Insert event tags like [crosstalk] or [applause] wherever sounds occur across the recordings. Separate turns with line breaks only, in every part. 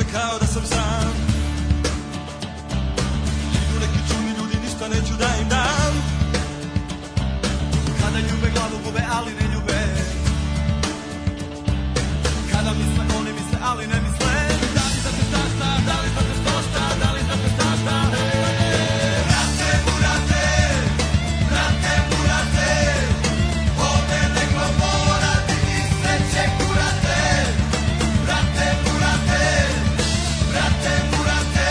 sam sam Idu neki čudni ljudi, ništa neću da im dam Kada ljube glavu gube, ali ne ljube Kada misle, oni misle, ali ne misle Da li znate šta šta, da li znate što šta, da li znate šta šta Brate, burate, brate, burate Ovde neko mora ti misle će kurate Brate, burate, brate, burate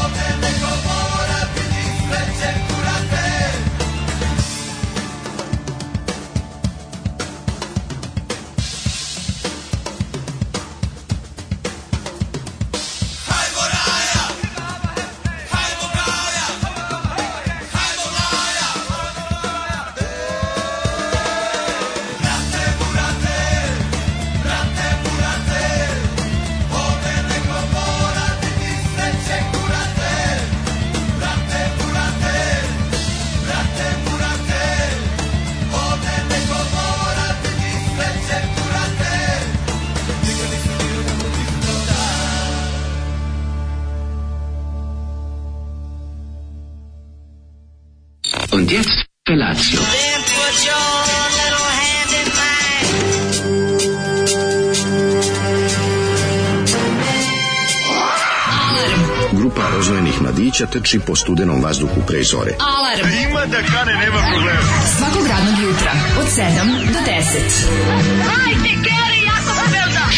Ovde neko mora ti misle će kurate Hajmo raja, hajmo braja, hajmo raja Brate, burate, brate, burate Ovde neko mora ti misle će kurate Brate, burate, brate, burate Ovde neko mora ti misle će kurate Nikad nisam bio da mu nisam dao dan.
Und jetzt Felatio.
Then put your little hand in mine.
Grupa rozvojenih mladića teči po studenom vazduhu pre zore.
Alarm. Ima da kane, nema problema. Svakog radnog jutra, od 7 do 10. Hajde, Keri, jako se velda.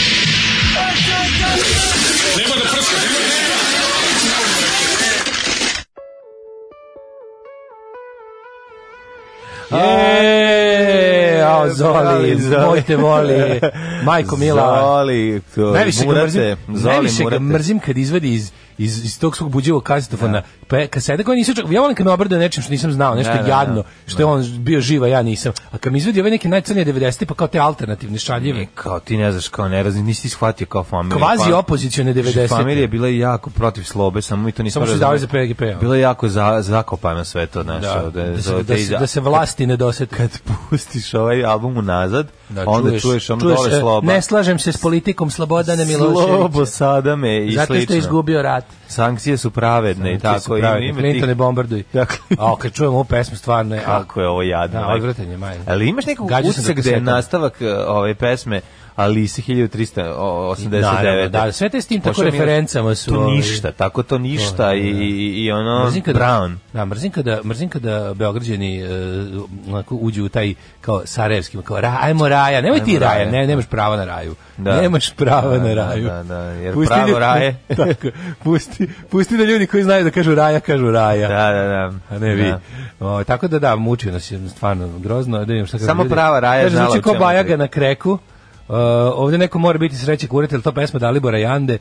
E, a Zoli,
ali Zoli.
moj te voli, majko mila.
Zoli, to,
Najviše ga
murate,
mrzim,
Zoli,
najviše ga
murate.
mrzim kad izvadi iz, iz, iz tog svog buđivog kasetofona. Pa kaseta koja nisam čak, ja volim kad me obrade nečim što nisam znao, nešto
Da, da, da.
jadno, što je on bio živa, ja nisam. A kad mi izvadi ove neke najcrnije 90. pa kao te alternativne šaljive.
E, Kao ti ne znaš, kao ne razli, nisi ti shvatio kao familija.
Kvazi
Pa-
opozicione 90.
Familija je bila jako protiv slobe, samo mi to nismo
Samo su
razumeli.
izdavali za PGP, a?
Bilo je jako za, zakopano sve to, znaš.
ono. Da,
ovde,
da, se,
ovde
da, se,
iza-
da se vlasti ne dosete.
Kad [laughs] pustiš ovaj album unazad, onda čuješ, ono dole
e,
sloba.
Ne slažem se s politikom Slobodana
Slobo
Miloševića.
Sadame i
Zato što
slično.
je izgubio rat.
Sankcije su pravedne i
Ti su
tako. i
pravi,
ima
Clinton ne
tih-
bombarduj.
Dakle.
A kad čujem ovu pesmu, stvarno je... a,
Kako je ovo jadno.
Da,
majko.
odvratan je, majko.
Ali imaš nekog
Gađao sam
utisak
ga
gde je
kasetom.
nastavak e, ove pesme Alise 1389.
Naravno, da, sve te s tim tako
Počeo mi je-
referencama su,
ono, To
ovaj,
ništa, tako to ništa
da, da.
i, i, i ono
Mrzim kada,
Brown.
Da, mrzim kada, mrzim kada Beograđani e, onako uđu u taj kao Sarajevski, kao ra, ajmo raja, nemoj
Ajmo
ti raja,
raja.
ne, nemaš prava na raju.
Da.
Nemaš prava
Da,
na
da,
raju.
da, da, jer pravo
ljudi-
raje.
[laughs] tako, pusti, pusti da ljudi koji znaju da kažu raja, kažu raja.
Da, da, da.
A Pa ne vi.
Da.
O, tako da da, muči nas je stvarno grozno. Da vidim šta kažu
Samo
ljudi.
prava Raja
Kaže,
znala
zvuči
o
ko
čemu
Bajaga
priča.
na kreku. Uh, ovde neko mora biti sreće kurate, ali to pesma Dalibora Jande,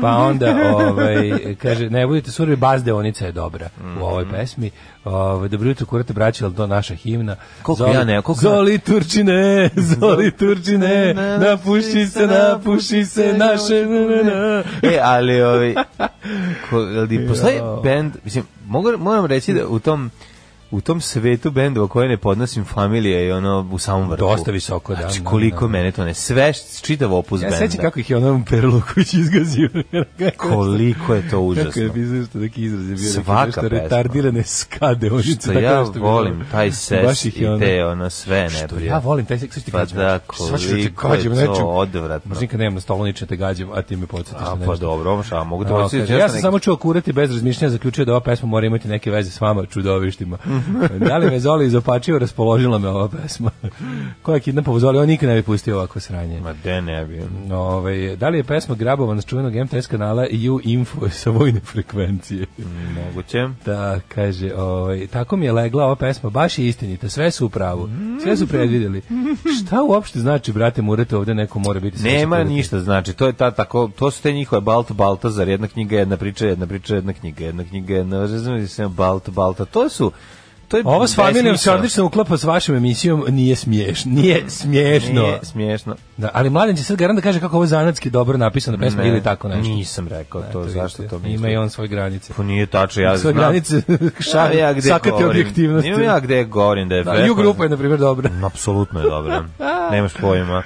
pa onda ovaj, kaže, ne budite survi, bazdeonica je dobra u ovoj
Mhm.
pesmi. Ovaj, dobro jutro kurate braće, ali to naša himna.
Koliko ja ne, koliko ja-
Zoli Turčine, Zoli Turčine, napuši se, napuši se, naše... na, na, na. [laughs]
E, ali ovi, ko, ali postoji bend, mislim, mogu, moram reći da u tom u tom svetu bendova koje ne podnosim familija je ono u samom vrhu.
Dosta visoko, da,
Znači,
da,
koliko
da.
mene to ne, sve, š- čitav opus
Ja
benda.
sećam kako ih je onom Perluković izgazio.
Koliko je to
Kako je
užasno.
bizarno što neki izraz je bio.
Svaka
Svaka nešto
pesma.
retardirane skade. Oni
Što Pa ja volim taj ses i te ono sve
Što
nebrije.
ja volim taj seks, što ti
Pa
gađam.
da,
Sva ću ti
koliko je
gađam
to
nečim.
odvratno.
Možda nikad nemam na stolu ničem te gađam, a ti me podsjetiš na
A,
nešto.
pa dobro, ovo šta, mogu te
A,
podsjetiti.
kaže, ja sam samo čuo kurati bez razmišljanja, zaključio da ova pesma mora imati neke veze s vama, čudovištima. da li me Zoli izopačio, raspoložila me ova pesma. [laughs] Koja je kidnapova Zoli, on nikad ne bi pustio ovako sranje.
Ma de ne bi. ono.
Ove, da li je pesma Grabova na čuvenog MTS kanala EU Info sa vojne frekvencije?
Moguće.
Da, kaže, ovaj, tako mi je legla ova pesma, baš je istinita, sve su u pravu, sve su predvidjeli. Šta uopšte znači, brate, murate ovde, neko mora biti... srećan
Nema
kurati?
ništa, znači, to je ta tako, to su te njihove Balta Baltazar, jedna knjiga, jedna priča, jedna priča, jedna knjiga, jedna knjiga, jedna, razumiješ se, Balta Balta, to su to je
Ovo s familijom se
besmisleno.
odlično uklapa s vašom emisijom, nije smiješ, nije smiješno.
Nije smiješno.
Da, ali mladen će sad garant da kaže kako ovo je zanatski dobro napisana pesma
Ne,
ili tako nešto.
Nisam rekao to,
Eto,
zašto
vidite,
to
Ima
mislim?
i on svoje granice.
Pa nije tačno, ja
Svoje
znam. [laughs]
granice
Znam
šar,
ja gde
sakati
govorim.
objektivnosti.
Imam ja gde govorim da je
Da,
Fred
ju grupa je, na primjer, dobra.
Apsolutno je
[laughs]
dobro. Nemaš pojma.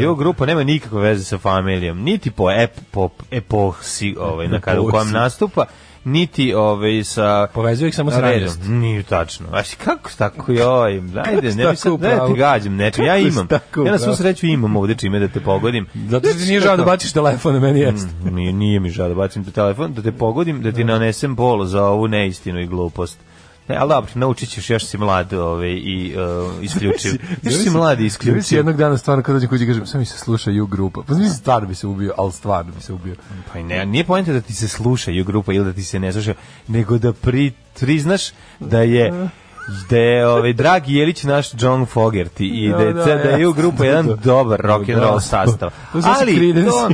Jo grupa nema nikakve veze sa familijom, niti po ep, po epohsi, ovaj na kada u kojem
Epohsi.
nastupa, niti ovaj sa
Povezuju ih samo sa
redom.
radost.
Nije tačno. A kako si tako joj, ajde,
si
ne bi
tako
sad,
u
ne
pravu?
ti gađam, nečim, ja
Kako si
imam.
tako u
Ja na svu
pravu?
sreću imam ovde čime da te pogodim.
Zato što ti nije žao da baciš telefon, a
Mm.
meni jeste.
Nije, nije mi žao da bacim te telefon, da te pogodim, da ti nanesem bol za ovu neistinu i glupost. Ne, ali dobro, naučit ćeš, još si mlad ovaj, i uh, isključiv. Još si mlad i
Zamisli
isključiv.
jednog dana stvarno kad dođem kući i kažem, sve mi se sluša ju grupa. Pa mislim, stvarno bi se ubio, ali stvarno bi se ubio. [laughs]
Pa ne, nije pojenta da ti se slušaju grupa ili da ti se ne sluša, nego da pri, priznaš da je da je ovaj dragi Jelić naš John Fogerty i da je
Da, da,
da, da je
ja
u grupu
sam
jedan
to-
dobar rock and roll
Da.
sastav.
To su naši Creedence.
to-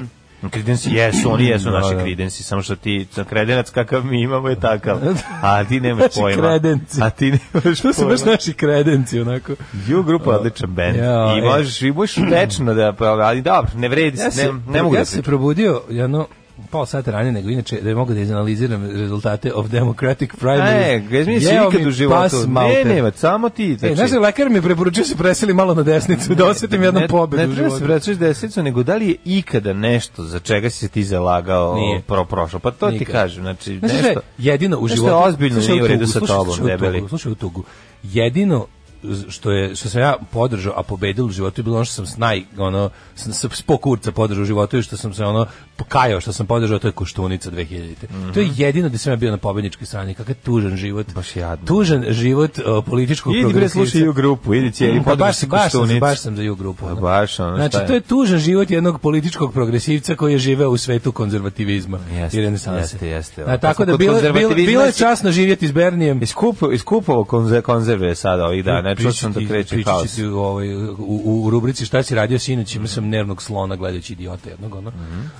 Creedence jesu, oni jesu
Da,
naši
da.
Creedence, samo što ti kredenac kakav mi imamo je takav. A ti nemaš
Naši
pojma.
kredenci.
A ti nemaš
To su
pojma.
baš naši kredenci, onako.
U grupa je odličan bend.
Ja,
I
e.
možeš i možeš večno da pa ali dobro, ne vredi, se, ne, ne mogu
ja
da
se
se
probudio jedno pola sata ranije nego inače da je mogu da izanaliziram rezultate of Democratic primaries.
Ne, gdje E, mi se
Jeo
ikad
mi
u životu.
pas
Ne,
malter.
ne, samo ti. znači,
E, znaš, da lekar mi je preporučio da se preseli malo na desnicu, da osjetim jednu pobedu
Ne
u
treba se
životu.
vraćaš desnicu, nego da li je ikada nešto za čega si se ti zalagao
Nije.
pro prošlo? Pa to ti
Nikad.
kažem, znači
Znaš šta je
nešto.
jedino u
Znaš
životu...
Što je ozbiljno
Slušaj,
nije u
u
redu
tugu,
sa
slušaj,
tobom,
slušaj u tugu,
debeli.
Slušaj u tugu. Jedino što je što sam ja podržao a pobedilo u životu je bilo ono što sam s naj ono s, s, s pokurca podržao u životu i što sam se ono pokajao što sam podržao to je Koštunica 2000. To je jedino gde sam ja bio na pobedničkoj strani. Kakav tužan život.
Mhm. Baš jadno.
Tužan život uh, političkog
Idi bre,
progresivca.
slušaj i u grupu, idi će, i
Pa baš,
podrži se
baš, sam,
koštunicu.
baš sam za ju grupu. ono.
Pa baš, ono,
znači,
šta je?
to je tužan život jednog političkog progresivca koji je živeo u svetu konzervativizma
Jeste,
i renesanse.
jeste, jeste.
A, tako
Kad smo
da bilo,
kod
bilo,
konzervativizma
bilo je
si-
časno živjeti s Bernijem.
Iskupo, iskupovo konze, konzerve sada ovih dana, čuo sam da
Pričati-
kreće
pričat ću
haos.
ti u, ovoj, u, u rubrici šta si radio sinoć, imao sam nervnog slona gledajući idiota jednog, ono.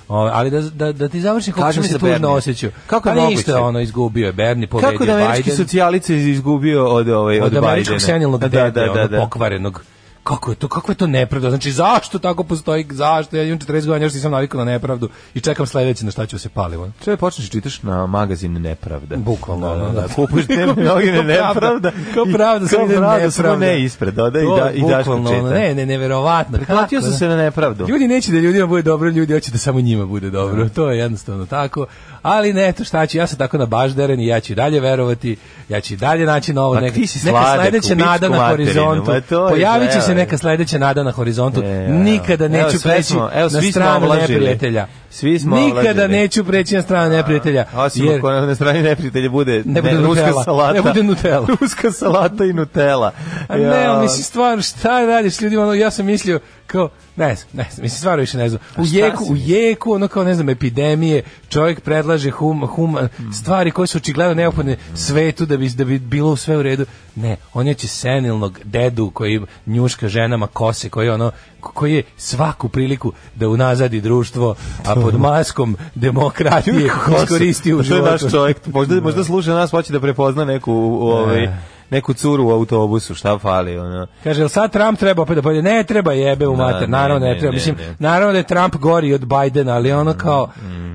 O, ali da, da, da ti završim kako
Mhm. Kaži
sam
mi
se
za
tužno
Bernija.
osjećao.
Kako je
Pa
moguće?
ništa, ono, izgubio je Berni, pobedio
Kako da američki
Biden.
socijalice izgubio od, ovaj, od,
od,
Bidena?
američkog senilnog
Da,
dede, ono,
da, da, da.
pokvarenog. Kako je to, kako je to nepravda? Znači, zašto tako postoji, zašto? Ja imam 40 godina, još nisam navikao na nepravdu i čekam sledeće na šta ću se paliti. ono.
Čovjek počneš čitaš na magazin Nepravda.
Bukvalno,
Da, da,
ono,
da.
da. [laughs]
Kupiš te mnogine
Kao pravda,
Nepravda.
kao
i-
pravda, samo
kao
ide
pravda, samo
nepravda.
ne ispred. Da, da, i,
To
da, i daš
bukvalno, ono,
početak.
Ne, ne, neverovatno.
Platio
Kako,
sam
da?
se na nepravdu.
Ljudi neće da ljudima bude dobro, ljudi hoće da samo njima bude dobro. To je jednostavno tako. Ali ne, to šta ću, ja sam tako na bažderen i ja ću i dalje verovati, ja ću i dalje naći novo
Ma,
neka,
Pa ti si
neka
sladak
sledeća
u pičku
nada na
materinu,
horizontu.
ma to je,
Pojavit će
evo
se
je.
neka sledeća nada na horizontu.
E, evo.
Nikada
Evo,
neću
sve
preći
smo- evo,
na
svi smo
stranu
ovlažili.
neprijatelja.
Svi smo
Nikada
ovlažili.
neću preći na stranu neprijatelja.
Osim
jer-
ako na strani neprijatelja bude,
Ne bude
ruska
Nutella,
salata.
ne bude Nutella.
[laughs] ruska salata i Nutella.
A ne, ali
[laughs]
mislim stvarno šta radiš ljudima, ono, ja sam mislio kao ne znam, ne znam, mislim stvarno više ne znam. U
šta
jeku,
si
u jeku, ono kao ne znam, epidemije, čovjek predlaže hum, hum stvari koje su očigledno neophodne svetu da bi da bi bilo sve u redu. Ne, on je će senilnog dedu koji njuška ženama kose, koji ono koji je svaku priliku da unazadi društvo, a
[laughs]
pod maskom demokratije iskoristi u
To je
životu.
naš čovjek. Možda, možda sluša nas, hoće da prepozna neku, u, u, ovaj,
E.
neku curu u autobusu, šta fali, ono.
Kaže, jel sad Trump treba opet da pojede? Ne treba jebe u mater,
ne,
naravno ne,
ne,
treba.
ne,
Mislim,
ne. Mm,
naravno da je Trump gori od Bajdena, ali ono kao,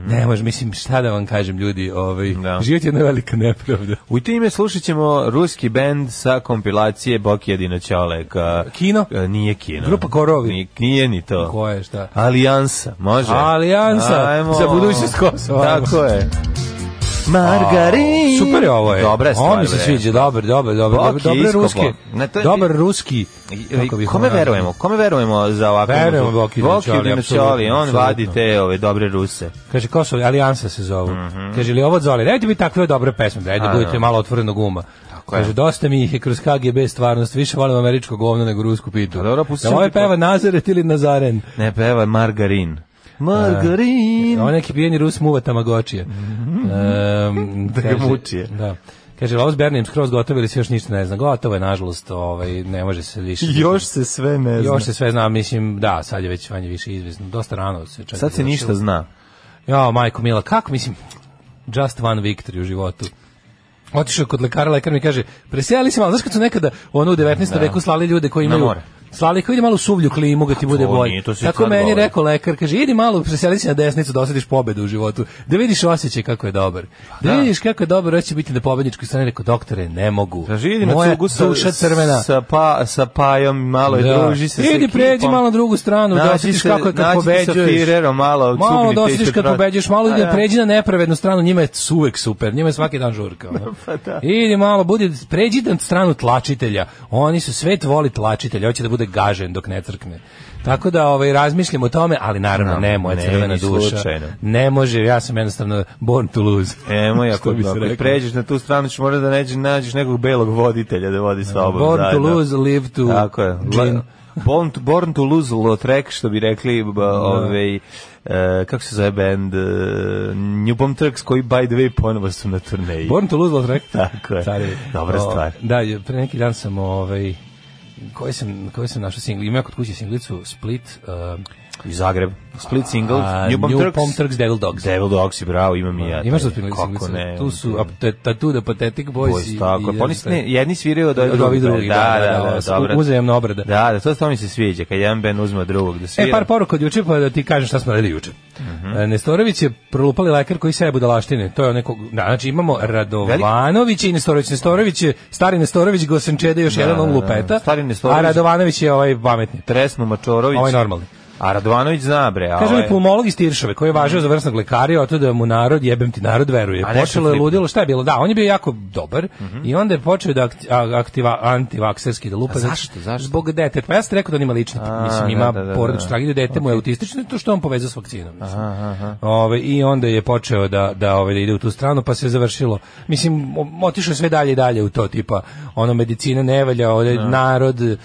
ne može, mislim, šta da vam kažem ljudi, ovaj,
Da.
život je jedna velika nepravda.
U to ime slušat ćemo ruski bend sa kompilacije Boki Jedino Ćolek. A,
Kino?
a, Nije kino.
Grupa Korovi.
Nije, nije ni to.
Ko je, šta?
Alijansa, može?
Alijansa, za budućnost Kosova, ajmo.
Tako je. Margarin.
Super je ovo je.
Dobra je stvar.
Ovo mi se
bre.
sviđa, dobar, dobar, dobar,
Bok
dobar,
je
dobar
iskopao.
ruski.
Ne, to je-
Dobar ruski. kako bih
Kome
ono-
verujemo? Kome verujemo za ovakvu?
Verujemo Boki Dinoćoli,
Dinoćoli, on
apsolutno,
vadi
apsolutno.
te ove dobre ruse.
Kaže, Kosovo, Alijansa se zovu. Kaže, li ovo od Zoli? Dajte mi takve dobre pesme, dajte
Mhm. A,
budete
da.
malo otvorenog uma.
je.
Kaže, dosta mi ih je kroz KGB stvarnost, više volim američko govno nego rusku pitu.
A Pa dobro, pustit
Da
ćemo
ovaj
ti po-
peva Nazaret ili Nazaren?
Ne, peva je Margarin. Margarin.
Ovo Ovaj neki pijeni Rus muva tamagočije. Ehm,
Mhm. Da ga
kaže-
mučije.
Da. Kaže, ovo s Bernijem skroz gotovo ili se još ništa ne zna. Gotovo je, nažalost, ovaj, ne može se više...
Još se sve ne zna.
Još se sve zna, mislim, da, sad je već manje više izvesno. Dosta rano se čak
Sad se
završilo.
ništa zna.
Ja, majko Mila, kako, mislim, just one victory u životu. Otišao kod lekara, lekar mi kaže, presijali se malo, znaš kad su nekada ono u 19. veku slali ljude koji
Na
imaju
more. Pa
slali kao ide malo u suvlju klimu da ti bude
to
bolje.
nije, to se
Tako
sad
meni
govori.
rekao lekar, kaže idi malo preseli se na desnicu da osetiš pobedu u životu, da vidiš osjećaj kako je dobar. Da,
Pa da.
vidiš kako je dobar, hoće biti na pobedničkoj strani, rekao doktore, ne mogu.
Traži idi Pa na
Moja
cugu sa,
duša crvena.
sa, pa, sa pajom, malo je
Da.
druži se sa
Idi pređi
ekipom.
malo na drugu stranu, da
Nađi
osjetiš
se-
kako je kad
nađi se sa
pobeđuješ.
Firerom malo,
Malo
cugni
da
te
osjetiš
ispred
kad
vrata.
pobeđuješ, malo
A,
idi
Pa da.
pređi na nepravednu stranu, njima je uvek super, njima je svaki dan žurka. ono.
[laughs] Pa da.
Idi malo, budi, pređi na stranu tlačitelja. Oni su, svet voli tlačitelja, hoće da bude gažen dok ne crkne. Tako da ovaj, razmišljam o tome, ali naravno
Da,
ne, moja
ne,
crvena
ni
duša.
slučajno. E,
Ne može, ja sam jednostavno born to lose.
Nemoj, ako,
Što bi se
ako
reklo.
pređeš na tu stranu, ćeš morati da neđeš, nađeš nekog belog voditelja da vodi s tobom.
Born to
zajedno.
lose, live to
Tako je.
dream.
La- Born to, born to lose Lautrec, što bi rekli b- ovaj, e, kako se zove band, e, New Bomb Turks, koji by the way ponovo su na turneji.
Born to lose, Lost Track.
Tako je.
Carevi.
Dobra
O,
stvar.
Da, je, pre neki dan sam ovaj koji sam koji sam našao singl, imao kod kuće singlicu Split uh,
Iz Zagreb. Split single,
a,
New Bomb Turks.
Devil Dogs.
Devil Dogs i bravo, imam i ja.
Imaš
taj.
da spinali
Kako
singlicu?
ne. ono
Tu su Tattoo the Pathetic Boys,
Boys,
i,
tako.
i
je. Pa oni su, ne, jedni sviraju od
Od ovih drugih,
Da,
da, da,
da,
da,
da,
da,
dobro.
uzajamna obrada.
Da, da, to, to mi se sviđa, kad jedan band uzme od drugog da svira.
E, par poruka od juče, pa da ti kažem šta smo radili juče.
Mhm.
E, Nestorović je prolupali lekar koji seje budalaštine. To je neko, da, znači imamo Radovanović i Nestorović. Nestorović je, stari Nestorović, Gosenčede, još jedan on
da, da.
lupeta.
Stari Nestorović-
A Radovanović je ovaj pametni.
Tresno Mačorović.
Ovaj normalni.
A Radovanović zna, bre. a
Kaže
ovaj-
mi pulmolog iz Tiršove koji je važio za vrsnog lekara, oto da mu narod, jebem ti narod, veruje.
A nešto
Počelo je
flipno.
ludilo, šta je bilo? Da, on je bio jako dobar i onda je počeo da akti- a- aktiva, antivakserski da lupa.
A
znači,
zašto, zašto?
Zbog dete. Pa ja sam ti rekao da on ima lični,
A,
mislim, ima
da, da, da,
porodičnu
da.
tragediju, dete mu je autistično, to što je on povezao s vakcinom. Mislim. Ove, I onda je počeo da, da, ove, da ide u tu stranu, pa se je završilo. Mislim, o- otišao je sve dalje i dalje u to, tipa, ono, medicina ne valja, ovde narod, e,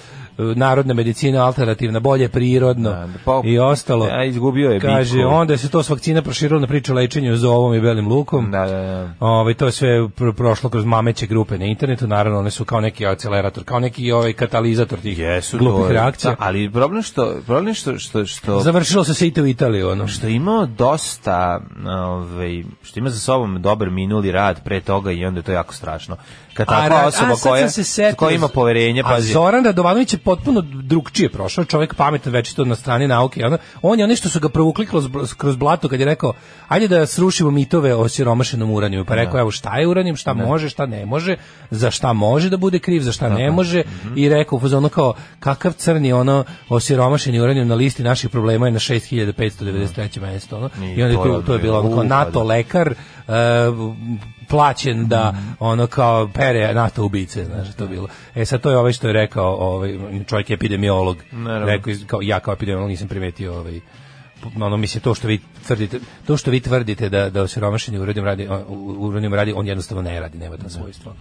narodna medicina alternativna, bolje prirodno
Da, da, pa-
i ostalo.
Ja, izgubio je
Kaže,
bitku.
onda se to s vakcina proširilo na priču o lečenju za ovom i belim lukom.
Da, da, da.
Ovaj, to je sve pro- prošlo kroz mameće grupe na internetu, naravno one su kao neki akcelerator, kao neki ovaj katalizator tih
Jesu
glupih
to je.
reakcija.
Da, ali problem što problem što što što
Završilo se sve i to u Italiji, ono.
što je imao dosta, ovaj, što ima za sobom dobar minuli rad pre toga i onda je to jako strašno. Kad takva
ra-
osoba
sad sam
koja,
se setio.
koja ima poverenje,
A
pazi,
Zoran Radovanović je potpuno drugčije prošao, čovjek pametan večito na strani nauke. i Ono, on je ono što su ga provukli kroz, br- kroz blato kad je rekao ajde da srušimo mitove o siromašenom uraniju. Pa rekao evo šta je uranijum, šta može, šta ne može, za šta može da bude kriv, za šta ne može
Mhm.
i rekao uz ono kao kakav crni ono osiromašeni uranijum na listi naših problema je na 6593. mesto. Ono.
I
I onda je
to je
tu, to je bilo ono kao
upada.
NATO lekar e, plaćen da ono kao pere NATO ubice, znaš, to je bilo. E sad to je ovaj što je rekao, ovaj čovjek je epidemiolog.
Naravno.
Rekao je, kao ja kao epidemiolog nisam primetio ovaj ono mislim to što vi tvrdite to što vi tvrdite da da osiromašeni uranijum radi uranijum radi on jednostavno ne radi nema ta svojstva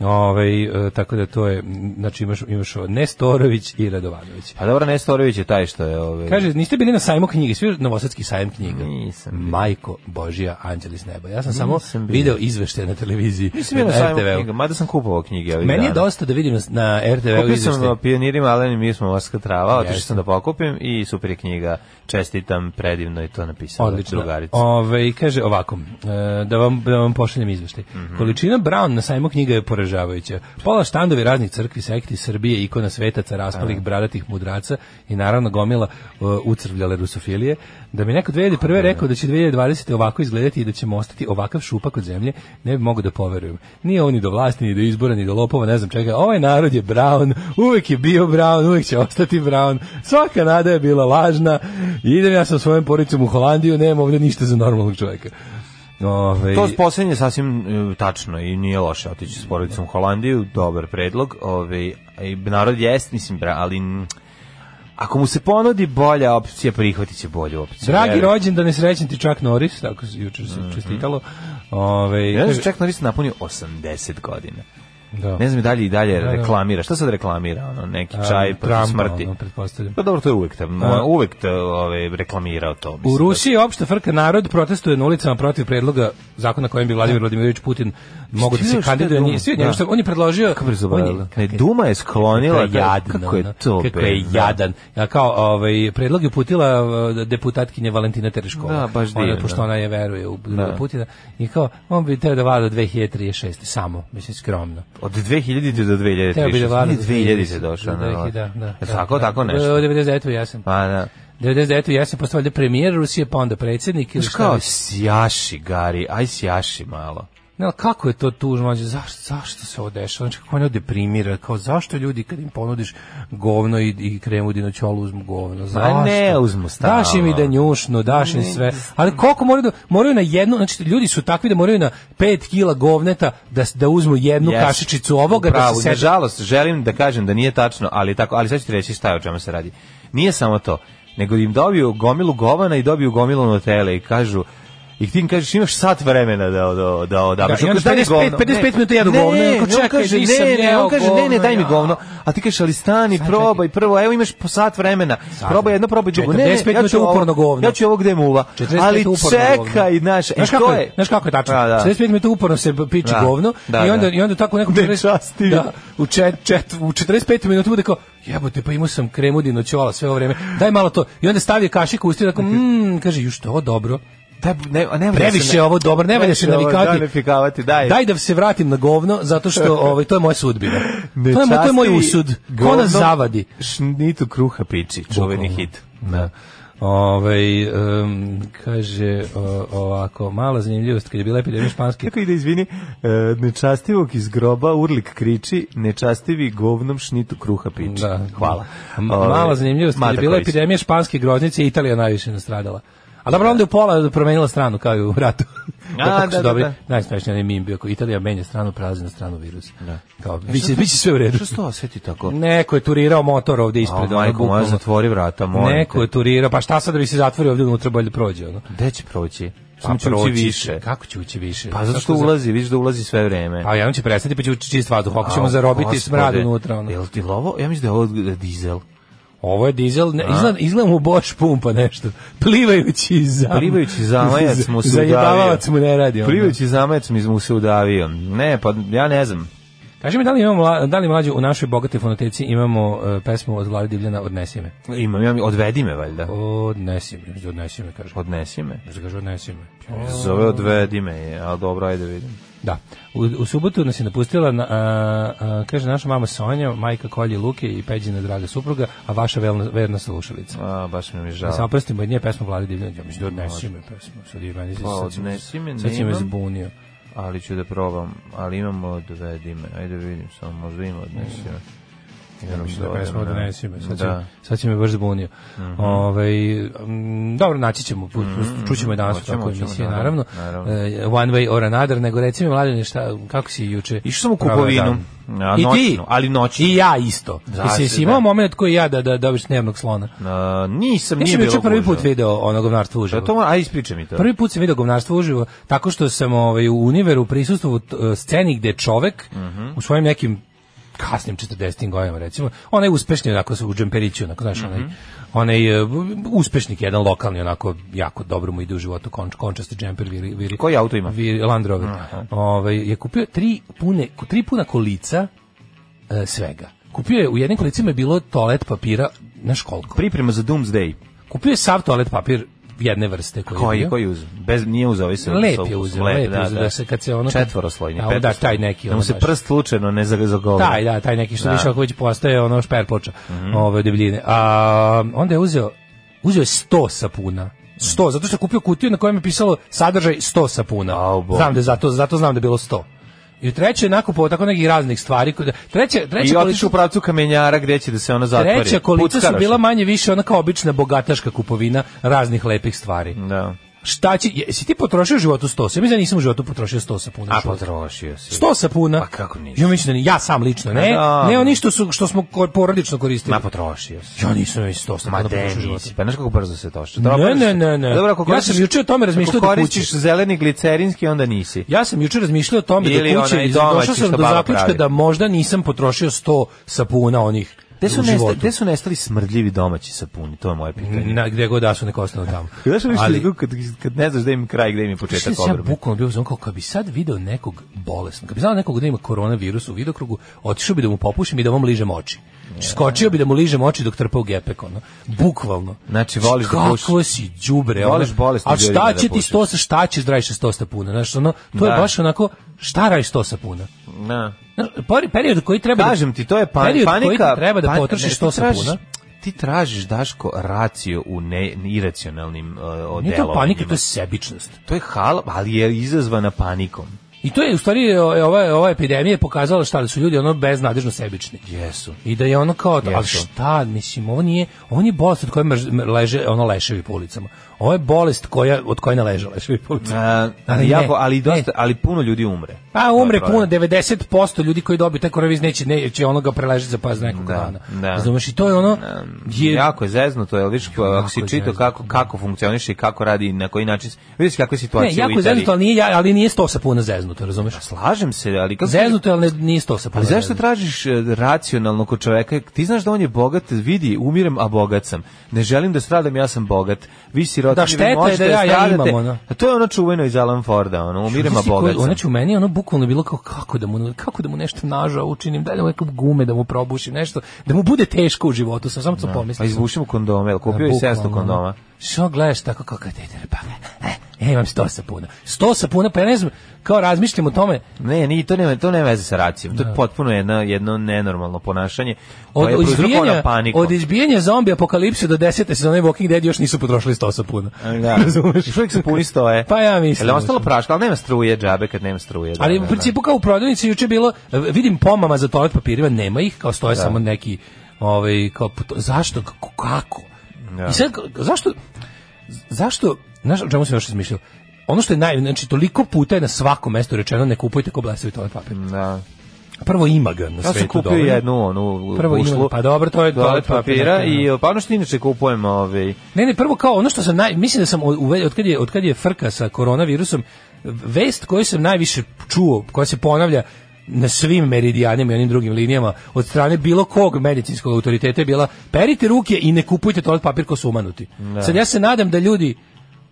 ovaj e, tako da to je m, znači imaš imaš ovo, Nestorović i Radovanović
pa dobro, Nestorović je taj što je, ovaj,
Kaže, niste bili na sajmu knjige, svi novosadski sajam knjiga. Mm.
Nisam bio.
Majko Božija, anđeli s neba. Ja sam samo
Nisam bio.
video izveštaje na televiziji.
mislim je na
na
sajmu
RTV-u.
knjiga, mada sam kupovao knjige ovih
Meni je
dana.
dosta da vidim na RTV-u
Kupio sam
izveštaje.
na pionirima, ali mi smo Morska trava, otišao
Jeste.
sam da pokupim i super je knjiga, čestitam, predivno je to napisala
Odlično.
drugarica.
Ove, kaže ovako, e, da vam, da vam pošaljem izveštaj.
Mhm.
Količina Brown na sajmu knjiga je poražavajuća. Pola štandovi raznih crkvi, sekti, Srbije, ikona svetaca, raspalih, bradatih mudraca i naravno gomila e, ucrvljale rusofilije. Da mi neko 2001. rekao da će 2020. ovako izgledati i da ćemo ostati ovakav šupak od zemlje, ne bi mogu da poverujem. Nije on ni do vlasti, ni do izbora, ni do lopova, ne znam čega. Ovaj narod je Brown, uvek je bio Brown, uvek će ostati Brown. Svaka nada je bila lažna. Idem ja sa svojom poricom u Holandiju, nema ovdje ništa za normalnog čovjeka. Ove,
To s poslednje je sasvim e, tačno i nije loše otići s porodicom u Holandiju, dobar predlog. Ovaj i narod jest, mislim, bra, ali mm, ako mu se ponudi bolja opcija, prihvatit će bolju opciju.
Dragi
Jer-
rođen, da ne srećen ti Chuck Norris,
Mhm.
tako se jučer se čestitalo. Ove,
Ja
kaže-
znači, čak Norris napunio 80 godina.
Da.
Ne znam i dalje i dalje
da.
reklamira. Šta sad reklamira? Ono, neki
A,
čaj protiv
Trumpa,
smrti.
ono, pretpostavljam.
Pa dobro, to je uvek, tam,
Da.
uvek te, ove, reklamirao to. mislim
U
da-
Rusiji je opšta frka narod protestuje na ulicama protiv predloga zakona kojim bi Vladimir Vladimirović Putin mogu da
Šta
se
je
kandiduje.
Duma?
Nije, svi od njega
Da.
što on je predložio...
Kako je
on je-
zaboravila? Ne,
kak-
Duma je sklonila
kako je
taj-
jadno,
Kako je
ono,
to?
Kako je
bedno.
jadan. Ja kao ovaj predlog je uputila uh, deputatkinja Valentina Tereškova.
Da, baš
Ona,
divno.
pošto ona je veruje u
Da.
Putina i kao on bi teo da vlada do 2036 samo, mislim skromno.
Od 2000 do 2000.
Teo bi da vlada do
2000 došao.
do
na
2000,
vlast.
Da, da,
E,
da,
Tako,
da.
tako
Od
nešto.
99. ja sam.
Pa da.
99. ja sam postao valjda premijer Rusije, pa onda predsjednik ili
Znaš
šta
kao,
već.
sjaši, Gari, aj sjaši malo.
Ne, ali kako je to tužno, mlađe, zašto, zašto se ovo dešava, znači kako ono deprimira, kao zašto ljudi kad im ponudiš govno i, i kremu dinoćolu uzmu govno, zašto?
ne, uzmu stalno.
Daš im i da njušnu, daš im sve, ali koliko moraju da, moraju na jednu, znači ljudi su takvi da moraju na 5 kila govneta da, s- da uzmu jednu
Jes.
kašičicu ovoga,
Upravo,
da se sede.
Nažalost, želim da kažem da nije tačno, ali je tako, ali sad ću ti reći šta je o čemu se radi. Nije samo to, nego im dobiju gomilu govana i dobiju gomilu notele i kažu I ti im kažeš imaš sat vremena da da da odabereš.
Da, i onda
On kaže, daj
55
mi govno.
55 minuta jedu
Ne,
govno.
ne,
Onako,
on
čekaj,
kaže,
nisam
ne, ne,
jeo
on kaže ne, ne, daj mi
govno,
govno. A ti kažeš ali stani, probaj prvo, evo imaš po sat vremena. Probaj jedno, probaj drugo. Ne, ne,
45
ja ću
minuta uporno
ovo,
govno.
ja ću ovo gde muva.
45
Ali
uporno
čekaj,
govno.
znaš, e,
znaš
to
kako
je-
Znaš kako je tačno?
Pa, da.
45 minuta uporno se piči
Da.
govno
Da,
i onda
da.
i onda tako nekom
Ne
40
časti.
Da, u čet, čet, u 45 minuta bude kao jebote pa imao sam kremu dinoćola sve ovo vreme. Daj malo to. I onda stavi kašiku u usta i tako mm, kaže ju što ovo dobro.
Da, ne, a ne valja se
Previše
na-
ovo dobro, ne valja se
Previše ovo,
navikavati.
Da, navikavati, daj.
Daj da se vratim na govno zato
[laughs]
što ovaj to je moja sudbina. to
Ne
je, to je moj
časti
usud. Ko
govnom
nas zavadi?
Šnitu kruha piči, čuveni
Bukvalno.
hit.
Da. Ove,
Ovaj,
kaže o- ovako, mala zanimljivost kad je bila epidemija španske
Kako ide, izvini, e, nečastivog iz groba urlik kriči, nečastivi govnom šnitu kruha piči.
Da.
Hvala.
M-
Ove,
Mala zanimljivost, kad je
Mata
bila
Kojić.
epidemija španske groznice, Italija najviše nastradala. A dobro, onda je u pola promenila stranu, kao i u ratu. [laughs]
A,
Tako su
da, da,
dobili-
da.
Najsmešniji onaj mim bio, ako Italija menja stranu, prelazi na stranu virus. Kao, biće, biće sve u redu.
Što se E, to osjeti tako?
Neko je turirao motor ovde
A,
ispred. ono,
majko moja,
bukvalno.
zatvori vrata, molim
Neko je turirao, pa šta sad da bi se zatvorio ovde unutra bolje prođe, ono.
te. Gde će proći?
Pa
Samo će ući
proći će.
više.
Kako će ući više?
Pa zato što
Kako za-
ulazi, vidiš da ulazi sve vreme.
A ja on će prestati pa će ući čist vazduh, ako ćemo
Au,
zarobiti smrad
gospode.
unutra. Ono.
Jel ti lovo? Ja mislim da je ovo dizel.
Ovo je dizel, ne, izgleda, izgleda mu Bosch pumpa nešto. Plivajući zam. [laughs]
Plivajući zamajac mu se
Zajebavavac mu ne radi. ono. onda.
Plivajući zamajac mi mu se udavio. Ne, pa ja ne znam.
Kaži mi, da li, imamo, mla- da li mlađu u našoj bogatoj fonoteci imamo e, pesmu od Vlade Divljana Odnesi me?
Imam, ja mi, odvedi me valjda.
Odnesi me, odnesi me, kaže.
Odnesi me.
Kaže, kaže, odnesi me.
Zove odvedi me, je, ali dobro, ajde vidim.
Da. U, u subotu nas je napustila, na, a, a, kaže, naša mama Sonja, majka Kolje Luke i Peđina draga supruga, a vaša velna, verna slušalica.
A, baš mi je
Da. Samo
žao.
prstim od nje pesmu Vlade Divljana. Ja mislim, da odnesi me pesmu. Sad je meni,
Pa,
sad, si me-
odnesi me,
sad si me
nemam.
zbunio.
Ali ću da probam. Ali imam odvedi me. Ajde vidim, samo možda ima odnesi me. Idem
Mislim da
odem,
pesma odnesi me, sad, da.
Da. Mhm.
sad će me baš zbunio. Ovaj, mm, dobro, naći ćemo, put, čućemo je danas u
Hoćemo,
takvoj
hoćemo,
emisiji, naravno.
naravno,
E, one way or another, nego reci mi, mladine, šta, kako si juče?
Išao sam u
proveo
kupovinu.
dan?
A,
I ti?
noćnu, ali noćnu.
I ja isto.
Zašto,
Jesi, jesi imao
da.
moment koji ja da, da dobiš nervnog slona?
A, nisam,
Ja
nije
sam
bilo
juče prvi
gužva.
put video ono govnarstvo uživo.
Da to, aj ispričaj mi to.
Prvi put sam video govnarstvo uživo tako što sam ovaj, u univeru prisustuo sceni gde čovek
Mhm.
u svojim nekim kasnim 40. godinama recimo, onaj uspešni onako u džemperiću, onako, znaš,
Mhm.
onaj, onaj e, uspešnik jedan lokalni onako jako dobro mu ide u životu konč, končasti džemper viri, viri,
Koji auto ima?
viri, Land Rover ovaj, je kupio tri, pune, tri puna kolica e, svega kupio je, u jednim kolicima je bilo toalet papira znaš koliko?
Priprema za Doomsday.
kupio je sav toalet papir jedne vrste koji, je
Koji,
bio.
koji uz? Bez, nije uzeo ovaj se.
Lep
sa-
je uzeo,
lep,
lep je uzeo, da se kad se ono-
Četvoroslojni.
A, da,
petoslojni.
taj neki,
Da mu
ono
se
baš.
prst slučajno ne za- zagovara.
Taj, da, taj neki što
Ovaj. Da. Mhm.
više ako već postaje ono šper ploča ove debljine. A, onda je uzeo, uzeo je 100 sapuna.
Mhm.
100, zato što je kupio kutiju na kojem je pisalo sadržaj 100 sapuna.
Au, Bog.
znam da je zato, zato znam da je bilo 100. I u treće je nakupovao tako nekih raznih stvari. koje- Treće, treće
I otišao u pravcu kamenjara gde će da se ona zatvori.
Treća kolica su
Puckaraš. Mhm.
bila manje više ona kao obična bogataška kupovina raznih lepih stvari.
Da.
Šta će, jesi ti potrošio u životu 100? Ja mislim da nisam u životu potrošio 100 sapuna.
A
u životu.
potrošio si.
100 sapuna.
Pa kako nisi?
Ja mislim da ni, ja sam lično, ne.
Pa da.
Ne oni što su što smo ko- porodično koristili.
Ma potrošio si.
Ja nisam ni 100
Ma
sapuna
de,
potrošio u životu.
nisi. Pa znaš kako brzo se toši.
Ne, ne, ne, ne.
Dobro, ako
Ja
koristiš-
sam juče o tome razmišljao
Ako
do kuće.
koristiš zeleni glicerinski, onda nisi.
Ja sam jučer razmišljao o tome
Ili
da kuće
onaj
i
domaći
došao sam
što
do
baba
zaključka
pravi.
da možda nisam potrošio 100 sapuna onih
Gde su,
u
nestali,
životu.
gde su nestali smrdljivi domaći sapuni? To je moje pitanje.
Na, gde god da su neka ostane tamo.
Znaš li
Ali-
što kad, kad ne znaš gde im je kraj, gde im je početak
Šta sam ja
obrbe?
bukvalno bio znam kao kad bi sad video nekog bolesnog, kad bi znao nekog da ima koronavirus u vidokrugu, otišao bi da mu popušim i da vam ližem oči. Znači, Skočio bi da mu ližem oči dok trpa u gepek, ono. Bukvalno.
Znači, voliš da pušiš.
Kako si đubre, ono.
Voliš bolesnim
A šta
ljudima da
će ti
pušiš.
100, sa- šta ćeš da radiš sa 100 sapuna? Znaš, ono, to je
Da.
baš onako, šta radiš 100 sapuna?
Na.
Znaš, pori- period koji treba
Kažem ti, to je pan,
period koji
panika. pa-
ti treba da
pan- ne,
potrošiš
ti
100
tražiš-
sapuna.
Ti tražiš, Daško, raciju u ne, iracionalnim uh,
Nije to panika, to
delovanjima.
je sebičnost.
To je hal, ali je izazvana panikom. E,
I to je u stvari o- ova ova epidemija je pokazala šta da su ljudi ono beznadežno sebični.
Jesu.
I da je ono kao, ali
Jesu.
šta, mislim, ovo nije, ovo nije bolest od koje mrž- mr- leže, ono, leševi po ulicama. Ovo je bolest koja, od koje ne leže leševi po ulicama.
A, E, ali, jako,
ne,
ali, dosta,
ne.
ali puno ljudi umre.
Pa umre
To je
puno,
problem.
90% ljudi koji dobiju taj koronavirus neće, neće onoga preležiti za pas nekog
Da,
dana.
da. E,
Razumeš, i to je ono, je,
Jako je zezno to, je vidiš, ako si
je
čitao
zezno.
kako, kako funkcioniše i kako radi i na koji način, vidiš kakva je situacija
ne, jako
u
je
Italiji. Pa
zeznuto, ali nije, ja- ali nije sto sapuna zeznuto, razumeš?
Slažem se, ali kako
Zeznuto, je, ali ne- nije sto sapuna
Ali Pa zašto
zeznuto.
tražiš e, racionalno kod čoveka? Ti znaš da on je bogat, vidi, umirem, a bogat sam. Ne želim da stradam, ja sam bogat. Vi siroti,
Da,
vi
šteta je da
možete
ja- ja
stradate.
imam, ono.
A to je ono čuveno iz Alan Forda, ono, umirem, a
Znaš ti ko-
bogat sam.
Ona će u meni ono bukvalno bilo kao kako da mu kako da mu nešto nažao učinim, da li mu neke gume da mu probuši nešto, da mu bude teško u životu, sam samo to
Pa
pomislio. ono.
izbušimo kondome, jel kupio i 700 kondoma.
Što gledaš tako kako te pa e, ja imam 100 sapuna. 100 sapuna, pa ja ne znam, kao razmišljam o tome,
Ne, ni to nema, to nema veze sa racijom. To je potpuno jedno, jedno nenormalno ponašanje.
od,
koje je ono
od izbijanja,
prouzrokovano panikom.
od izbijanja zombi apokalipse do 10. sezone Walking Dead još nisu potrošili 100 sapuna.
Da.
Razumeš?
Još uvijek se puni stoje.
Pa ja mislim.
Jel ostalo praška, ali nema struje, džabe kad nema struje. da,
Ali u
da, da.
principu kao u prodavnici juče bilo e, vidim pomama za toalet papirima nema ih, kao stoje samo neki ovaj kao puto- zašto kako, kako?
Da.
I sad k- zašto zašto znaš o čemu sam još razmišljao? Ono što je naj, znači toliko puta je na svakom mestu rečeno ne kupujte ko blesavi toalet papir.
Da.
Prvo ima ga na
Ja sam
svetu
kupio
dovoljno.
jednu onu
Prvo
bušlu.
imam, pa dobro, to je
toalet
toalet
papira
papir,
i pa ono što inače kupujem, ovaj
Ne, ne, prvo kao ono što sam naj, mislim da sam od, uve- od kad je od kad je frka sa koronavirusom vest koju sam najviše čuo, koja se ponavlja na svim meridijanima i onim drugim linijama od strane bilo kog medicinskog autoriteta je bila perite ruke i ne kupujte toalet papir ko su umanuti. Sad ja se nadam da ljudi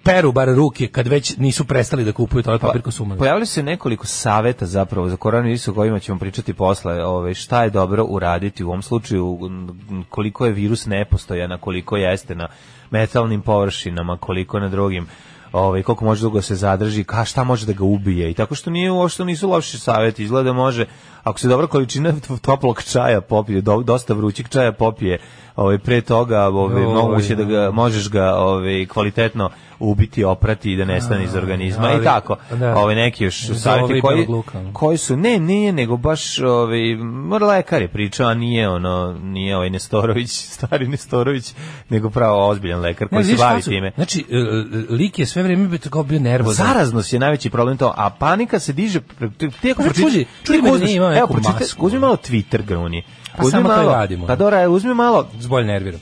peru bar ruke kad već nisu prestali da kupuju toalet papir ko su umanuti.
Pojavili se nekoliko saveta zapravo za koronavirus o kojima ćemo pričati posle, ovaj šta je dobro uraditi u ovom slučaju, m, koliko je virus nepostojan, a koliko jeste na metalnim površinama, koliko na drugim ovaj koliko može dugo se zadrži, ka šta može da ga ubije i tako što nije uopšte nisu loši saveti, izgleda da može ako se dobra količina toplog čaja popije, do- dosta vrućeg čaja popije, ovaj pre toga, ovaj
Joj,
moguće da ga možeš ga ovaj kvalitetno ubiti, oprati i da nestane iz organizma
ali-
i tako.
da.
Ovaj neki još
Za ovaj
savjeti koji,
belog luka, ono.
koji su, ne, nije, nego baš ovaj, mora lekar je pričao, a nije ono, nije ovaj Nestorović, [laughs] stari Nestorović, nego pravo ozbiljan lekar koji se
znaš šta
bavi
su-
time.
Znači, e, e, lik je sve vrijeme bio kao bio nervozan.
Zaraznost je najveći problem to, a panika se diže pre- ti- ti ako
Pa,
pročitaš-
čudi-
ti ako
čudi me da
uzmeš-
nije imao
evo
neku
pročitaj,
masku,
uzmi
ono.
malo Twitter gruni.
Pa
Uzmi
samo to i
malo-
radimo,
Pa
ono.
dobro, aj, uzmi malo
Zbolj nerviram.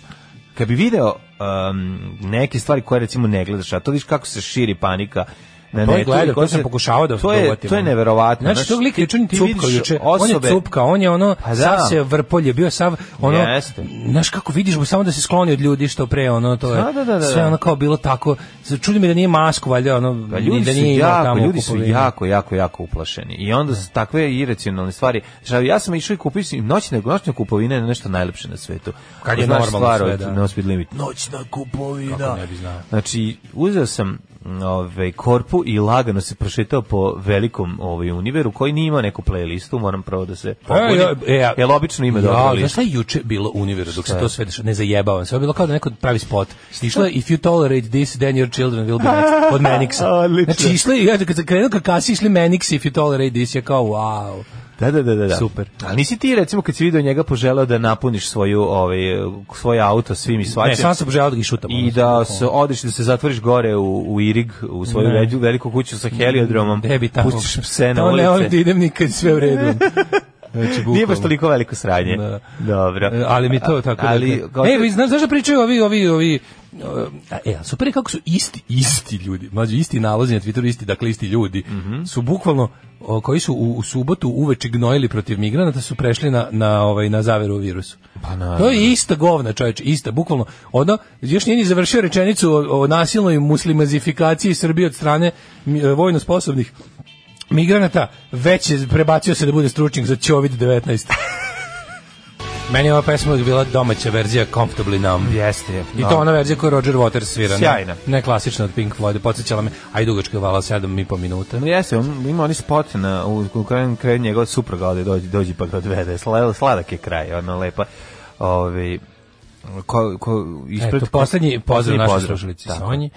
kad bi video um, neke stvari koje recimo ne gledaš, a to vidiš kako se širi panika na
To je
netu i
gledao,
kako
to sam
se-
pokušavao da
to je,
dohvatim,
to je
ono.
neverovatno.
Znači, tog lika juče ni
ti
cupkao
vidiš
juče. On je cupka, on je ono,
Pa da.
sav se vrpolje, bio sav, ono,
Jeste.
znaš kako vidiš, mu samo da se skloni od ljudi što pre, ono, to je,
Da, da, da, da.
sve ono kao bilo tako, čudi mi da nije masku, valjda, ono,
Pa ljudi
da
su
nije imao
jako,
tamo
ljudi su
kupovinu.
jako, jako, jako uplašeni. I onda su takve iracionalne stvari. Znači, ja sam išao i kupio si- noćne, noćne kupovine je nešto najlepše na svetu.
Kad je
Znaš
normalno
stvar
sve,
od
da.
No Speed Limit. Noćna kupovina.
Kako ne bi znao.
Znači, uzeo sam m, ovaj korpu i lagano se prošetao po velikom ovaj univeru koji nije imao neku playlistu, moram prvo da
E,
se pobudim.
a-
Jel obično ima dobro
Ja, znaš
listu?
šta je juče bilo u univeru dok se to sve dešava? Ne zajebavam se. Ovo je bilo kao da neko pravi spot. Išlo je If you tolerate this, then your children will be
[laughs]
next. Od Manixa.
Odlično.
Znači, išlo je, ja kad sam krenuo ka kasi, išli Manix If you tolerate this, ja kao wow.
Da, da, da, da, da.
Super.
Ali nisi ti recimo kad si video njega poželeo da napuniš svoju ovaj svoj auto svim i svačim.
Ne, sam sam poželao da ga ono, išutam.
I da se odeš da se zatvoriš gore u, u Irig, u svoju
Ne.
veliku, veliku kuću sa heliodromom.
Gde bi tamo? [laughs]
Pustiš pse na
Tamo Ne, volim da
ulici.
idem nikad sve u redu. Znači,
[laughs] Nije baš
bukvalno.
toliko veliko sranje.
Da.
Dobro.
E, ali mi to tako
ali,
da. E, vi znaš zašto pričaju ovi ovi ovi e, E, ali super je kako su isti, isti ljudi, mlađi, isti nalazi na Twitteru, isti, dakle, isti ljudi,
Mhm.
su bukvalno, o, koji su u, u subotu uveče gnojili protiv migranata, su prešli na, na, ovaj, na zaveru o virusu.
Pa naravno.
to je ista govna, čovječ, ista, bukvalno. Ono, još nije ni završio rečenicu o, o nasilnoj muslimazifikaciji Srbije od strane mi- e, vojno sposobnih migranata, već je prebacio se da bude stručnjak za
[laughs]
COVID-19. Meni je ova pesma uvijek bila domaća verzija Comfortably Numb.
Jeste. je.
I
No.
to ona verzija koju Roger Waters svira.
Sjajna.
Ne, ne klasična od Pink Floyd, podsjećala me, a i dugačka je vala 7,5 minuta.
No jeste, on, ima oni spot na, u, u krajem kraju njegova supruga ovde dođe, dođe pa ga odvede. Sla, sladak je kraj, ono lepa. Ove, ko, ko, ispred,
Eto, poslednji pozdrav
Poslednji
našoj
pozdrav.
slušalici
Tako.
Sonji.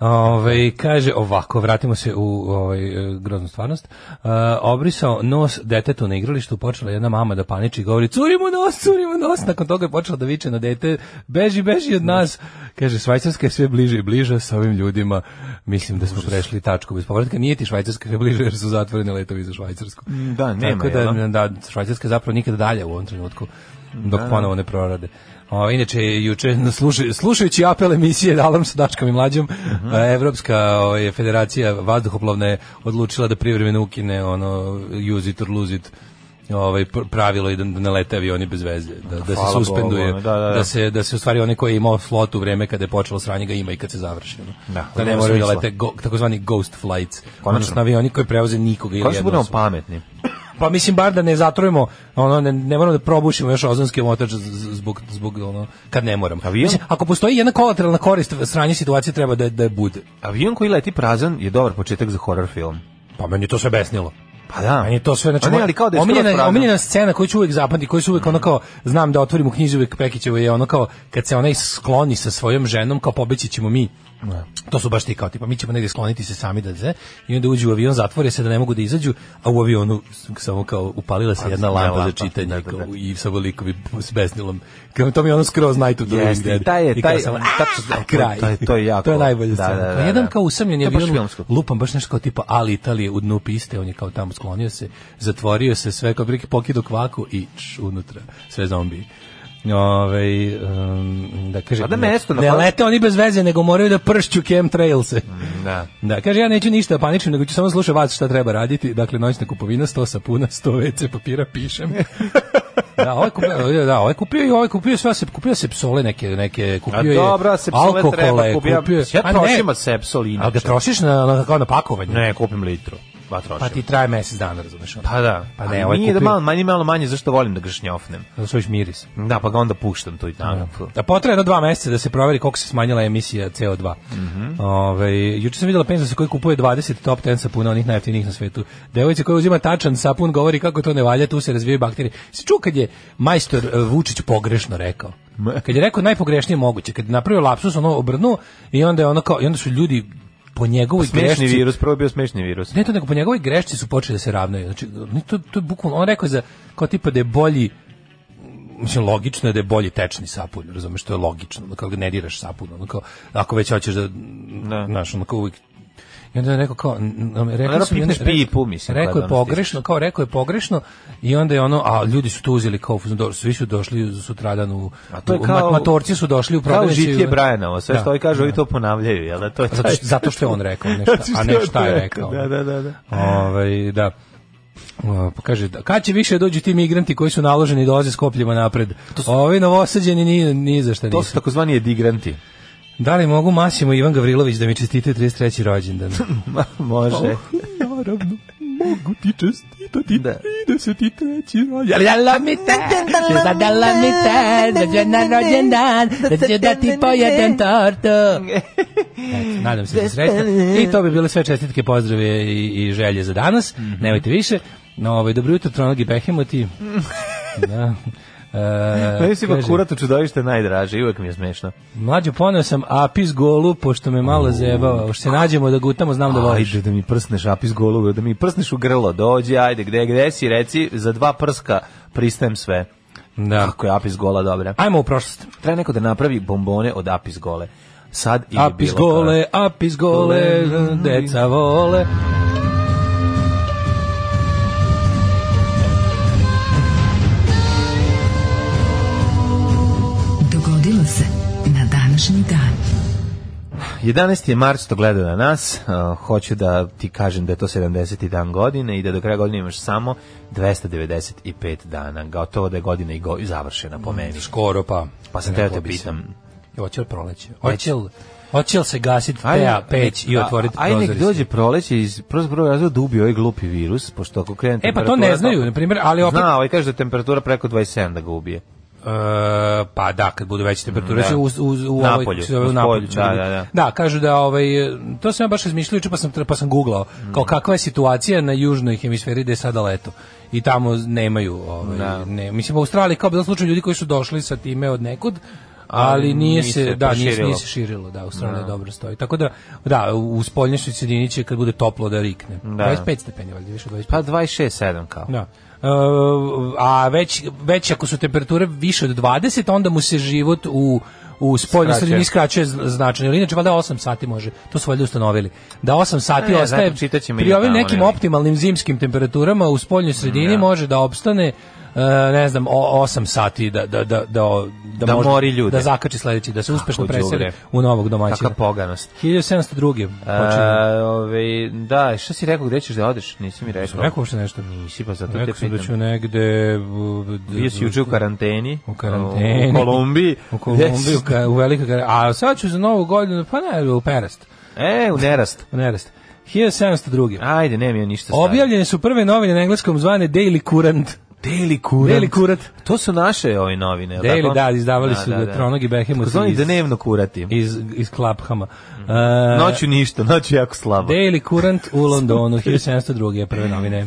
Ove, Ovaj, kaže ovako, vratimo se u ovaj, e, groznu stvarnost. E, obrisao nos detetu na igralištu, počela je jedna mama da paniči i govori curi mu nos, curi mu nos. Nakon toga je počela da viče na dete, beži, beži od nas. Kaže, Švajcarska je sve bliže i bliže sa ovim ljudima. Mislim da smo prešli tačku bez povratka. Nije ti Švajcarska sve bliže jer su zatvoreni letovi za Švajcarsku.
da, nema, ono,
Tako da,
jel?
da, Švajcarska je zapravo nikada dalje u ovom trenutku, dok ponovo ne prorade. O, inače, juče, [laughs] slušaj, slušajući apel emisije Alarm sa Dačkom i Mlađom,
Mhm.
a, Evropska o, je, federacija vazduhoplovna je odlučila da privremeno ukine ono, use it or lose it ovaj pr- pravilo i da da ne lete avioni bez veze da, da se
Hvala Bogu,
suspenduje
ono, da, da, da.
se da se u stvari one koje je imao flot u vreme kada je počelo sranje ga ima i kad se završi ono.
Da,
da ne
nema
moraju da
smisla.
lete go, takozvani ghost flights
Konačno.
odnosno avioni koji prevoze nikoga ili
Kako se
jednu
budemo
osobu.
pametni?
Pa mislim bar da ne zatrujemo, ono ne, ne moramo da probušimo još ozonski omotač z- z- zbog zbog ono kad ne moramo.
Avion?
Mislim, ako postoji jedna kolateralna korist sranje situacije treba da da je bude.
Avion koji leti prazan je dobar početak za horror film.
Pa meni je to sve besnilo.
Pa da.
Meni je to sve znači
Pa ne, ali kao da je skroz
omiljena
prazno.
omiljena scena koju ću uvek zapamtiti, koju su uvek ono kao znam da otvorim u knjizi uvek Pekićevo je ono kao kad se onaj skloni sa svojom ženom kao pobeći ćemo mi. To su baš ti kao tipa mi ćemo negdje skloniti se sami da se i onda uđu u avion, zatvore se da ne mogu da izađu, a u avionu s- samo kao upalila se jedna
jedna
lampa za
lampa,
čitanje
da, da,
kao,
da.
i sa velikovi s besnilom. Kao to mi je ono skroz night of the living
Jeste,
dead.
i taj je,
I kao
taj-
samo,
tačno-
"Ah, kraj.
to je- to je jako-
To je najbolja
da,
scena.
da, da,
Kao jedan
da.
kao usamljeni
To je baš
avion,
filmsko.
lupam baš nešto kao tipa Ali Italije u dnu piste, on je kao tamo sklonio se, zatvorio se sve kao prilike pokidu kvaku i č, unutra sve zombi. Ove, da kaže,
A da
ne,
mesto na pa-
ne
kojem-
lete oni bez veze, nego moraju da pršću chemtrailse.
Da.
Da, kaže, ja neću ništa da paničim, nego ću samo slušati vas šta treba raditi. Dakle, noćna kupovina, 100 sapuna, 100 WC papira,
[laughs]
pišem. da, ovaj kupio, da, ovaj kupio i ovaj kupio sve, se kupio se psole neke, neke,
A
kupio je
dobro, sepsole treba,
alkohole,
kupio,
kupio je-
ja
A ne,
trošim od sepsol
ali ga
inače.
trošiš na, na, kao na pakovanje?
Ne, kupim litru. Pa trošim.
Pa ti traje mesec dana, razumeš? ono.
Pa da.
Pa
Ali
ne, ovaj
nije
kupio...
da malo, manje, malo manje, zašto volim da ga šnjofnem.
Da čuješ miris.
Da, pa ga onda puštam tu i tamo.
Da potraje jedno dva meseca da se proveri koliko se smanjila emisija CO2.
Mhm.
Ove, Ovaj, juče sam vidjela penzionicu koji kupuje 20 top 10 sapuna, onih najjeftinijih na svetu. Devojca koja uzima tačan sapun govori kako to ne valja, tu se razvijaju bakterije. Se čuo kad je majstor e, Vučić pogrešno rekao. Kad je rekao najpogrešnije moguće, kad je napravio lapsus, ono obrnuo i onda je ono kao, i onda su ljudi po njegovoj
Smešni
grešci
virus, prvo je bio smešni virus.
Ne to nego po njegovoj grešci su počeli da se ravnaju. Znači, ni to, to je bukvalno, on rekao je za, kao tipa da je bolji, mislim, logično je da je bolji tečni sapun, razumeš, to je logično, ono, kao da ne diraš sapun, ono kao, ako već hoćeš da,
Da.
znaš, ono kao uvijek, I onda je rekao kao, n- n- rekao
Naravno,
sam, i onda-
pipneš pipu, mislim,
rekao
kada
je
ono
pogrešno, kao rekao je pogrešno i onda je ono, a ljudi su to uzeli kao, dobro, svi su došli sutradan u,
A to je
u-
kao-
matorci su došli u
Kao
prodavnicu. i-
žitije Brajanovo, sve
Da.
što ovi kažu, ovi to ponavljaju, jel da? To je
Zato,
taj-
što- zato što je on rekao nešto,
[laughs] Zato što
a ne
je on
šta je
rekao,
rekao.
da, da, da, da.
Ovaj, da. O, Pa kaže, da, kad će više dođu ti migranti koji su naloženi dolaze s kopljima napred? Ovi novosađeni ni, ni za šta
To
nisu.
su takozvani edigranti. [laughs]
Da li mogu Masimo i Ivan Gavrilović da mi čestitaju 33. rođendan?
Ma,
Oh,
Može.
[laughs] Naravno, mogu ti čestitati
Da.
33. rođendan. Zadala mi te, zadala mi te, za dve na rođendan, da ću da ti pojedem tortu. Eto, nadam se da ste sretni. I to bi bile sve čestitke, pozdrave i, i želje
Mhm.
za danas. Nemojte više. No, ovaj, dobro jutro, Tronog i Behemoti. Da.
Meni se
kaže-
kurato čudovište najdraže, i uvek mi je smešno.
Mlađo, poneo sam apis golu, pošto me malo zebava. Još se nađemo da gutamo, znam da voliš.
Ajde da mi prsneš apis golovu, da mi prsneš u grlo, dođi, ajde, gde, gde si, reci, za dva prska pristajem sve.
Da.
Kako je apis gola dobra.
Ajmo u prošlost.
Treba neko da napravi bombone od apis gole. Sad ili
Apis
bilo kada.
gole, apis gole, deca vole.
Dogodilo se na današnji dan.
11. je mart što gleda na nas. Uh, hoću da ti kažem da je to 70. dan godine i da do kraja godine imaš samo 295 dana. Gotovo da je godina i, go, i završena po meni.
Skoro pa.
Pa sam teo
Rekao
te
bi se.
pitam.
Hoće li proleće? Hoće li, hoće li se gasiti pea, peć i
a-
otvoriti
Ajde nek
prozorište?
dođe proleće iz prvo prvo razloga da ubije ovaj glupi virus, pošto ako krene
E pa to
temperatura
ne znaju,
tako-
na primjer, ali opet...
Zna, ovaj kaže da je temperatura preko 27 da ga ubije.
E, pa da, kad budu veće temperature,
Da.
će uz, uz, u ovoj-
Napolju,
kako se zove, u
u
napolju će
spolju, da,
biti.
da, da.
kažu da, ovaj, to sam ja baš razmišljao, juče pa sam, tra- pa sam googlao, kao kakva je situacija na južnoj hemisferi gde je sada leto. I tamo nemaju, ovaj,
Da.
ne, mislim, u Australiji kao bilo slučaj ljudi koji su došli sa time od nekud, ali nije
nije
se,
se
da, nije, se- nije
proširilo.
se širilo, da, Australija dobro stoji. Tako da, da, u spoljnješoj sredini će kad bude toplo da rikne.
Da.
25 stepeni, valjda, više od 25.
Pa 26-7 kao.
Da. E, a već, već ako su temperature više od 20, onda mu se život u u spoljnoj
Skraćuje.
sredini skraćuje zna- značajno. Ili inače valjda 8 sati može. To su valjda ustanovili. Da 8 sati
A ne,
ostaje
E, zato čitat ćemo i
pri ovim
tamo,
nekim
ne.
optimalnim zimskim temperaturama u spoljnoj sredini može da opstane e, ne znam, o, 8 sati da, da, da, da, o-
Da
možda-
mori ljude.
Da zakači sledeći, da se uspešno
đubre.
preseli u novog domaćina.
Kakva poganost.
1702. počinje.
E, ove, da, šta si rekao, gde ćeš da odeš? Nisi mi rekao.
Rekao uopšte nešto?
E, Nisi, pa zato
Rekao
te
sam da
pitam.
ću negde... u-
Bio si juče u karanteni.
U karanteni.
U Kolumbiji.
U Kolumbiju,
Gde si?
ka, u velika gara. A sad ću za novu godinu, pa ne, u Perast.
E, u Nerast.
U Nerast. 1702.
Ajde, nemam ja ništa sad.
Objavljene su prve novine na engleskom zvane Daily Current.
Daily Kurant.
Daily Kurat.
To su naše ove novine, jel'
Daily,
tako?
da, izdavali su da Tronog i Behemoth
Tako zvani Mhm.
iz-
dnevno kurati.
Iz, iz Klaphama. Uh,
Noću ništa, noću jako slabo.
Daily Current u Londonu, 1702. je prve novine.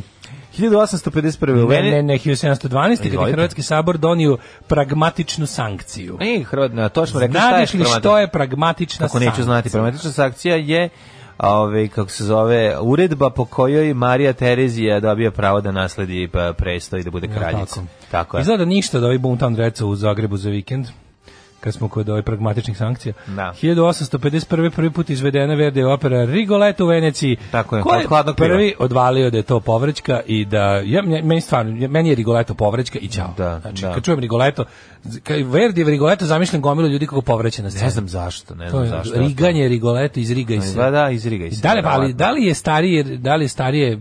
1851. u
Ne, ne,
Vene-
ne, 1712. kada je
Izvolite.
Hrvatski sabor donio pragmatičnu sankciju.
Ej, Hrvatna, E, to smo rekli šta je
Znadeš li
Hrvatna.
što je pa pragmatična
Kako
sankcija?
neću znati, problematična sankcija je ove, kako se zove, uredba po kojoj Marija Terezija dobija pravo da nasledi pa, prestoj da bude
Jel
kraljica.
tako?
Tako je.
Izgleda ništa da ovaj Boomtown Reca u Zagrebu za vikend kad smo kod ovih pragmatičnih sankcija.
Da.
1851. prvi put izvedena Verdi opera Rigoletto u Veneciji.
Tako je,
Ko
od hladnog piva.
prvi odvalio da je to povrećka i da ja meni- meni stvarno ja- meni je Rigoletto povrećka i ćao.
Da,
znači
da.
kad čujem Rigoletto kad Verdi Rigoletto zamišljam gomilu ljudi kako povreće na sceni.
Ne znam zašto, ne
to
znam
je
zašto.
riganje Rigoletto iz Riga i se.
Da, da, izrigaj se.
Da li, ali,
verovatno.
da li je starije, da li je starije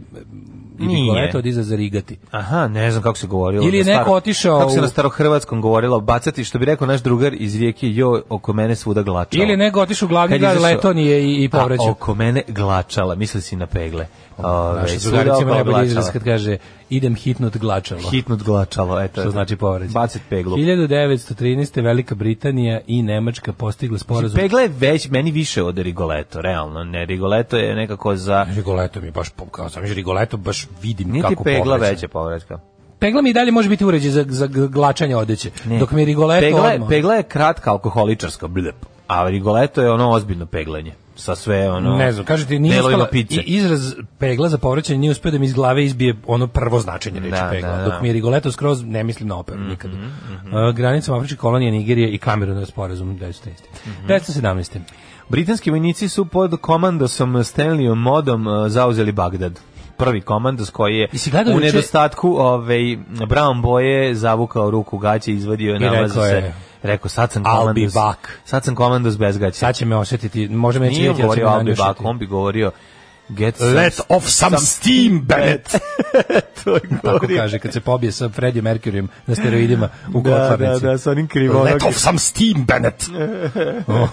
e,
Nije.
Rigoletto od iza za rigati?
Aha, ne znam kako se govorilo.
Ili je
Na
neko otišao
Kako se
u-
na starohrvatskom govorilo, bacati, što bi rekao naš drugar iz rijeke, jo, oko mene svuda glačala.
Ili nego otišao u glavni
Kad
grad
izašao- Pa,
Letonije i, i povrećao.
A, oko mene glačala, misli si na pegle. Ove,
Naša
svuda
drugarica ima
oko
najbolji izraz
glačala.
kad kaže idem hitnut glačalo.
Hitnut glačalo, eto.
Što znači povređen.
Bacit peglu.
1913. Velika Britanija i Nemačka postigle
Znači,
sporazum.
Pegla je već meni više od Rigoleto, realno. Ne, Rigoleto je nekako za...
Rigoleto mi baš po- kao sam Rigoleto baš vidim
Nije ti
kako
pegla
povraća.
veća povratka.
Pegla mi i dalje može biti uređaj za, za glačanje odeće.
Ne.
Dok mi Rigoleto
pegla, je-
odmah.
pegla je kratka alkoholičarska, blip. A Rigoleto je ono ozbiljno peglanje. Sa sve ono...
Ne znam, kažete, nije
delovima
uspela,
pice.
i- izraz pegla za povraćanje nije uspio da mi iz glave izbije ono prvo značenje reči
Da,
pegla,
da, da. Mhm,
dok mi je Rigoletto skroz ne mislim na operu nikada. Uh, granicom Afričke kolonije Nigerije i Kameruna sporazum 1913.
Mhm.
1917.
Britanski vojnici su pod komandosom Stanleyom Modom e, zauzeli Bagdad. Prvi komandos koji je
Jesi gledao
u
juče-
nedostatku ovaj, brown boje zavukao ruku gaće i izvadio je
I rekao
namaz za se.
je,
Rekao, sad sam
"I'll
komandos.
be back."
Sad sam komandos bez gaće.
Sad će me osjetiti, može me neće
Nije on
vidjeti, ali će
govorio
me
I'll be
nanjušiti.
back, on bi govorio Get
Let
some-
off some steam, Bennett!
to
[laughs]
je
Tako
govorio.
kaže, kad se pobije sa Freddie Mercuryjem na steroidima u
[laughs] Da, da,
kotlarnici.
da, sa onim krivo.
Let off some steam, Bennett! O.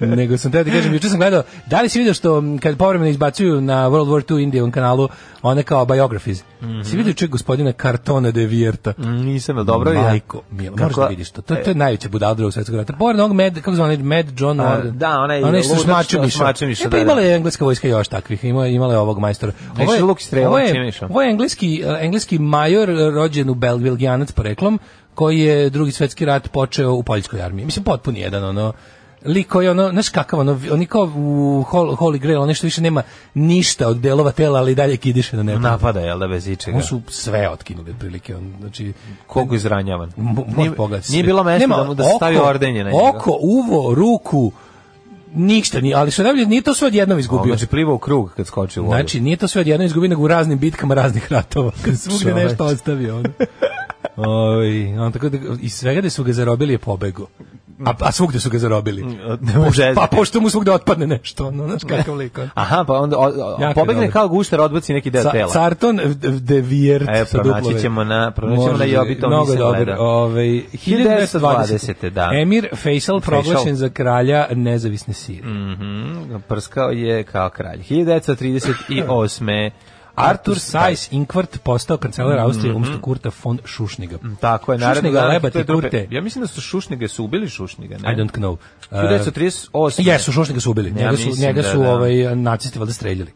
Nego sam teo ti kažem, juče sam gledao, da li si vidio što m, kad povremeno izbacuju na World War II Indijevom kanalu, one kao biographies. Si
Mhm.
vidio čovjek gospodina Cartona de Vierta?
Nisam, je li dobro? Ja-
Majko, milo, moraš da
Kako-
vidiš to. To, to je najveća budala drugog svjetskog rata. Pored onog Med, kako zvani, Med John
A,
Morgan.
da, onaj
što
ludak
šmače
što
miša.
šmače miša,
E, pa
da,
imala
da.
je engleska vojska još takvih. Ima, imala je ovog majstora.
A išli luk strelac, čim je išao?
e, ovo je engleski, engleski major rođen u Belgijanac poreklom, koji je drugi svetski rat počeo u poljskoj armiji. Mislim, potpuni jedan, ono, lik koji je ono, znaš kakav, ono, oni kao u Hol- Holy Grail, ono što više nema ništa od delova tela, ali i dalje kidiše na nebo.
Napada, jel da, bez ičega?
Oni su sve otkinuli, otprilike, on, znači...
Koliko izranjavan?
Mo-
Nije-
može pogledati
Nije
sve.
bilo mesta
Nema,
da mu da stavi ordenje na njega.
Oko, uvo, ruku, ništa nije, ali što je najbolje, nije to sve odjednom
On,
izgubio.
Znači, pliva u krug kad skoči u vodu. [laughs]
Znači, nije to sve odjednom izgubio, nego u raznim bitkama raznih ratova. Kad svugde
Čoveče.
nešto ostavio. Ono. [laughs] Oj, on tako da, iz svega gde su ga zarobili je pobego. A, a svugde su ga zarobili.
ne može.
Pa pošto mu svugde otpadne nešto, ono, znaš kakav lik. on.
Aha, pa onda o, o,
Jako
pobegne
dobro.
kao guštar, odbaci neki deo
Sa-
tela.
Carton de Viert
E,
sa
pronaći
duplo V.
ćemo na- pronaći ćemo
Može,
na Jobitom,
mnogo
nisam
dobro.
gledao.
Ovaj,
1920., da.
Emir Faisal proglašen za kralja nezavisne Sirije.
Mhm, Prskao je kao kralj. 1938.
[laughs] Artur Sajs Inkvart postao kancelar Austrije
Mm-hmm.
umjesto Kurta von Šušniga.
Tako je, naravno.
Šušniga,
da,
lebate,
te trupe.
kurte.
Ja mislim da su Šušnige, su ubili Šušnige, ne?
I don't know. Uh,
1938.
Jesu, Šušniga su ubili.
Ja
Njega su,
mislim
njega
da,
su
da. Mm-hmm.
ovaj, nacisti valjda streljali.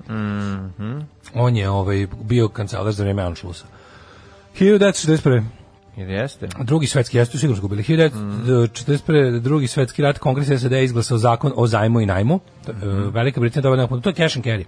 On je ovaj, bio kancelar za vreme Anšlusa. 1941.
Jer jeste.
Drugi svetski, ja su sigurno izgubili.
Mhm.
1941. Drugi svetski rat, Kongres SAD je izglasao zakon o zajmu i najmu. To-
Mhm.
e, Velika Britanija dobila nakon, to je cash and carry.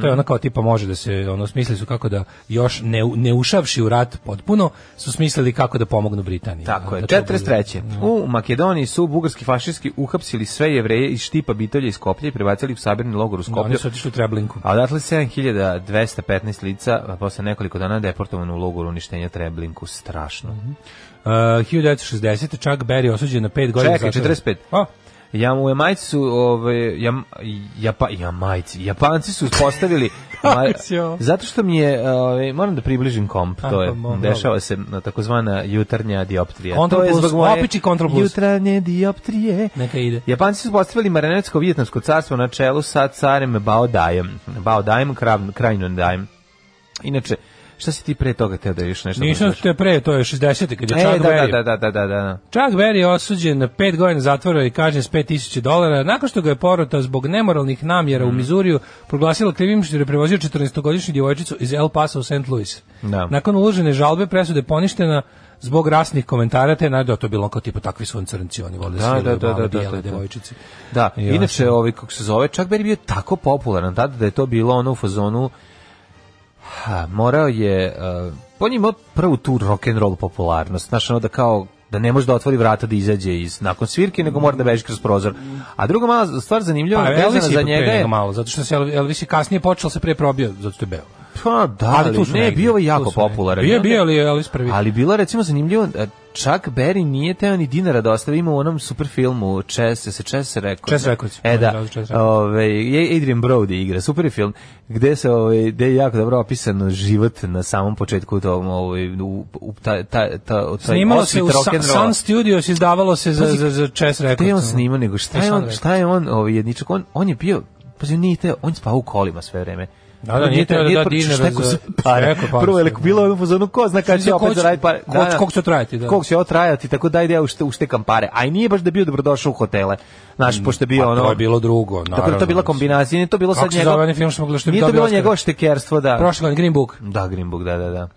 To je ono kao tipa može da se, ono, smislili su kako da još ne, u- ne ušavši u rat potpuno, su smislili kako da pomognu Britaniji. Ono,
Tako je,
Da to bude-
43. U Makedoniji su bugarski fašisti uhapsili sve jevreje iz štipa Bitolja i Skoplja i prebacili u sabirni logor u
Da,
Skoplju.
Oni su otišli u Treblinku.
A odatle 7215 lica, a posle nekoliko dana deportovano u logoru uništenja Treblinku. Strašno.
Uh, 1960. Chuck Berry osuđen na 5 godina.
Čekaj,
zatvora. Pa,
45.
A,
Ja u Jamajci su, ovaj, jam, japa, Jamajci, Japanci su
[laughs]
uspostavili, ma-
si ovo?
zato što mi je, ovaj, moram da približim komp,
A,
to je,
pa mo-
dešava se na takozvana jutarnja dioptrija.
Control
to je
plus,
zbog moje
opiči control plus.
Jutarnje dioptrije.
neka ide.
Japanci su postavili marionetsko vijetnamsko carstvo na čelu sa carem Bao Dajem. Bao Dajem, Krav- Krajnon Dajem. Inače, šta si ti pre toga teo da još nešto...
Nisam
kažeš?
što je pre, to je 60. kad je
E,
Chuck
da,
Berry.
da, da, da, da, da.
Chuck Berry je osuđen na 5 godina zatvora i kažnjen s 5000 dolara nakon što ga je porota zbog nemoralnih namjera u
Mm.
Mizuriju proglasila krivim što je prevozio 14-godišnju djevojčicu iz El Pasa u St. Louis.
Da.
Nakon uložene žalbe presuda je poništena zbog rasnih komentara te najdo to je bilo kao tipa takvi su oni crnci oni vole
Da,
da,
da,
da,
da, da, da, da, da.
devojčice.
Da,
I
inače, ovaj, kako se zove, Chuck Berry bio tako popularan tada da je to bilo ono u fazonu, ha, morao je, uh, on je imao prvu tu rock'n'roll popularnost, znaš, ono da kao, da ne može da otvori vrata da izađe iz nakon svirke, nego mora da beži kroz prozor. A druga mala stvar zanimljiva,
Pa
vezana
Elvis je
za
pre
njega
njega
je,
malo, zato što se Elvis- Elvis je kasnije počeo, ali se prije probio, zato što je beo.
pa da, ali
tu su
ne,
negdje,
bio je
tu
jako
su negdje.
popularan.
Bio je
I onda-
bio, ali je Elvis prvi.
Ali bilo je, recimo zanimljivo, e, Chuck Berry nije teo ni dinara da ostavi, ima u onom super filmu Chess, se Chess rekao.
Chess Records.
E da,
Chess Records.
ove, je- Adrian Brody igra, super je film, gde se, ove, gde je jako dobro opisan život na samom početku tom, ove, u, u, ta, ta, ta, taj
Snimalo se
osvit
u Sun,
rock'n'rolla.
Sun Studios, izdavalo se za,
Pazi,
za, za Chess
Šta je on
Records.
snimao, nego šta je
Šta
on,
sam
šta je on, ovaj jedničak, on, on je bio, pazi, nije teo, on je spavao u kolima sve vreme.
Da, da, nije teo da da dinara
Šta je ko
za- Pa,
se
šta
pare?
je ko pare
Prvo je
sve,
leko bilo ono pozorno, ko zna kada
Za
će
ko
opet
će-
zaraditi pare.
pa, ko- koliko će to trajati, da.
Koliko će ovo trajati, tako daj da ja ušte, uštekam pare. A i nije baš da je bio dobrodošao u hotele. Znaš, pošto je bio
Pa
ono...
to je bilo drugo, naravno.
Tako da je to bila kombinacija, nije to bilo sad
Kako se
njegov...
zove onaj film što smo gledali, što je
Nije to
dobio
bilo
Oscara?
njegovo štekerstvo, da.
Prošle godine Green Book.
Da, Greenbook, da, da, da.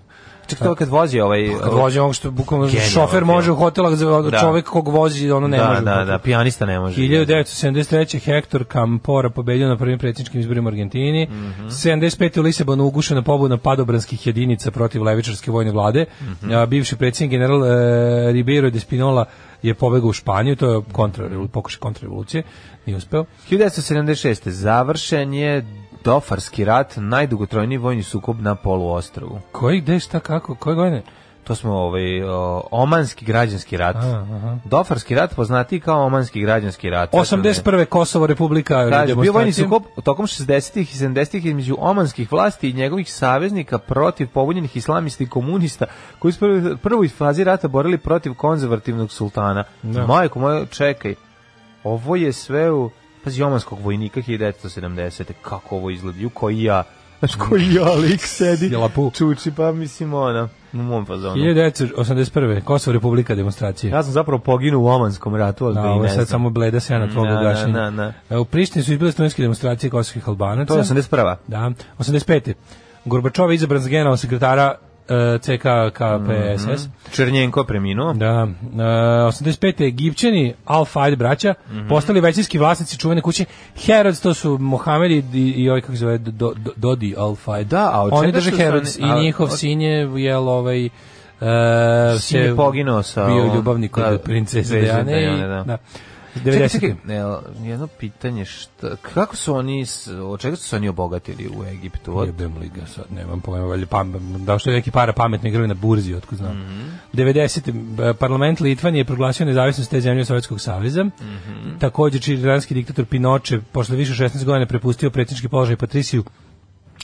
Čak to je kad vozi ovaj...
Kad vozi ovog što bukvalno
Genijalan
šofer
film.
može u hotelak, za
Da.
čovjek kog vozi, ono ne
da,
može. u
da,
hotelu.
da, pijanista ne može.
1973. Hector Campora pobedio na prvim predsjedničkim izborima u Argentini.
Mhm.
75. u Lisabonu ugušena pobuna padobranskih jedinica protiv levičarske vojne vlade.
Mhm.
A, bivši predsjednik general e, Ribeiro de Spinola je pobegao u Španiju, to je kontra,
Mhm.
pokušaj kontrarevolucije, nije uspeo.
1976. završen je Dofarski rat, najdugotrojniji vojni sukob na poluostrovu.
Koji, gde, šta, kako, koje godine?
To smo ovaj o, Omanski građanski rat.
aha.
Dofarski rat poznati kao Omanski građanski rat.
81. Kosovo Republika
Kaže, bio vojni
demonstracije.
sukob tokom 60-ih i 70-ih između omanskih vlasti i njegovih saveznika protiv pobunjenih islamista i komunista koji su prvi- prvoj fazi rata borili protiv konzervativnog sultana. Majko moja, čekaj, ovo je sve u... Pazi, omanskog vojnika 1970. Kako ovo izgleda? Ju, koji ja... Znaš, koji ja lik
[laughs]
sedi,
Jelapu.
čuči, pa mislim, ona, u mom fazonu.
1981. Kosovo Republika demonstracije.
Ja sam zapravo poginuo u omanskom ratu, ali
Da,
da i
ovo
ne
je sad
znam.
samo bleda sjena tvog
Na,
gašenja.
na, na,
E, U Prištini su izbile studentske demonstracije kosovskih albanaca.
To je 81.
Da, 85. Gorbačov je izabran za generalnog sekretara e,
Mhm.
CKKPSS.
Černjenko preminuo.
Da, e, 85. Egipćani, al Fahd braća,
Mhm.
postali većinski vlasnici čuvene kuće Herods, to su Mohamed i, i, i ovaj kako se zove, Do- Do- Dodi al Fahd.
Da, a od
Oni
čega
drže
su strani-
Herods
a-
i njihov
od-
sin je, jel, ovaj, e,
Sin je
se-
poginuo sa
Bio
ovom-
ljubavnik
da,
od princeze
Dejane,
Dejane. i-
da.
da.
Čekaj,
90.
čekaj, el, jedno pitanje, šta, kako su oni, s- od čega su se oni obogatili u Egiptu? Od,
Jebem li ga sad, nemam pojma, valjda pam, da što je neki para pametno igrali na burzi, otko znam.
Mhm.
90. eh, parlament Litvanije je proglasio nezavisnost te zemlje od Sovjetskog saveza.
Mhm.
Također čiranski diktator Pinoče posle više od 16 godina prepustio predsjednički položaj Patriciju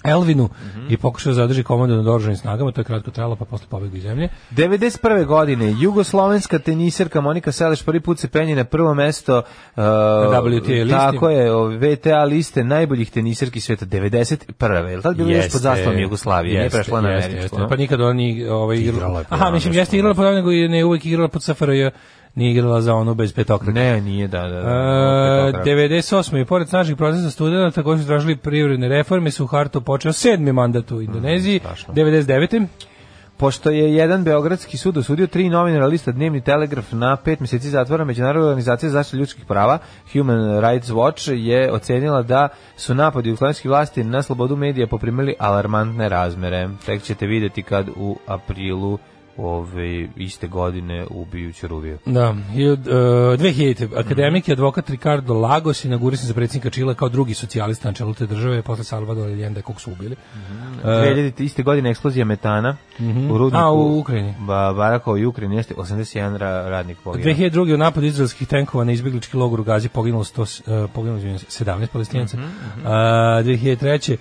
Elvinu
Mhm.
i pokušao da zadrži komandu nad oružanim snagama, to je kratko trajalo pa posle pobegao iz zemlje.
91. godine jugoslovenska teniserka Monika Seleš prvi put se penje na prvo mesto uh,
WTA listi.
Tako je, o, VTA liste najboljih teniserki sveta 91. Je li tad bilo još pod zastavom Jugoslavije? Nije
jeste,
prešla na
jeste,
američku.
jeste.
no?
Pa nikad ona nije ovaj,
Igrala
igrala.
je pod
Aha, mislim, jeste igrala pod nego je ne uvijek igrala pod SFRJ, nije igrala za onu bez petokraka.
Ne, nije, da, da. da.
E,
Opet okra-
98. i pored snažnih procesa studenta koji su tražili privredne reforme su Harto počeo sedmi mandat u Indoneziji.
strašno.
99.
Pošto je jedan beogradski sud osudio tri novinara lista Dnevni telegraf na pet mjeseci zatvora, Međunarodna organizacija za zaštitu ljudskih prava Human Rights Watch je ocenila da su napadi jugoslovenskih vlasti na slobodu medija poprimili alarmantne razmere. Tek ćete vidjeti kad u aprilu ove iste godine ubiju Ćuruviju.
Da, hiljad- e, 2000. Akademik i advokat Ricardo Lagos je nagurisan za predsjednika Čila kao drugi socijalista na čelu te države posle Salvadora Ljenda kog su ubili.
Mm,
E, Mhm.
2000. iste godine eksplozija metana u rudniku
A, u Ukrajini.
Ba, Barakovo i Ukrajini jeste 81 ra- radnik poginuo.
2002. u napadu izraelskih tenkova na izbjeglički logor u Gazi poginulo, 100, uh, poginulo izvinjavam se, 17 palestinaca.
Mhm,
Eh, A, 2003.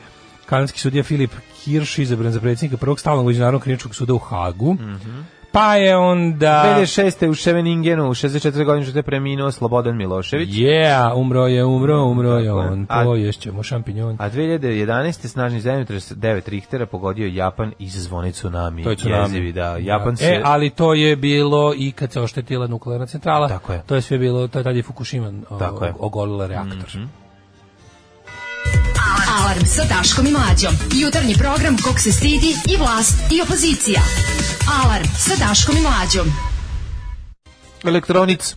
kanadski sudija Filip Kirš izabran za predsjednika prvog stalnog međunarodnog kliničkog suda u Hagu.
Mhm.
Pa je onda...
56. u Ševeningenu, u 64 godine što je preminuo Slobodan Milošević.
Yeah, umro je, umro, umro je
Tako je.
on.
A-
Poješćemo šampinjon.
A 2011. snažni zemljotres 9 Richtera pogodio Japan i zvoni tsunami.
To je tsunami.
Jezivi, da. Japan se...
E, ali to je bilo i kad se oštetila nuklearna centrala.
Tako je.
To je sve bilo, to je tad je Fukushima o-
Tako je. Mhm.
ogolila reaktor.
Alarm sa Daškom i Mlađom. Jutarnji program kog se stidi i vlast i opozicija. Alarm sa Daškom i Mlađom.
Elektronic.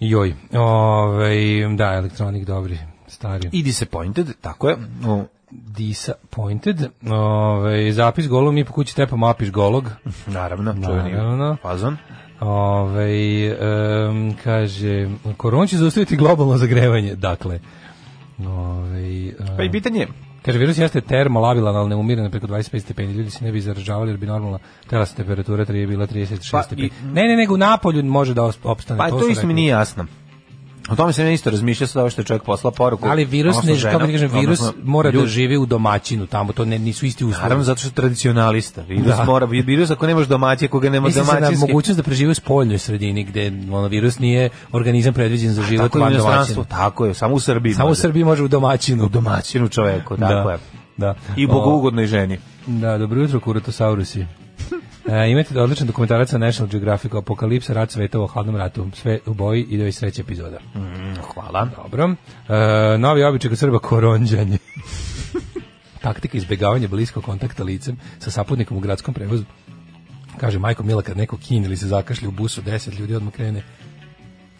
Joj, ovaj, da, elektronik dobri, stari.
I disappointed, tako je. O,
disappointed. Ove, zapis golom mi po kući tepam apiš golog.
naravno, čuveni
Naravno.
fazon.
Ove, Ovaj, em, kaže, korona će zaustaviti globalno zagrevanje. Dakle, ove,
Pa i pitanje je,
kaže, virus jeste termolabilan, ali ne umire na preko 25 stepeni. Ljudi se ne bi zaražavali jer bi normalna telesna temperatura tri je bila 36
Pa i-
stepeni. Ne, ne, nego u napolju može da os- opstane.
pa to
su
isto mi
rekli.
nije jasno. O tome sam ja isto razmišljao sad ovo što je čovjek poslao poruku.
Ali virus, ne,
odnosno žena,
kako ti kažem, virus
odnosno
mora da
ljudi.
živi u domaćinu tamo, to ne, nisu isti uslovi.
Naravno, zato što je tradicionalista. Virus
Da.
mora, virus ako nemaš domaći, ako ga nemaš
Mislim se na
domaćinski.
mogućnost da prežive u spoljnoj sredini gde ono, virus nije organizam predviđen za život
Tako je u
van
inostranstvu,
domaćina.
tako je, samo u Srbiji.
Samo u
može.
Srbiji može u domaćinu. U
domaćinu čoveku, tako
da.
je.
Da.
I bogougodnoj ženi.
O, Da, dobro jutro, kuratosaurus
[laughs]
E, imate da odličan dokumentarac na National Geographic Apokalipsa, rat sveta u hladnom ratu. Sve u boji i do iz treća epizoda.
Mm, Hvala.
Dobro. E, novi običaj kod Srba
[laughs]
koronđanje. Taktika izbegavanja bliskog kontakta licem sa saputnikom u gradskom prevozu. Kaže, majko Mila, kad neko kin ili se zakašlje u busu, deset ljudi odmah krene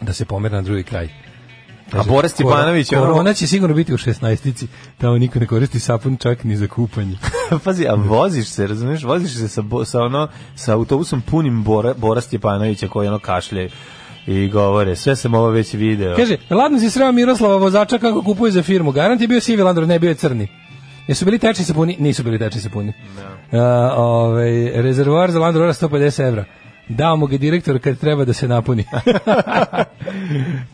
da se pomera na drugi kraj. Kaže,
A Bora Stjepanović je
Korona,
ono-
Znači, korona će sigurno biti u šestnaestici, tamo niko ne koristi sapun čak ni za kupanje.
[laughs] Pazi, a voziš se, razumiješ? Voziš se sa, bo- sa, ono, sa autobusom punim Bora, Bora Stjepanovića koji ono kašlje i govore, sve sam ovo već video.
Kaže, ladno si sreo Miroslava vozača kako kupuje za firmu. Garant je bio sivi Landor, ne bio je crni. Jesu bili tečni sapuni? Nisu bili tečni sapuni. No. ovaj, rezervoar za Landor 150 evra. Dao mu ga direktor kad treba da se
[laughs]
napuni.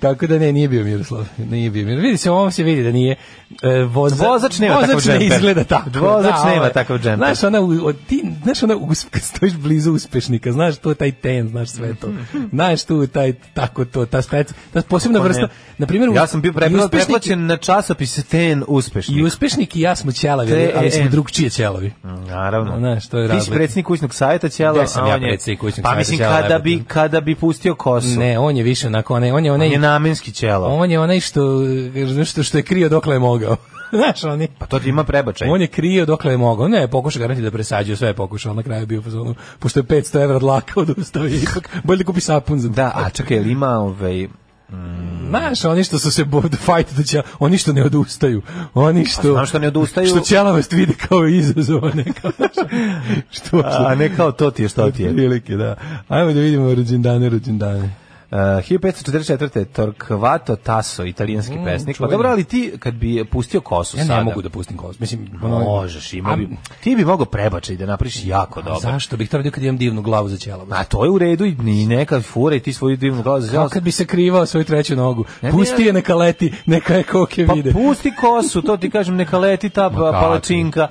Tako da ne, nije bio Miroslav. Nije bio Miroslav. Vidi se, ovom se vidi da nije e, voza,
Vozač nema takav
vozač ne
džemper.
izgleda tako.
Vozač
ovaj,
nema takav džemper.
Znaš, ona, u- od- ti, znaš, ona, us- kad stojiš blizu uspešnika, znaš, to je taj ten, znaš sve to. Znaš tu taj, tako to, ta spec, ta posebna
Kako Ono, Pa ne?
vrsta. Na primjer,
ja sam bio
i
prepla-
uspešnik-
preplaćen na časopis ten
I
uspešnik.
uspešnik i ja smo ćelavi, ali, ali smo
TEN.
drugčije ćelavi.
Naravno.
Znaš, to je
Ti si
razlika.
predsjednik kućnog savjeta Ćelo,
Ja sam
a
ja
on je-
predsjednik kućnog
Pa
savjeta
mislim,
Ćela,
kada
jebote.
bi, kada bi pustio kosu,
Ne, on je više onako, onaj, on je
Mm. on je
onaj,
namenski Ćelo.
on je onaj što, što, što je krio dokle je mogao. [laughs] Znaš, oni...
Pa to ti ima prebačaj.
On je krio dokle je mogao. Ne, pokušao garanti da presađuje, sve je pokušao, ali na kraju je bio u fazonu, pošto je 500 evra dlaka [laughs] odustao i ipak bolje da kupi sapun za
Da, a čekaj, jel ima ovaj...
Znaš, oni što su se bod fight da će, oni što ne odustaju. Oni što
znam što ne odustaju.
Što ćelavest vidi kao izazov, a ne [laughs] kao što
A
[laughs]
ne kao to ti je, što [laughs] ti je.
Prilike, da. Ajmo da vidimo rođendane, rođendane.
Uh, 1544. Torquato Tasso, italijanski pesnik. Pa
Mm, čuveni.
dobro, ali ti kad bi pustio kosu
Ja
sada...
ne mogu da pustim kost. Mislim, ono-
Možeš, ima bi...
A-
Ti bi mogao prebačaj da napriš jako dobro.
Zašto bih trebao kad imam divnu glavu za ćelavost?
A to je u redu i i neka fura i ti svoju divnu glavu
Kao
za
kad bi se krivao svoju treću nogu.
Ne,
Pusti
ne.
je neka leti, neka je koke
Pa
vide.
pusti kosu, to ti kažem, neka leti ta pa- palačinka.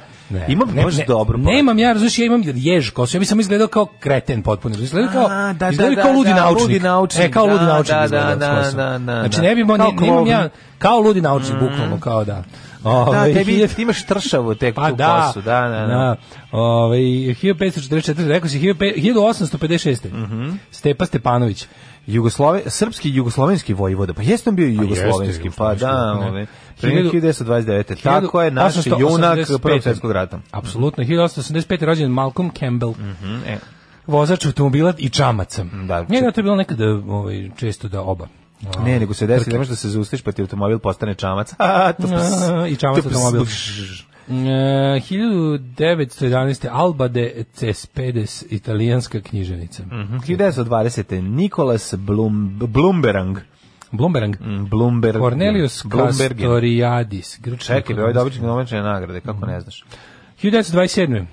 Ima bi baš dobro. pa-
Nemam ja, razumiješ, ja imam jež kosu. Ja bi sam izgledao kao kreten potpuno. Izgledao kao,
A, da,
izgledao
da,
kao
da,
ludi
da,
naučnik.
ludi naučnik,
E, kao
da,
ludi naučnik
da,
izgledao
da,
s kosom.
da, da, da,
Znači,
da.
ne bi,
Kao
ne, nemam
klovn. Mm.
ja, kao ludi naučnik, bukvalno, kao da. [laughs]
Da,
Ove,
tebi,
hiljad-
ti [laughs] imaš tršavu tek
pa
tu
da,
kosu. Da, da, da.
da. Ovaj, 1544, rekao si, 1856.
Mhm.
Stepa Stepanović.
Jugoslove, srpski i jugoslovenski vojvoda. Pa jeste on bio i jugoslovenski, pa
jugoslovenski,
da,
ne.
ove. Primjer 1929. Tako je, naš
1885.
junak Prvog svjetskog rata.
Apsolutno, 1885. rođen Malcolm Campbell.
Mm, e.
vozač automobila i čamaca.
Da,
Njega je to je bilo nekada ovaj, često da oba.
Ne, nego se desi, da možeš da se zaustaviš pa ti automobil postane čamac. [laughs] A, tups,
A, I čamac
tups, [laughs]
automobil.
tups.
E, 1911. Alba de Cespedes, italijanska književnica.
Mhm, 1920. Nikolas Blum, Blumberang.
Blumberang.
Mm, Blumberg.
Cornelius
Blumbergen.
Castoriadis. Grčki
Čekaj, ovaj bre, ovo je
ekonomist.
dobičnik domaćene nagrade, kako ne znaš.
1927.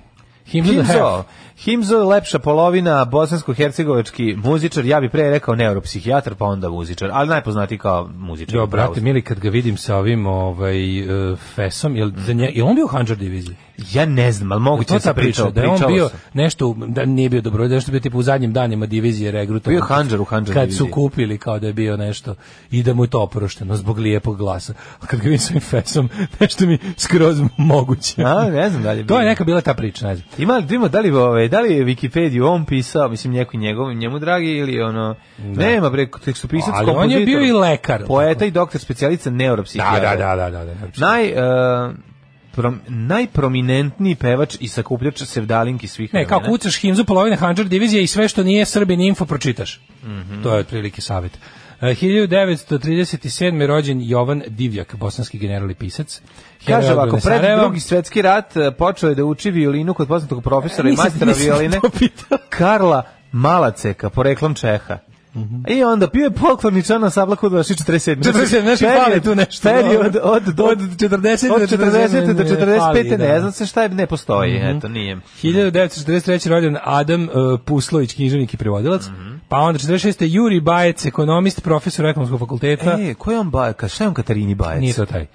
Himzo the
Himzo,
Half.
Himzo je lepša polovina bosansko-hercegovački muzičar, ja bi pre rekao neuropsihijatar, pa onda muzičar, ali najpoznatiji kao muzičar.
Jo,
Bravo.
brate, mili, kad ga vidim sa ovim ovaj, e, fesom,
Mm.
je, za nje, je on bio u Hanđar diviziji?
Ja ne znam, ali moguće
To
da
je ta
sam
priča,
pričao,
da je on
pričao
bio
sam.
nešto, da nije bio dobro, da je nešto bio tipa u zadnjim danima divizije regrutovan.
Bio je Handžar u Handžar
Kad su
diviziji.
kupili kao da je bio nešto i da mu je to oprošteno zbog lijepog glasa. A kad ga vidim svojim fesom, [laughs] nešto mi skroz moguće.
A, ne znam da li
[laughs]
je
To je
bio.
neka bila ta priča, ne znam.
Ima, ima da li, ovaj, da li je Wikipediju on pisao, mislim, neko njegov, njemu dragi ili ono, nema bre, tekstopisac,
Ali on je bio i lekar.
Poeta i doktor specijalica
Da,
neuropsihijatra.
da, da, da, da, da. da.
Naj, e, prom- najprominentniji pevač i sakupljač sevdalinki svih
Ne, kao
vremena.
kucaš Himzu polovine Hanđar divizije i sve što nije Srbin info pročitaš.
Mhm.
To je otprilike savjet. E, 1937. je rođen Jovan Divjak, bosanski general i pisac. heroj
Kaže
odbrane
ovako, pred
Sarajeva.
drugi svetski rat e, počeo je da uči violinu kod poznatog profesora i
Nisam-
majstora
nisam
violine
to pitao.
Karla Malaceka, poreklom Čeha.
Mhm.
I onda pio je poklorni član ansambla kod vaši 47.
47, znaš, i
Period-
fali tu nešto. ono,
Period od, od,
Od 40
od 40 do
ne, fali,
45.
da. Mhm.
Ne znam se šta je, ne postoji, eto, nije.
1943. rođen Adam e, Puslović, književnik i prevodilac.
Mhm.
Pa onda 46. Juri Bajec, ekonomist, profesor ekonomskog fakulteta.
E, ko je on Bajka? Šta je on Katarini Bajec?
Nije to taj.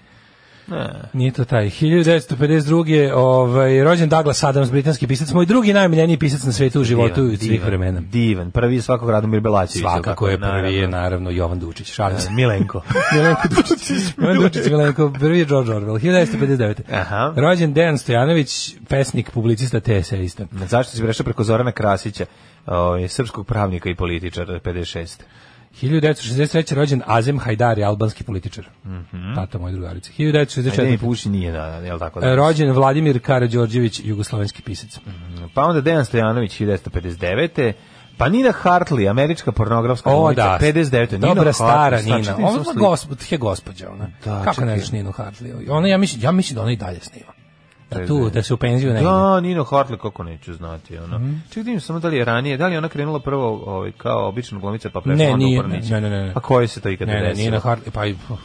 Nije to taj. 1952. Ovaj, rođen Douglas Adams, britanski pisac, moj drugi najmiljeniji pisac na svetu u životu i od svih vremena.
Divan, prvi je svakog Radomir Belačević.
Svakako je
naravno. E,
prvi je naravno Jovan Dučić. Šalim se. [laughs]
[laughs] Milenko.
Milenko Dučić. Jovan Dučić, Milenko, prvi je George Orwell. 1959.
Aha.
Rođen Dejan Stojanović, pesnik, publicista, te eseista.
Zašto si prešao preko Zorana Krasića, ovaj, srpskog pravnika i političara 56.
1963. rođen Azem Hajdari, albanski političar. Tata moje drugarice.
Mhm. Ajde mi
1964.
puši nije, da, da, jel tako? Da.
Rođen Vladimir Karađorđević, jugoslovenski pisac.
Pa onda Dejan Stojanović 1959. Pa Nina Hartley, američka pornografska
O,
glumica,
da.
59. Nina
Dobra stara
Hartley, znači,
Nina.
nisam
Ovo je
slik-
gospod, je gospođa ona.
Da,
Kako
čekaj.
ne znaš Ninu Hartley? Ona, ja mislim, ja mislim da ona i dalje snima. Da tu, da se u penziju ne ide.
Da, Nina Hartley, kako neću znati. Ono.
Mhm.
Čekaj, da vidim samo da li je ranije, da li je ona krenula prvo ovaj, kao obična glumica, pa prešla
Ne,
onda
nije,
u pornić?
ne, ne, ne, ne.
A koje se to ikada
Ne, ne,
desilo?
Nina Hartley, pa i... uf.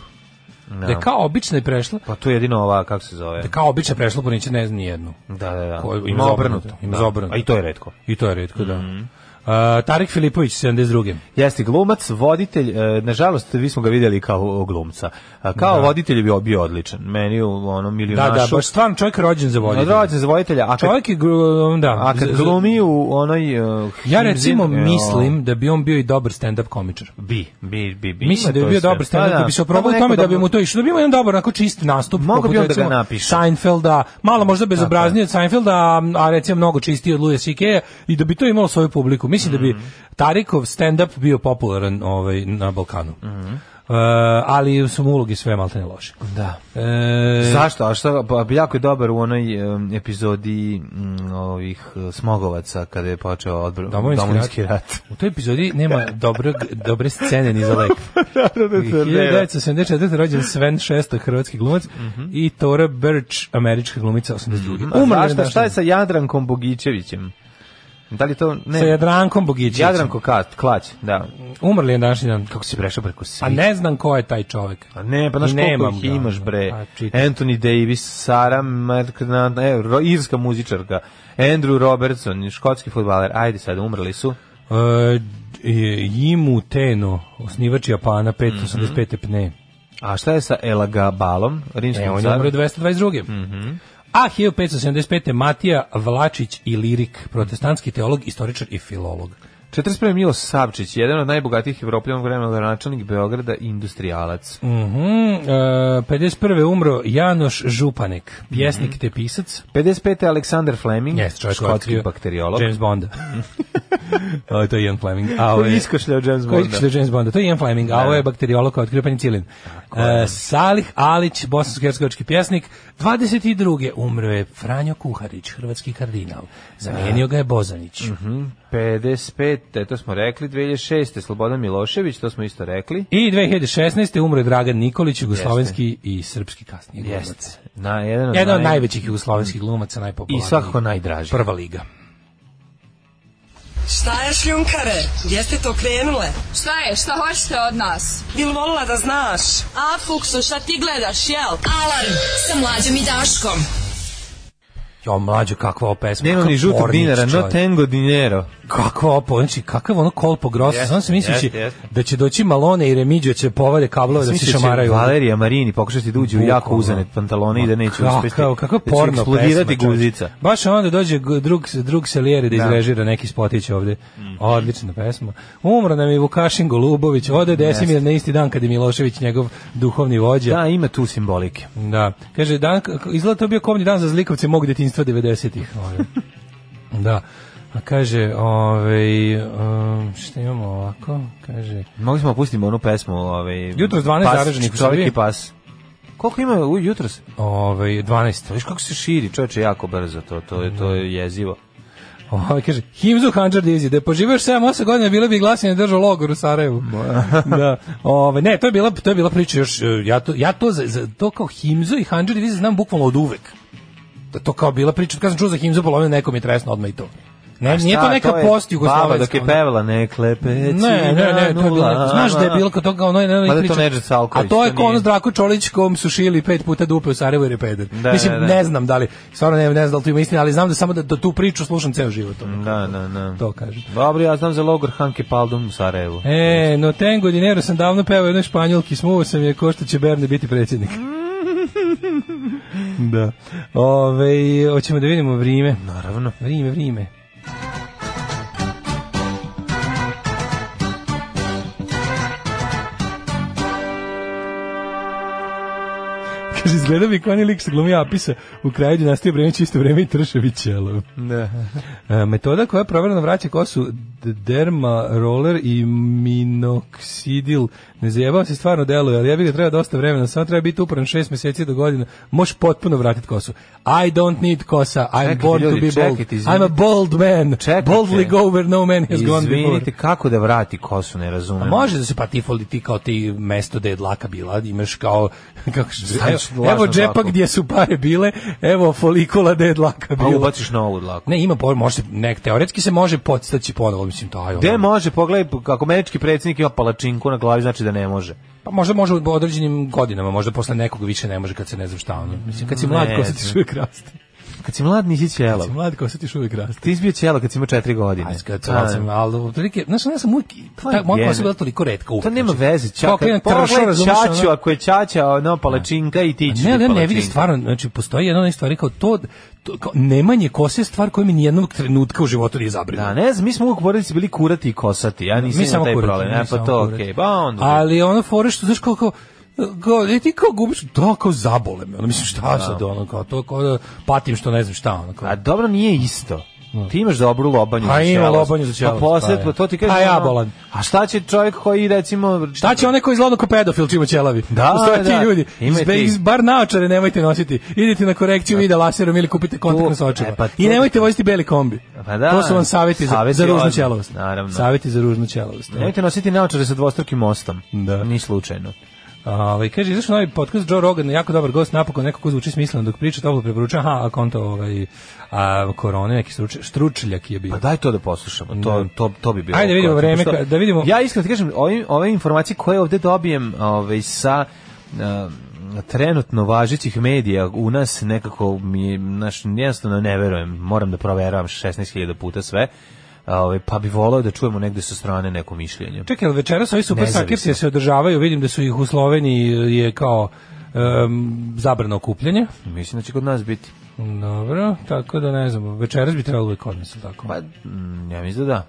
Da.
Da je kao obično je prešla,
Pa tu je jedino ova, kako se zove?
da je kao obično je prešla, po neće ne zna nijednu.
Da, da, da.
Ko- ima za obrnuto, ima za
Da.
obrnuto.
A i to je Mhm. redko.
I to je redko, da. Uh, Tarik Filipović, 72.
Jeste glumac, voditelj, e, nažalost vi smo ga vidjeli kao glumca. A kao voditelj je bio, bio odličan. Meni u onom
Da,
milionašu.
da, baš stvarno čovjek rođen za voditelja.
Odrođen za voditelja, a kad,
Čovjek je, gru- da.
a kad
z- z-
glumi u onoj... e,
Ja
Himzin-
recimo
e, o-
mislim da bi on bio i dobar stand-up komičar.
Bi, bi, bi, bi.
Mislim da bi
Ima to
bio
sve.
dobar
Pa
stand-up, da, bi se oprobao
Samo
u tome
neko
da bi mu to išlo. Da bi imao jedan dobar, onako čist nastup.
Mogao
poput,
bi on da ga
recimo,
napiše.
Seinfelda, malo možda bezobraznije od Seinfelda, a, a recimo mnogo čistiji od Louis C.K. i da bi to imalo Mhm. svoju publiku. Mislim da bi Tarikov stand-up bio popularan ovaj, na Balkanu. E, ali su mu ulogi sve maltene loše.
Da.
E,
Zašto? A šta, pa jako je dobar u onoj em, epizodi mm, ovih e, smogovaca kada je počeo odbr,
Domovinski,
domovinski,
rat. [laughs]
rat.
U toj epizodi nema dobrog, dobre scene ni za [laughs] lek. I 1974. rođen Sven Šesta, hrvatski glumac, i Tora Birch, američka glumica 82.
A
Umrla je
zašto?
na
Šta je sa Jadrankom Bogićevićem? Da li to... Ne,
sa Jadrankom Bogićevićem.
Jadranko Kat, Klać, da.
Umrli je na današnji dan.
Kako si prešao preko svih?
A ne znam ko je taj čovek.
A ne, pa znaš
I
koliko
nemam
ih
ga,
imaš,
ono.
bre.
A, čitaj.
Anthony Davis, Sara Merkna, e, ro- irska muzičarka, Andrew Robertson, škotski futbaler, ajde sad, umrli su.
E, Jimu Teno, osnivač Japana, 585. pne.
A šta je sa Elagabalom, rimskim
E, on je
carom?
umro Mhm. 222. A 1575. Matija Vlačić i Lirik, protestantski teolog, istoričar i filolog.
41. Milo Savčić, jedan od najbogatijih evropljanog vremena gradonačelnik Beograda i industrijalac.
Mhm, e, 51. umro Janoš Županek, pjesnik te pisac.
55. Aleksandar Fleming,
Mhm. Jeste, čovjek koji je
škotski
otkrio
bakteriolog.
James Bonda. [laughs] o, to je Ian Fleming. A, ovo
Koji
je-
iskošljao James
Koji
Bonda.
što je James Bonda, to je Ian Fleming, a ovo je bakteriolog kao otkrio penicilin. E, Salih Alić, bosansko-hercegovački pjesnik, 22. umro je Franjo Kuharić, hrvatski kardinal. Zamijenio ga je Bozanić.
55. to smo rekli, 2006. Slobodan Milošević, to smo isto rekli.
I 2016. umro je Dragan Nikolić, jugoslovenski i srpski kasnije glumac.
Jeste. Na, jedan od,
Jedan od
naj-
najvećih jugoslovenskih glumaca, najpopularniji.
I svakako najdraži.
Prva liga.
Šta je šljunkare? Gdje ste to krenule?
Šta je? Šta hoćete od nas?
Bil volila da znaš?
A, Fuksu, šta ti gledaš, jel?
Alarm sa mlađom i Daškom.
Jo, mlađo, kakva ova pesma.
Nema
kakav
ni žutog
Ornić,
dinara, no
čovječe.
tengo dinero.
Kakva opo, znači kakav ono kolpo gros,
Jeste,
sam se mislići
jeste, jeste.
da će doći Malone i Remiđo će povade kablove da se
Mislim će
šamaraju.
Valerija Marini pokušati da uđe u jako
Bukvalno.
uzane pantalone i da neće
Kako-
uspjeti.
Kako, kako
Da će
porno
eksplodirati
pesma, čovječe.
guzica.
Baš onda dođe g- drug, drug Selijeri da
Da. Mhm.
izrežira neki spotić ovde. Odlična pesma. Umro nam je Vukašin Golubović, ode Desimir na isti dan kad je Milošević njegov duhovni vođa.
Da, ima tu simbolike.
Da. Kaže, dan, izgleda to bio komni dan za zlikovce mog detinstva 90-ih. Ovaj. da. A kaže, ovaj, um, šta imamo ovako? Kaže,
Mogli smo pustiti onu pesmu, ovaj
Jutros 12
pas,
zaraženih u Srbiji.
čovjek i pas. Koliko ima u jutros?
ovaj, 12.
Viš kako se širi, čoveče, jako brzo to, to je to je jezivo.
Ovaj, kaže, Himzu Hanđar Divzi, da je poživio još 7-8 godina, bilo bi glasanje držao logor u Sarajevu. [laughs] da. Ovaj, ne, to je, bila, to je bila priča još, eh, ja to, ja to, za, za- to kao Himzu i Hanđar Divzi znam bukvalno od uvek. Da to kao bila priča, kad sam čuo za Himzu, polovina nekom je tresno odmah i to. Ne, nije
Šta,
to neka
je
post
Baba
jugoslovenska.
dok je
ono.
pevala ne klepe. Znači,
Ne, ne, ne, to je bilo, neko- znaš da je bilo kod toga ono, ne, ne,
Ma da
priča-
to Nedžad Salković,
A to je
to
kao
nije.
ono s Drako Čolić kom su šili pet puta dupe u Sarajevu jer je peder.
Da,
Mislim,
da, da.
ne znam da li, stvarno ne, ne znam da li to ima istina, ali znam da samo da, da tu priču slušam ceo život. ono.
Da, da, da.
To kažem.
Dobro, ja znam za logor Hanke Paldum u Sarajevu.
E, no tengo dinero sam davno pevao jednoj španjolki, smuvao sam je ko što će Berne biti
[laughs]
predsjednik. da. Ove, hoćemo da vidimo vrijeme.
Naravno.
Vrijeme, vrijeme. Kaže, izgleda mi kao onaj lik se glumi Apisa u kraju dinastije Bremić isto vreme i Trševićelov.
Da.
E, Metoda koja provereno vraća kosu d- derma roller i minoksidil. Ne zajebao se stvarno deluje, ali ja bih ga treba dosta vremena, samo treba biti uporan šest mjeseci do godine. Možeš potpuno vratiti kosu. I don't need kosa, I'm
Čekajte,
born
ljudi,
to be bold.
čekajte, izvinite.
I'm a bold man.
Čekajte.
Boldly go where no man has gone before.
Izvinite, kako da vrati kosu, ne
A
razumem.
Može da se patifoli ti kao ti mesto gde je dlaka bila, imaš kao [laughs] kako se zove,
Staviš
evo,
lažnu
evo džepa
dlaku.
gdje su pare bile, evo folikula gde je dlaka
Pa
bila.
ubaciš novu dlaku.
Ne, ima po- može se- ne, teoretski se može podstaći ponovo, mislim taj. ono-
Gde može, pogledaj, kako američki predsjednik ima palačinku na glavi, znači da ne može.
Pa možda može u određenim godinama, možda posle nekog više ne može kad se ne znam šta ono. Mislim kad si mlad
Ne
kosa ti
znam.
još uvijek raste.
Kad si mlad nisi ćelav.
Kad si mlad kosa ti još uvijek raste.
Ti izbio ćelo kad si imao četiri godine.
Aj, kad
A,
sam, ali otprilike, znaš, ono, ja sam uvijek,
To je
ta, moja kosa
pa, gene.
je bila toliko redka uvijek.
To nema
znači,
veze,
kao
čaka.
kad imam tršu,
Pogledaj
razumeš, ono-
čaču, ako je čača, ono, palačinka i ti ćeš
Ne, ali
biti
ja ne
palačinka.
vidim stvarno, znači postoji jedna od onih stvari kao to, to kao nemanje kose je stvar koja mi nijednog trenutka u životu nije zabrinula.
Da, ne znam, mi smo uvijek porodici bili kurati i kosati. Ja nisam
mi
imao
samo
taj
kurati,
problem.
mi
E, pa
samo
to,
kurati.
okej. Pa onda.
Ali ono fore što znaš kao kao kao, e, ti kao gubiš, da, kao zabole me, ono, mislim, šta sad, ono, kao, to, kao, da patim što ne znam šta, ono, kao,
A dobro nije isto. Ti imaš dobru lobanju
Pa
za
ima
ćelost.
lobanju za ćelost,
Pa posle,
pa je.
pa to ti
Pa
kažeš.
je
ono,
abolan.
A šta će čovjek koji, recimo...
Šta će onaj koji izgleda kao pedofil čima ćelavi?
Da,
Postoje
da.
ti ljudi.
Ima
Izbe,
ti.
iz, bar naočare nemojte nositi. Idite na korekciju vida laserom ili kupite kontaktne
To-
sočeve.
e, pa
I
to-
nemojte voziti beli kombi.
Pa da.
to su vam savjeti za,
Savjeti
za ružnu
odmah,
ćelavost.
naravno.
Savjeti za ružnu ćelavost.
Nemojte nositi naočare sa dvostrukim mostom.
Da.
Ni slučajno.
Ovaj kaže izašao novi podcast Joe Rogan, jako dobar gost, napokon neko ko zvuči smisleno dok priča, toplo preporučujem. Aha, a konto ovaj a korone neki struč, stručljak je bio.
Pa daj to da poslušamo, to, to, to bi bilo.
Ajde, vidimo
korisno.
vreme,
Pošto
ka- da vidimo.
Ja iskreno ti kažem, ove, ove informacije koje ovde dobijem ove, sa um, trenutno važećih medija u nas nekako mi je, naš, jednostavno ne verujem, moram da proveravam 16.000 puta sve, ove, pa bi volao da čujemo negde sa strane neko mišljenje.
Čekaj, jel večeras ovi super
Nezavisno.
sakirci se održavaju, vidim da su ih u Sloveniji je kao em, zabrano okupljanje.
Mislim da će kod nas biti.
Dobro, tako da ne znam, večeras bi trebalo uvijek kod nas, jel tako?
Pa, mm, ja mislim da da.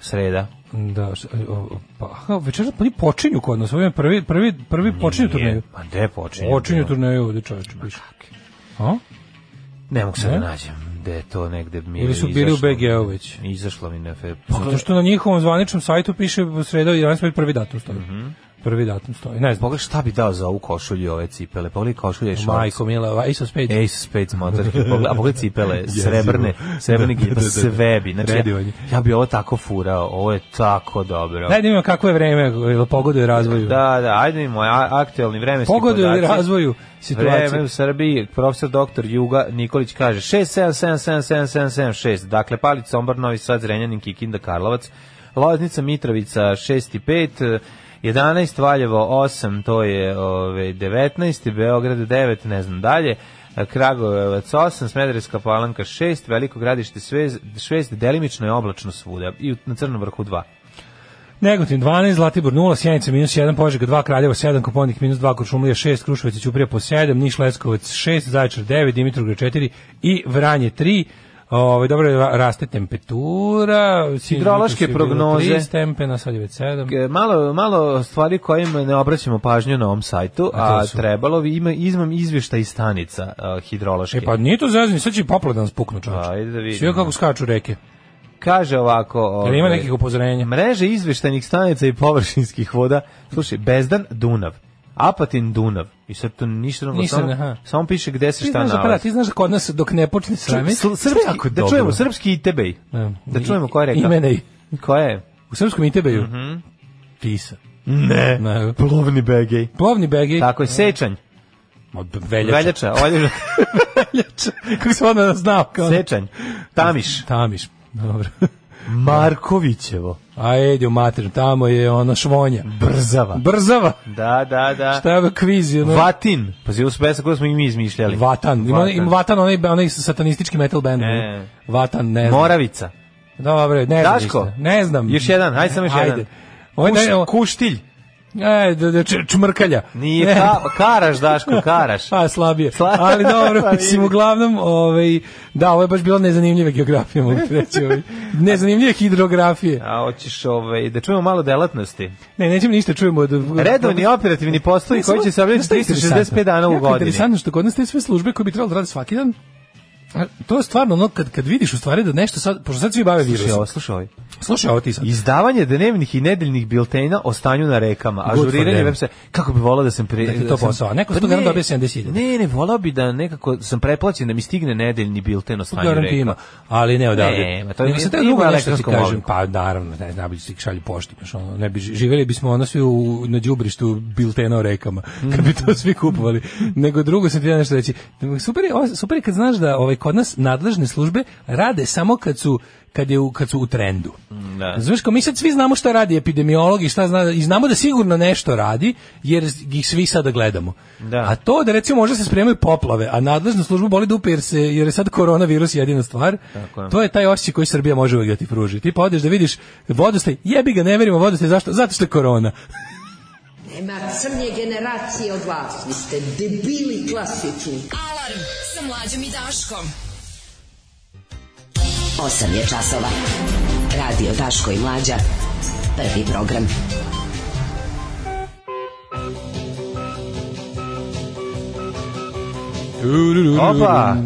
Sreda.
Da, š- o, o, pa, aha, večeras pa oni počinju kod nas, ovo je prvi, prvi, prvi počinju turneju.
Pa gde počinje?
Počinju turneju ovdje čoveče, piše. A?
Ne mogu sad
Ne?
da nađem gde je to negde mi je
Ili su bili u
izašlo.
BG-u već?
Izašlo mi na fe.
Zato što na njihovom zvaničnom sajtu piše u sredo 11. prvi datum stoji. Prvi datum stoji, ne znam.
Mhm. Pogledaj šta bi dao za ovu košulju i ove cipele. Pogledaj košulje i šorc.
Majko Mila, Ace of Spades.
Ace Spades
[laughs]
motorke. Pogledaj, a pogledaj cipele, srebrne, srebrne gilje, pa sve bi. Znači, ja,
Predivanje.
ja bi ovo tako furao, ovo je tako dobro.
Daj da vidimo kakvo je vreme, jel pogoduje razvoju.
Da, da, ajde vidimo a- aktuelni vremenski
Pogoduje
podaci.
razvoju
Vreme
situacije.
u Srbiji, profesor doktor Juga Nikolić kaže 6777776, dakle Palić, Sombor, Novi Sad, Zrenjanin, Kikinda, Karlovac, Loznica, Mitrovica 6 i 5, 11, Valjevo 8, to je ove, 19, Beograd 9, ne znam dalje, Kragujevac 8, Smederevska palanka 6, Veliko gradište 6, delimično je oblačno svuda i u- na Crnom vrhu 2.
Negotin 12, Zlatibor 0, Sjenica minus 1, Požega 2, Kraljevo 7, Koponik minus 2, Kočumlija 6, Kruševac i Ćuprija po 7, Niš Leskovac 6, Zaječar 9, Dimitrovgrad 4 i Vranje 3. Ove, dobro, ra- raste temperatura. sinoć
Hidrološke
jutros je bilo
prognoze.
3 stepena, sad je već 7.
E, malo malo stvari kojima ne obraćamo pažnju na ovom sajtu,
A
a,
to su?
trebalo bi ima izmam izveštaj iz stanica e, hidrološke.
E pa nije to zezanje, sad će i poplade nas puknu čovječe.
Pa, Ajde da vidimo.
Sve kako skaču reke.
Kaže ovako,
Jel
ovaj,
ima nekih upozorenja?
mreže izveštajnih stanica i površinskih voda. Slušaj, Bezdan Dunav, Apatin Dunav. I sad tu ništa nego
Nisam,
samo,
aha.
samo piše gde se
Ti
šta
znaš, da, pa da,
nalazi.
ti znaš da kod nas dok ne počne srami,
Sl- Srpski, da čujemo srpski i tebej. Da čujemo koja je reka.
Imenej.
Koja je?
U srpskom Itebeju.
Mhm.
Tisa.
Ne.
Ne.
Plovni begej.
Plovni begi.
Tako je, Sečanj,
Od veljača.
Veljača, Olježa,
Veljača. [laughs] Kako se onda znao? Kao ono-
Sečanj, Tamiš.
Tamiš. Dobro. [laughs]
Markovićevo.
A edi u mater, tamo je ono švonja.
Brzava.
Brzava.
Da, da, da.
Šta je ovo kviz? Ono?
Vatin. Pazi, ovo su pesma koju smo i mi izmišljali.
Vatan. Ima, ima Vatan, onaj, onaj satanistički metal band. ono.
E.
Vatan, ne znam.
Moravica.
Dobro, ne znam
Daško?
ništa. Ne znam.
Još jedan, hajde samo još jedan.
Ovo je
Kuš-
da-
kuštilj.
E, da, da, č- čmrkalja.
Nije,
Ne.
ka, karaš,
[laughs]
Daško, karaš.
Pa slabije.
Sla-
Ali dobro,
[laughs] Pa
mislim
vidi.
uglavnom, ovaj da, ovo je baš bilo nezanimljive geografije, mogu ti reći,
[laughs]
ovaj. Nezanimljive hidrografije.
A hoćeš ovaj, da čujemo malo delatnosti.
Ne, nećemo ništa čujemo od
Redovni operativni poslovi koji će se obavljati 365 dana u
Jako
godini.
Interesantno što kod nas te sve službe koje bi trebalo da rade svaki dan, a, to je stvarno ono kad, kad vidiš u stvari da nešto sad, pošto sad svi bave
Slušaj
virusom.
ovo, slušaj ovo.
Slušaj ovo ti sad.
Izdavanje dnevnih i nedeljnih biltena o stanju na rekama,
for
ažuriranje
them.
web se kako bi volao da sam pri
Da ti to
sam- Pa
posao, a neko sto
ne,
dana dobije 70.000.
Ne, ne, volao bi da nekako sam preplaćen da mi stigne nedeljni bilten o stanju
Garant ima,
rekama.
ali ne odavde.
Ne, ma to
Nego
je-
sam teo
ima
drugo nešto ti
elektronskom
kažem,
obliku.
pa naravno, ne, najbolje se šalju pošti, baš ono, ne bi, ži- živjeli bismo ono svi u, na đubrištu biltena o rekama,
Mm.
kad bi to svi kupovali. Nego drugo sam ti ja nešto reći, super je, ovo- super je kad znaš da ovaj, kod nas nadležne službe rade samo kad su kad je u, kad su u trendu.
Da.
Znaš, kao mi sad svi znamo šta radi epidemiolog i šta zna, i znamo da sigurno nešto radi, jer ih svi sada gledamo.
Da.
A to da recimo možda se spremaju poplave, a nadležnu službu boli dupe jer, se, jer je sad koronavirus jedina stvar,
Tako je.
to je taj osjećaj koji Srbija može uvijek da ti pruži. Ti pa odeš da vidiš vodostaj, jebi ga, ne verimo u vodostaj, zašto? Zato što je korona.
Nema crnje generacije od vas. Vi ste debili klasični.
Alarm sa mlađom i Daškom.
8 je časova. Radio Daško i Mlađa. Prvi program.
Opa!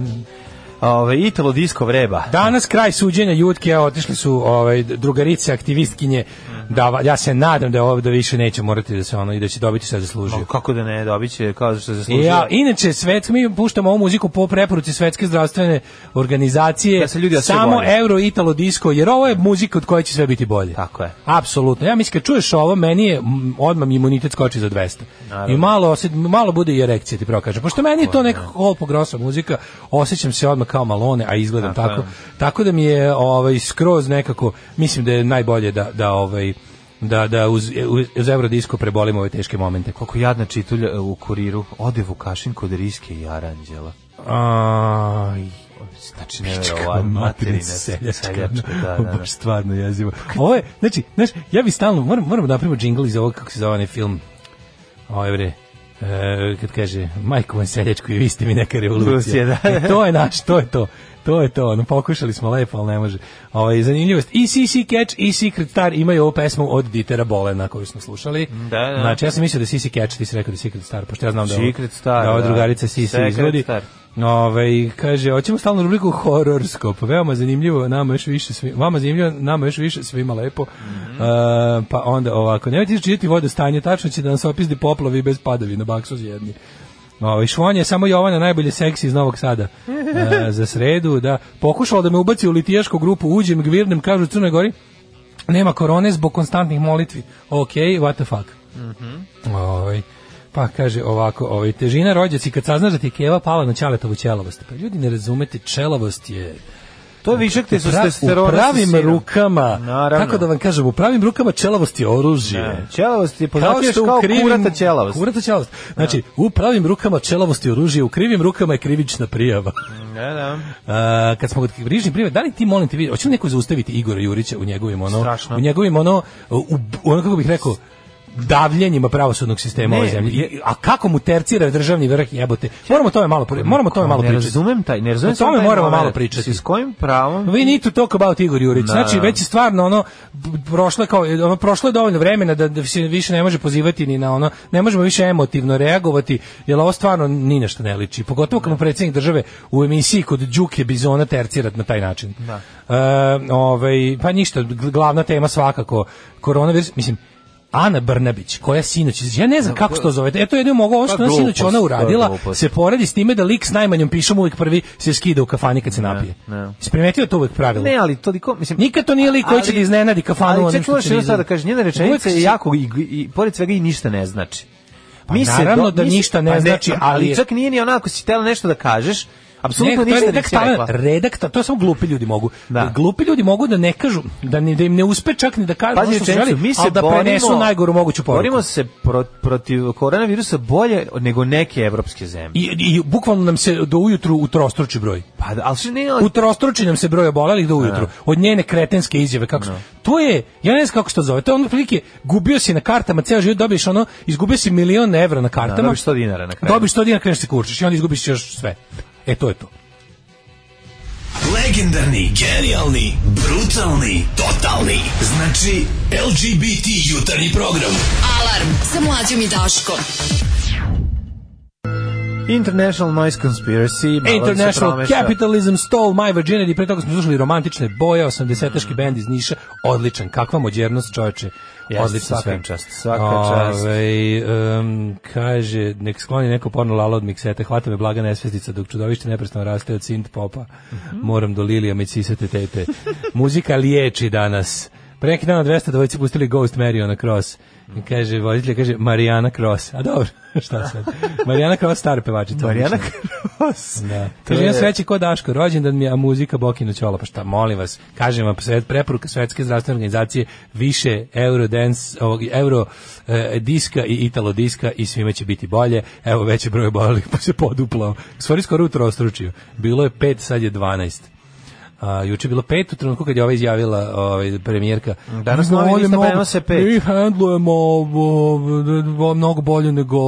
Ove, Italo disco vreba.
Danas kraj suđenja Jutke, evo, otišli su ovaj drugarice aktivistkinje da va- ja se nadam da ovo da više neće morati da se ono i da će dobiti sve zaslužio.
Ma, kako da ne, dobit će kao što zaslužuje.
Ja, inače svet mi puštamo ovu muziku po preporuci Svetske zdravstvene organizacije.
Da se ljudi osjećaju
samo
bolje.
Euro Italo disco jer ovo je muzika od koje će sve biti bolje.
Tako je.
Apsolutno. Ja mislim kad čuješ ovo meni je mm, odmah mi imunitet skoči za 200. I malo osjet, malo bude i erekcija ti pravo kažem. Pošto meni je to neka olpo grosa muzika, osjećam se odmah kao malone, a izgledam tako. Tako, da mi je ovaj skroz nekako mislim da je najbolje da da ovaj da da uz, uz, uz Eurodisco prebolimo ove teške momente.
Koliko jadna čitulja e, u kuriru. Ode Vukašin kod Riske i Aranđela.
Aj,
Znači,
Pička
nevjerovatno.
materina
Materine
seljačka,
seljačka, da, da, da.
baš stvarno jezivo. Ovo je, znači, znaš, ja bi stalno, moram, moram da napravimo džingl iz ovog, kako se zove onaj film, ovo bre, e, kad kaže, majko vam seljačku i vi ste mi neka revolucija.
Revolucija, da.
E, to je naš, to je to. To je to, ono, pokušali smo lepo, ali ne može. Ovo je zanimljivost. I CC Catch i Secret Star imaju ovu pesmu od Ditera Bolena koju smo slušali.
Da, da.
Znači, ja sam mislio da je CC Catch, ti si rekao da je Secret Star, pošto ja znam da, ovo-
Secret Star,
da, ova
da.
drugarica Sisi
Secret
izvodi.
Star.
Ove, kaže, hoćemo stalnu rubriku hororskop. Veoma zanimljivo, nama još više svi, vama zanimljivo, nama još više svima lepo.
Mhm.
E, pa onda ovako, nemojte čitati vodu stanje, tačno će da nas opisdi poplovi bez padavina, baksu jedni. Ovaj Švon je samo Jovana najbolje seksi iz Novog Sada.
[laughs]
E, za sredu, da pokušala da me ubaci u litijašku grupu, uđem, gvirnem, kažu u Crnoj Gori, nema korone zbog konstantnih molitvi. Ok, what the fuck. Ovaj, pa kaže ovako, ovaj, težina rođaci, kad saznaš da ti je keva pala na ćaletovu ćelavost. Pa ljudi ne razumete, ćelavost je...
To je Pa višak te su
Pra-
testosterona.
U pravim
sa sirom.
rukama,
Naravno.
kako da vam kažem, u pravim rukama ćelavost je oružje.
Da. Ćelavost je
Kao
poznatija
što u
kao
krivim-
kurata ćelavost.
Kurata ćelavost. Znači, u pravim rukama ćelavost je oružje, u krivim rukama je krivična prijava.
Da, da.
E, kad smo kod krivičnih prijava, da li ti molim te vidi, hoće li neko zaustaviti Igora Jurića u njegovim ono,
Strašno.
u njegovim ono, u, ono kako bih rekao, davljenjima pravosudnog sistema
Ne,
ove zemlje. I- A kako mu tercira državni vrh jebote. Moramo o tome malo, pri- moramo o tome Pa malo
ne
pričati. Pa
razumem taj, ne razumem
O tome
taj
moramo
moment.
malo pričati.
S kojim pravom?
We need to talk about Igor Jurić.
Da.
Znači, već je stvarno ono b- prošlo je kao ono prošlo je dovoljno vremena da, da se više ne može pozivati ni na ono, ne možemo više emotivno reagovati, jer ovo stvarno ni na šta ne liči. Pogotovo kad mu predsjednik države u emisiji kod Đuke Bizona tercirat na taj način. Da. ovaj, pa ništa, gl- glavna tema svakako koronavirus, mislim Ana Brnabić, koja sinoć, ja ne znam kako se to zove, eto jedno mogu, ovo što
Pa
ona sinoć
glupost,
ona
to je
uradila,
glupost.
se poredi s time da lik s najmanjom pišom uvijek prvi se skida u kafani kad se napije.
ne.
Jesi primetio to uvijek pravilo?
Ne, ali toliko, mislim...
Nikad to nije lik koji će
ali-
da iznenadi kafanu
Ali
onim što
čekaj,
će
što
da
sada da
iznenadi.
kažeš, njena rečenica
Uvijek
je
se-
jako, i, i, pored svega i ništa ne znači. Mi se
Pa naravno
do-
da
mi se- pa
ništa ne znači, ali je-
ali čak nije ni onako si htela nešto da kažeš, apsolutno
Ne, to je
ništa
redak
nisi
talenat,
rekla.
redak ta- to samo glupi ljudi mogu.
Da.
Glupi ljudi mogu da ne kažu, da, ne, da im ne uspe čak ni da kažu
Pazi
ono što su želi,
rečenicu, mi se
ali da
borimo-
prenesu najgoru moguću poruku.
Borimo se pro, protiv koronavirusa bolje nego neke evropske zemlje.
I, i bukvalno nam se do ujutru utrostruči broj.
Pa, da, ali što ne, ali,
utrostruči nam se broj obolelih do ujutru od njene kretenske izjave kako su- to je ja ne znam kako se to zove to je ono prilike gubio si na kartama ceo život dobiješ ono izgubio si milion evra na kartama
Da, dobiš 100 dinara na kraju.
dobiš 100 dinara kreneš se kurčiš i onda izgubiš još sve e to je to
Legendarni, genijalni, brutalni, totalni. Znači LGBT jutarnji program.
Alarm sa mlađom i Daškom.
International Noise Conspiracy, malo se
International
promeša.
Capitalism Stole My Virginity pre toga smo slušali romantične boje
Mm.
80-taški bend iz Niša odličan kakva mođernost čoveče
Jeste,
odlično
svaka
sve.
čast, svaka čast.
Ovaj, em, kaže, nek skloni neko porno lala od miksete, hvata me blaga nesvestica, dok čudovište neprestano raste od synth popa.
Mhm.
Moram do Lilija me cisate tete. [laughs] Muzika liječi danas. Pre neki dan od 200 dvojice pustili Ghost Mariona Cross. I kaže, voditelj kaže Marijana Cross. A dobro, [laughs] šta sad? Marijana Cross, stara pevačica.
Marijana
odlična.
Kros.
Da.
To
Kaže,
je-
ja sveći ko Daško, rođendan mi je, a muzika Bokino Ćola. Pa šta, molim vas, kažem vam, sve, preporuka Svetske zdravstvene organizacije, više Eurodance, ovog, Euro e, diska i Italo diska i svima će biti bolje. Evo, veći broj obolelih pa se poduplao. Stvari skoro utrostručio. Bilo je 5, sad je 12. A, juče je bilo pet u trenutku kad je ova izjavila ovaj, premijerka.
Danas novi
"Bolje
lista
mnogo-
prenose pet."
Mi handlujemo ovo, ovo, mnogo bolje nego...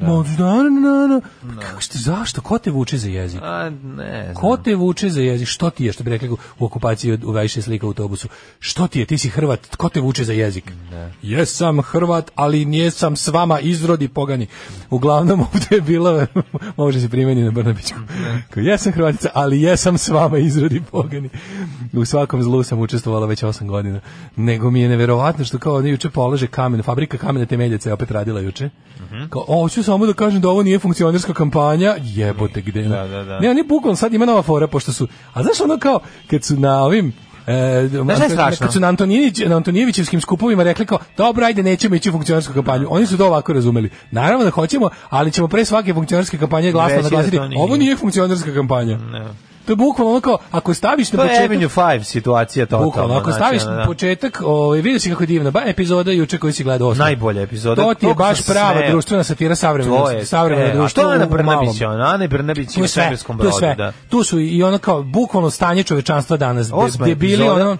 Da. Na, na, na. Kako ste, zašto? Ko te vuče za jezik?
A, Pa ne znam.
Ko te vuče za jezik? Što ti je? Što bi rekli u okupaciji od Uvajše slika u autobusu. Što ti je? Ti si Hrvat. Ko te vuče za jezik? Jesam Hrvat, ali nijesam s vama izrodi pogani. Uglavnom [laughs] ovdje je bila, može se primeni na Brnabićku. Kao, Jesam Hrvatica, ali jesam s vama izrodi pogani. U svakom zlu sam učestvovala već 8 godina. Nego mi je neverovatno što kao oni juče polaže kamen, fabrika kamene temeljaca je opet radila juče.
Mhm.
Kao, "O, hoću samo da kažem da ovo nije funkcionerska kampanja, jebote gde.
Da, da, da.
Ne, ne, bukvalno sad ima nova fora pošto su. A znaš ono kao kad su na ovim E,
šta je strašno?
kad su na, Antoninić, na Antonijevićevskim skupovima rekli kao, dobro, ajde, nećemo ići u funkcionarsku kampanju. Oni su to ovako razumeli. Naravno da hoćemo, ali ćemo pre svake funkcionarske kampanje glasno
Reći da
naglasiti,
to nije.
ovo nije funkcionarska kampanja.
Ne.
To je bukvalno ono kao, ako staviš na
To je
početak...
Avenue 5 situacija totalna.
Bukvalno, ako
znači,
staviš
ono,
na početak, ovaj vidiš kako je divna, ba epizoda juče koju si gledao. osma.
Najbolja
To
epizoda.
ti je
Toliko
baš
sam
prava
smejao.
društvena satira
To
savremenog
je,
savremenog
e, a
društva.
to je Ana
u malom.
Brnabić, je ono, Ana Brnabić
Tu
je
je
u
sve,
svemirskom
tu je
brodu,
sve.
da.
Tu su i ono kao bukvalno stanje čovečanstva danas.
Osma
Osma debili
epizoda.
ono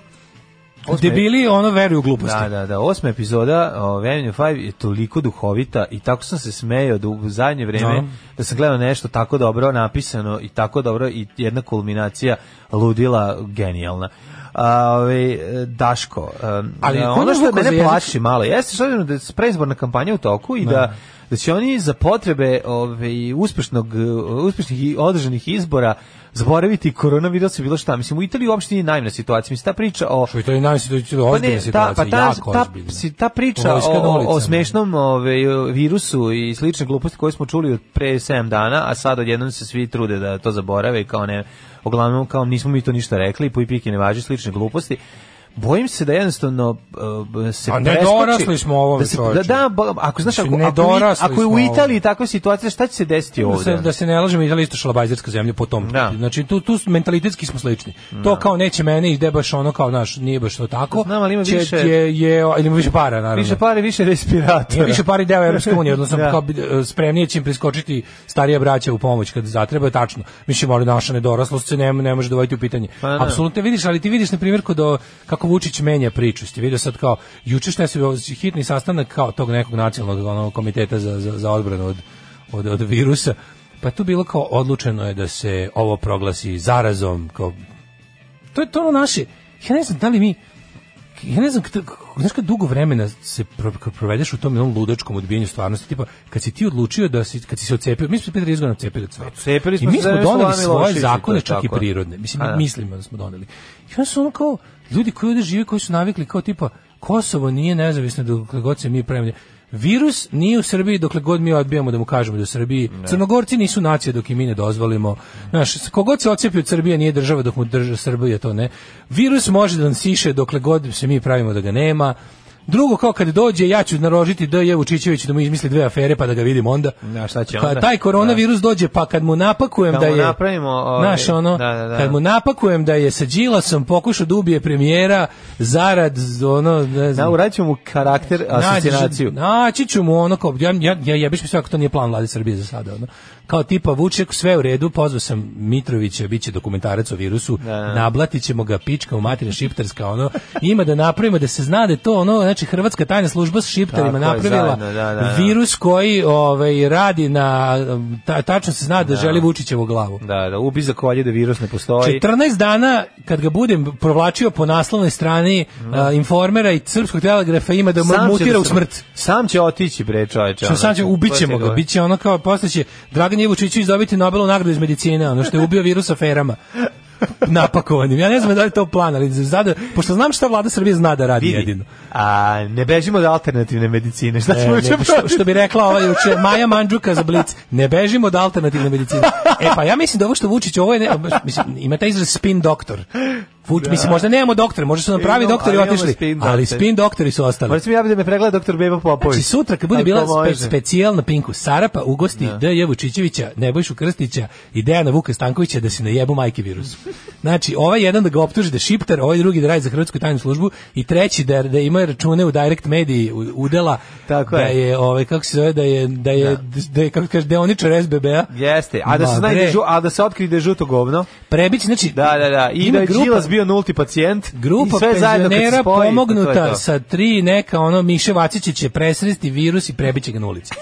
Osma je-
debili ono veruju u gluposti.
Da, da, da, osma epizoda o, Avenue 5 je toliko duhovita i tako sam se smejao da u zadnje vreme
No.
da sam gledao nešto tako dobro napisano i tako dobro i jedna kulminacija ludila genijalna. A, ovaj, e, Daško, um,
Ali
a,
ko
ono
je
što
vukao za
mene
jezik?
plaši malo jeste što je da je preizborna kampanja u toku i da da će oni za potrebe ovaj uspešnog e, uspešnih i održanih izbora zaboraviti koronavirus i bilo šta. Mislim u Italiji uopće nije najmna situacija. Mislim ta priča o
Što je to i najsituje
pa ne,
ozbiljna
ta,
situacija,
pa ta,
jako
ta,
ozbiljna.
si- ta priča
Vojska na
o,
ulicama.
o smešnom ove, virusu i slične gluposti koje smo čuli od pre 7 dana, a sad odjednom se svi trude da to zaborave i kao ne, uglavnom kao nismo mi to ništa rekli, puj pike ne važi, slične gluposti. Bojim se da jednostavno e, se
A ne
preskoči-
dorasli smo ovome,
da, se, da,
čoveče.
da, ba- ako znaš, ako,
Znači, ne
ako, mi-
dorasli
ako je u
smo
Italiji
ovome.
takva situacija, šta će se desiti
Da se,
ovdje?
da se ne lažemo, Italija je isto šalabajzerska zemlja po tom.
Da.
Znači, tu, tu mentalitetski smo slični. To kao neće mene, ide baš ono kao naš, nije baš to tako.
Znam, ali ima
Će-
više-
Je, je, ili ima više para, naravno.
Više pare, više respiratora.
Ima više pari deo Evropske unije, odnosno
Da.
kao bi- e, spremnije će im priskočiti starija braća u pomoć kad zatreba, tačno. Mislim, ali naša nedoraslost se ne, ne može dovoditi u pitanje.
Pa ne.
Apsolutno vidiš, ali ti vidiš na primjer kod o- kako Vučić menja priču. Ste vidio sad kao, juče šta se bio hitni sastanak kao tog nekog nacionalnog onog komiteta za, za, za odbranu od, od, od virusa, pa tu bilo kao odlučeno je da se ovo proglasi zarazom, kao to je to ono naše. Ja ne znam da li mi ja ne znam, kad- znaš kad dugo vremena se pro- kad provedeš u tom jednom ludačkom odbijanju stvarnosti, tipa kad si ti odlučio da si, kad si se ocepio, mi smo se pet izgledano ocepili od sveta.
Ocepili smo
I mi smo
se za vreme
doneli
Slobodana
svoje
Miloševića,
zakone,
to je
čak i
tako.
prirodne. Mislim,
A, da.
mi mislimo da smo doneli. I onda su ono kao, ljudi koji ovde žive, koji su navikli kao tipa, Kosovo nije nezavisno dokle god se mi pravimo. Virus nije u Srbiji dokle god mi odbijamo da mu kažemo da je u Srbiji. Crnogorci nisu nacija dok im mi ne dozvolimo. Znaš, kogod se ocepi od Srbije nije država dok mu drža Srbija, to ne. Virus može da nam siše dokle god se mi pravimo da ga nema. Drugo, kao kad dođe, ja ću narožiti D.J. Vučićević da mu izmisli dve afere pa da ga vidim onda.
Da, šta će
Pa
onda?
taj koronavirus dođe, pa kad mu napakujem
Kad
da
mu
je...
napravimo, ovaj,
znaš, ono,
da, da, da.
kad mu napakujem da je sa Đilasom pokušao da ubije premijera zarad, z- ono, ne
Da,
znam...
uradit ćemo mu karakter,
nađe-
asocijaciju.
Naći ću mu ono kao, ja, ja, ja jebiš mi sve ako to nije plan vlade Srbije za sada. Ono. Kao tipa Vuček, sve u redu, pozvao sam Mitrovića, bit će dokumentarac o virusu,
da.
nablatit ćemo ga, pička u materina šiptarska, ono, ima da napravimo, da se zna da je to ono, znači Hrvatska tajna služba s šiptarima
Tako je,
napravila
zajedno, da, da, da.
virus koji ovaj, radi na, ta, tačno se zna da, želi Vučićevu glavu.
Da, da, ubi za kolje da virus ne postoji.
14 dana kad ga budem provlačio po naslovnoj strani a, informera i srpskog telegrafa ima da
Mhm. Sam će
mutira
da
u
se-
smrt.
Sam će otići, bre, čoveče.
Što
ono.
sad će, ubićemo
To
ga,
ti
biće ono kao, posle će Dragan Jevučiću izdobiti Nobelovu nagradu iz medicine, ono što je ubio virus
[laughs]
aferama napakovanim. Ja ne znam da li je to plan, ali zada, pošto znam šta vlada Srbije zna da radi
Vidi,
jedino.
A, ne bežimo od alternativne medicine. Šta
E,
ćemo
ne,
će
što, što bi rekla ova juče Maja Mandžuka za Blic, ne bežimo od alternativne medicine. E pa ja mislim da ovo što Vučić, ovo je, ne, mislim, ima taj izraz spin doktor. Fuć, mislim, možda nemamo doktore, možda su nam pravi
Imamo,
doktori
ali imamo
otišli,
spin
ali
doktor.
spin doktori su ostali.
Moram sam ja da me pregleda doktor Beba Popović.
Znači sutra kad bude
Ako
bila spe,
može.
specijalna Pinku Sarapa ugosti da. D.J. Vučićevića, Nebojšu Krstića i Dejana Vuka Stankovića da se najebu majke virus. Znači, ovaj jedan da ga optuži da je šiptar, ovaj drugi da radi za Hrvatsku tajnu službu i treći da, da ima račune u direct mediji u- udela
Tako
da
je.
je, ovaj, kako se zove, da je, da je, da. je kako kaže, deoničar SBB-a.
Jeste, a da se
Ma,
znajde,
bre.
žu- a da se otkrije da je žuto govno.
Prebić, znači,
Da, da, da. I
ima
da je
grupa-
Đilas bio nulti pacijent.
grupa
i sve zajedno kad se
penzionera
spoji,
pomognuta
to je to.
sa tri neka ono Miše Vacića će presresti virus i prebiće ga na ulici.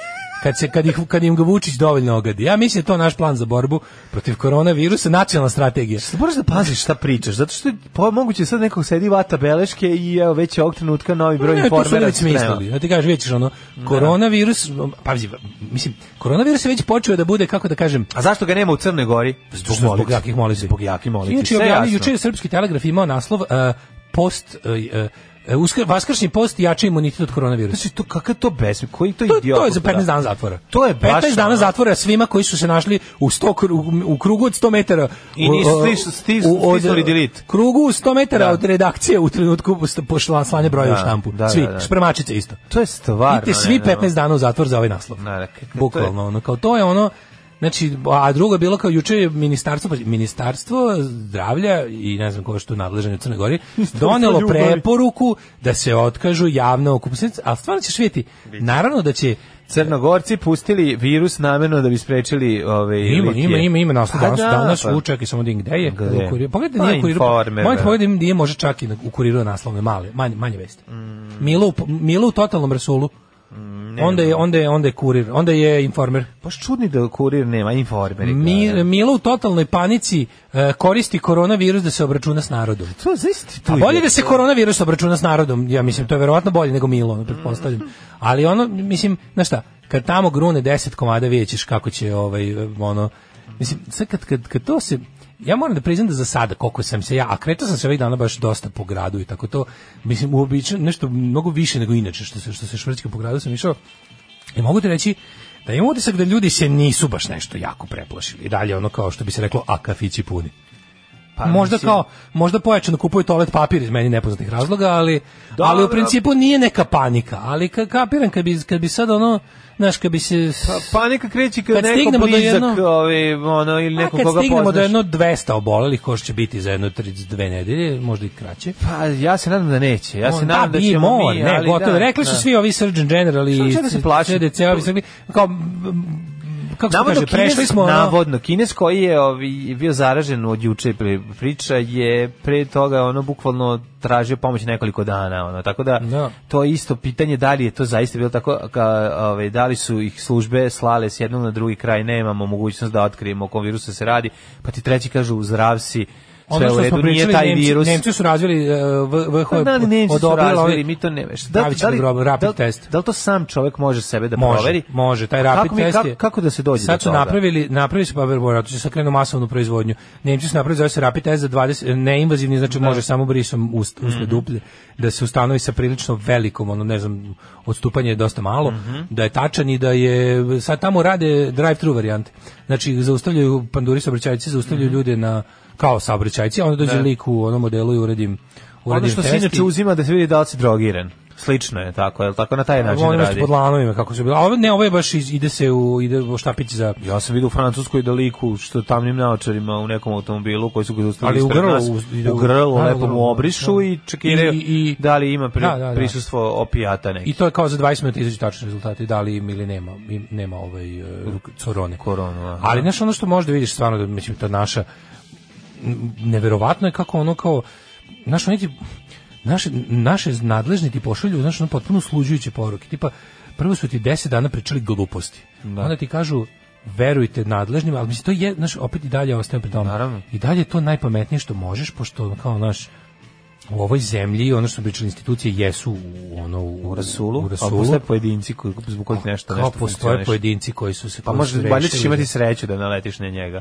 Kad, se, kad, ih, kad im ga Vučić dovoljno ogadi. Ja mislim da je to naš plan za borbu protiv koronavirusa, nacionalna strategija.
Sad Moraš da paziš šta pričaš, zato što je po- moguće sad nekog sedi vata beleške i evo već je ovog trenutka novi broj
Ne, to su oni
informera.
već
sprema.
mislili. Ja ti kažeš, vidjet ćeš ono, koronavirus, pazi, mislim, koronavirus je već počeo da bude, kako da kažem,
A Pa zašto ga nema u Crnoj Gori?
Zbog, zbog jakih molitvi.
Zbog jakih molitvi.
Inače,
Sve
objavio,
jasno.
juče je Srpski telegraf imao naslov e, post, e, e, uskr- vaskršnji post jača imunitet od koronavirusa.
Znači, to, kakav je to besmi, koji to,
To,
idiot?
to je za
Da.
15 dana zatvora.
To je baš
15 dana
ono-
zatvora svima koji su se našli u 100 kru- u, u krugu od 100 metara.
I
u-
nisu
u-
stis- stis-
u- od-
stisnuli delete.
Krugu u 100 metara
Da.
od redakcije u trenutku post- pošla slanje broja u
Da,
štampu.
da,
Svi,
da, da.
spremačice isto.
To je stvarno.
Idite svi 15 dana u zatvor za ovaj naslov.
Da, da, k- k- to
Bukvalno, ono, kao to je ono, znači, a drugo je bilo kao juče je ministarstvo, pazi, ministarstvo zdravlja i ne znam ko je što nadležan u Crnoj Gori, donelo
ljubavi.
preporuku da se otkažu javna okupljanja, ali stvarno ćeš vidjeti, naravno da će
Crnogorci pustili virus namjerno da bi sprečili ove
Ima, ima, ima, ima naslov
Pa
danas,
da,
danas
pa-
u čekaj samo da gde je.
Gde?
U kuriru. Pogledajte,
Pa,
nije u kuriru.
Informer,
Moje
da.
pogledajte, nije može čak i na- u kuriru naslovne male, manje, manje vesti. Milo, u- Milo u totalnom rasulu.
Mm,
onda je onda je onda je kurir, onda je informer.
Baš pa čudni da kurir nema informeri.
Mi, Milo u totalnoj panici e, koristi koronavirus da se obračuna s narodom.
to zaista tu
Pa bolje
ide.
da se koronavirus obračuna s narodom, ja mislim, to je verovatno bolje nego Milo, ono, pretpostavljam. Ali ono, mislim, znaš šta, kad tamo grune 10 komada vidjet ćeš kako će, ovaj, ono, mislim, sad kad, kad, kad to se, ja moram da priznam da za sada koliko sam se ja, a kretao sam se ovih dana baš dosta po gradu i tako to, mislim, uobičajeno nešto mnogo više nego inače što se, što se švrćka po gradu sam išao, i mogu ti reći da imam utisak da ljudi se nisu baš nešto jako preplašili. I dalje ono kao što bi se reklo, a kafići puni.
Pa,
možda
mislim,
kao, možda pojačano kupuju toalet papir iz meni nepoznatih razloga, ali, ali u
Dobro.
principu nije neka panika. Ali ka, kapiram kad bi, kad bi sad ono, znaš, kad bi se...
Pa, panika kreće kad,
Kad
neko
stignemo do
blizak,
jedno-
ovaj, ono, ili
A
neko
kad
koga
stignemo do
poznaš.
jedno 200 obolelih, ko će biti za jedno 32 nedelje, možda i kraće.
Pa ja se nadam da neće. Ja se
On,
nadam da,
bi
ćemo
mor,
mi,
ne,
ali
gotovo.
da,
Rekli su
da.
svi ovi Surgeon General
Što
i
čega se plašim?
CDC, ovi sve, kao, mm, kako se
Navodno,
kaže, prešli
Kines-
smo... ono-
navodno, Kines koji je ovi, bio zaražen od juče pri- priča je pre toga ono bukvalno tražio pomoć nekoliko dana ono tako da
Da.
to je isto pitanje da li je to zaista bilo tako ka, ovaj, da li su ih službe slale s jednog na drugi kraj nemamo mogućnost da otkrijemo o kom virusu se radi pa ti treći kažu zdrav si
ono
sve u
što
redu
smo
nije
pričali,
taj
Nemci,
virus
Nemci su razvili uh, VH
Pa, da li Nemci su
odobrila
razvili,
ovaj-
mi to ne veš.
Pravići dobro, rapid
da, li-
test.
da li to sam čovjek može sebe da
može,
proveri?
Može, taj
A
rapid
kako mi-
test
kako-
je.
kako da se dođe
Sad
do
su
toga?
napravili, napravili su pa verovatno će sad krenu masovnu proizvodnju. Nemci su napravili zove se rapid test za 20 neinvazivni, znači može samo brisom ust, usne duplje da se ustanovi sa prilično velikom, ono ne znam, odstupanje je dosta malo, da je tačan i da je sad tamo rade drive-thru varijante. Znači zaustavljaju panduri saobraćajci, zaustavljaju ljude na kao saobraćajci, a onda dođe lik u onom modelu i uradim uradim
Ono što se
test
inače
i-
uzima da se vidi da li si drogiran. Slično je tako, je li tako na taj način
Ovo je
radi?
pod lanovima kako se bilo. A ovo ne, ovo je baš iz- ide se u ide u štapić za
Ja sam vidio u Francuskoj da liku što tamnim naočarima u nekom automobilu koji su ga zaustavili
Ali u
ispred
grlo
nas,
uz- ide
u
u-
grlo
da, u
lepo mu
grlo,
obrišu
da.
i čekiraju
I- i-
da li ima pri-
Da, da, da.
prisustvo opijata neki.
i to je kao za 20 minuta izađu tačni rezultati da li im ili nema im nema ovaj e, korone.
Koronu, aha.
Ali znaš ono što možda vidiš stvarno da mislim ta naša n- neverovatno je kako ono kao naš oni ti naše naše nadležni ti pošalju znaš ono potpuno sluđujuće poruke. Tipa prvo su ti 10 dana pričali gluposti. Onda ti kažu verujte nadležnima, ali mislim to je znaš opet i dalje ostajem pri tome.
Naravno.
I dalje je to najpametnije što možeš pošto ono, kao naš u ovoj zemlji ono što su pričali institucije jesu u ono u,
u Rasulu,
u
a
Rasulu
postoje pojedinci koji, zbog kojih nešto,
kao
nešto
postoje
funkcioniše.
pojedinci koji su se
Pa
koji su
možda, valjda ćeš
rešili
imati
da-
sreću da naletiš na njega.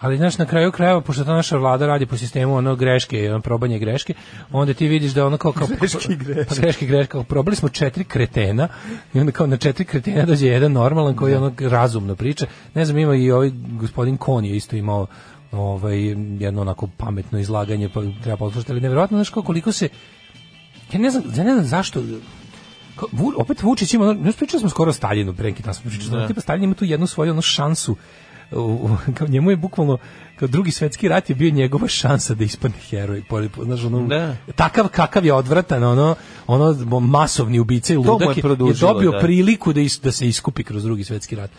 ali znaš na kraju krajeva pošto ta naša vlada radi po sistemu ono greške ono probanje greške onda ti vidiš da ono kao, kao greški greške pa [laughs] greške greške kao probali smo četiri kretena i onda kao na četiri kretena dođe jedan normalan koji ono razumno priča ne znam ima i ovaj gospodin Kon je isto imao ovaj, jedno onako pametno izlaganje, pa treba poslušati, ali nevjerojatno, znaš kao koliko se, ja ne znam, ja ne znam zašto, kao, Vu- opet Vučić ima, ono- znaš, pričali smo skoro o Staljinu, pre neki dan smo pričali, tipa Staljin ima tu jednu svoju ono, šansu, u- u- kao njemu je bukvalno kao drugi svetski rat je bio njegova šansa da ispadne heroj pored znaš ono
Da.
takav kakav je odvratan ono ono masovni ubica i
mu je
ludak je, je
produžilo,
dobio
da.
priliku da is, da se iskupi kroz drugi svetski rat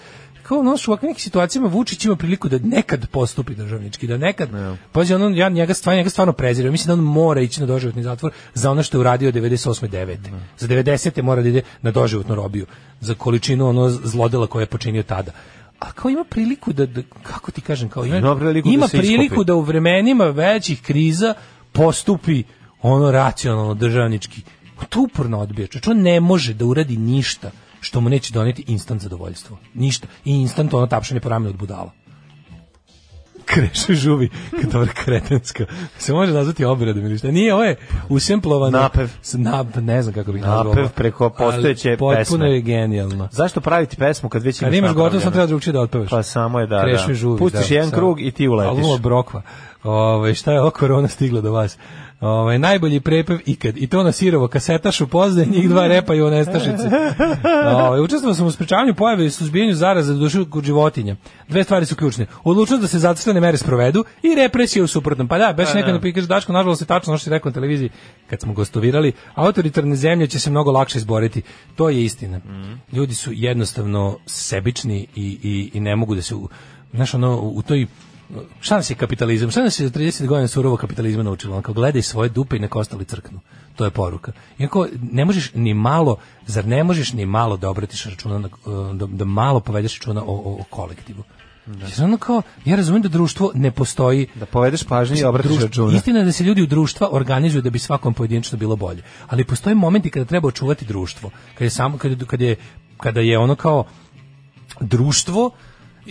kao ono u ovakvim nekim situacijama Vučić ima priliku da nekad postupi državnički, da nekad, pazi, ono, ja njega stvarno, njega stvarno prezirem, mislim da on mora ići na doživotni zatvor za ono što je uradio 98. 9. Za 90. mora da ide na doživotnu robiju, za količinu ono zlodela koje je počinio tada. A kao ima priliku da, da kako ti kažem, kao ima,
Ima priliku da
ima
se
priliku
iskopi.
da u vremenima većih kriza postupi ono racionalno državnički. On To uporno odbija. Čovječ, on ne može da uradi ništa što mu neće doneti instant zadovoljstvo. Ništa. I instant ono tapšanje po ramenu od budala. Kreše žuvi, kad dobra kretenska. Se može nazvati obradom ili šta. Nije, ovo je usemplovano.
Napev.
S- nap- ne znam kako bih nazvao.
Napev
ovo.
preko postojeće
Ali Potpuno
pesme.
je genijalno.
Zašto praviti pesmu kad već
Kad imaš gotovo, sam
napravljenu?
treba drugčije da otpevaš.
Pa samo je da,
Krešu
da.
i žuvi,
Pustiš
da,
jedan
samo.
krug i ti uletiš.
Alula brokva. Ove, šta je ova korona stigla do vas? Ove, najbolji prepev ikad. I to na sirovo kasetaš u pozde, njih dva repa i u nestašici. Ove, učestvovao sam u sprečavanju pojave i suzbijanju zaraze do dušu kod životinja. Dve stvari su ključne. Odlučnost da se zacrtane mere sprovedu i represije u suprotnom. Pa da, baš neka da pikaš Dačko, nažalost je tačno ono što si rekao na televiziji kad smo gostovirali, autoritarne zemlje će se mnogo lakše izboriti. To je istina. Ljudi su jednostavno sebični i, i, i ne mogu da se u, znaš, ono, u toj šta nas je kapitalizam, šta nas je za 30 godina surovo kapitalizma naučilo, onako gledaj svoje dupe i neka ostali crknu, to je poruka. Iako ne možeš ni malo, zar ne možeš ni malo da obratiš računa, na, e, da, da malo povedeš računa o, o, o kolektivu. Jer ono kao, ja razumijem da društvo ne postoji
Da povedeš pažnju i obratiš
Društvo-
računa.
Istina je da se ljudi u društva organizuju da bi svakom pojedinačno bilo bolje. Ali postoje momenti kada treba očuvati društvo. Kada je samo kada, kada je kada je ono kao društvo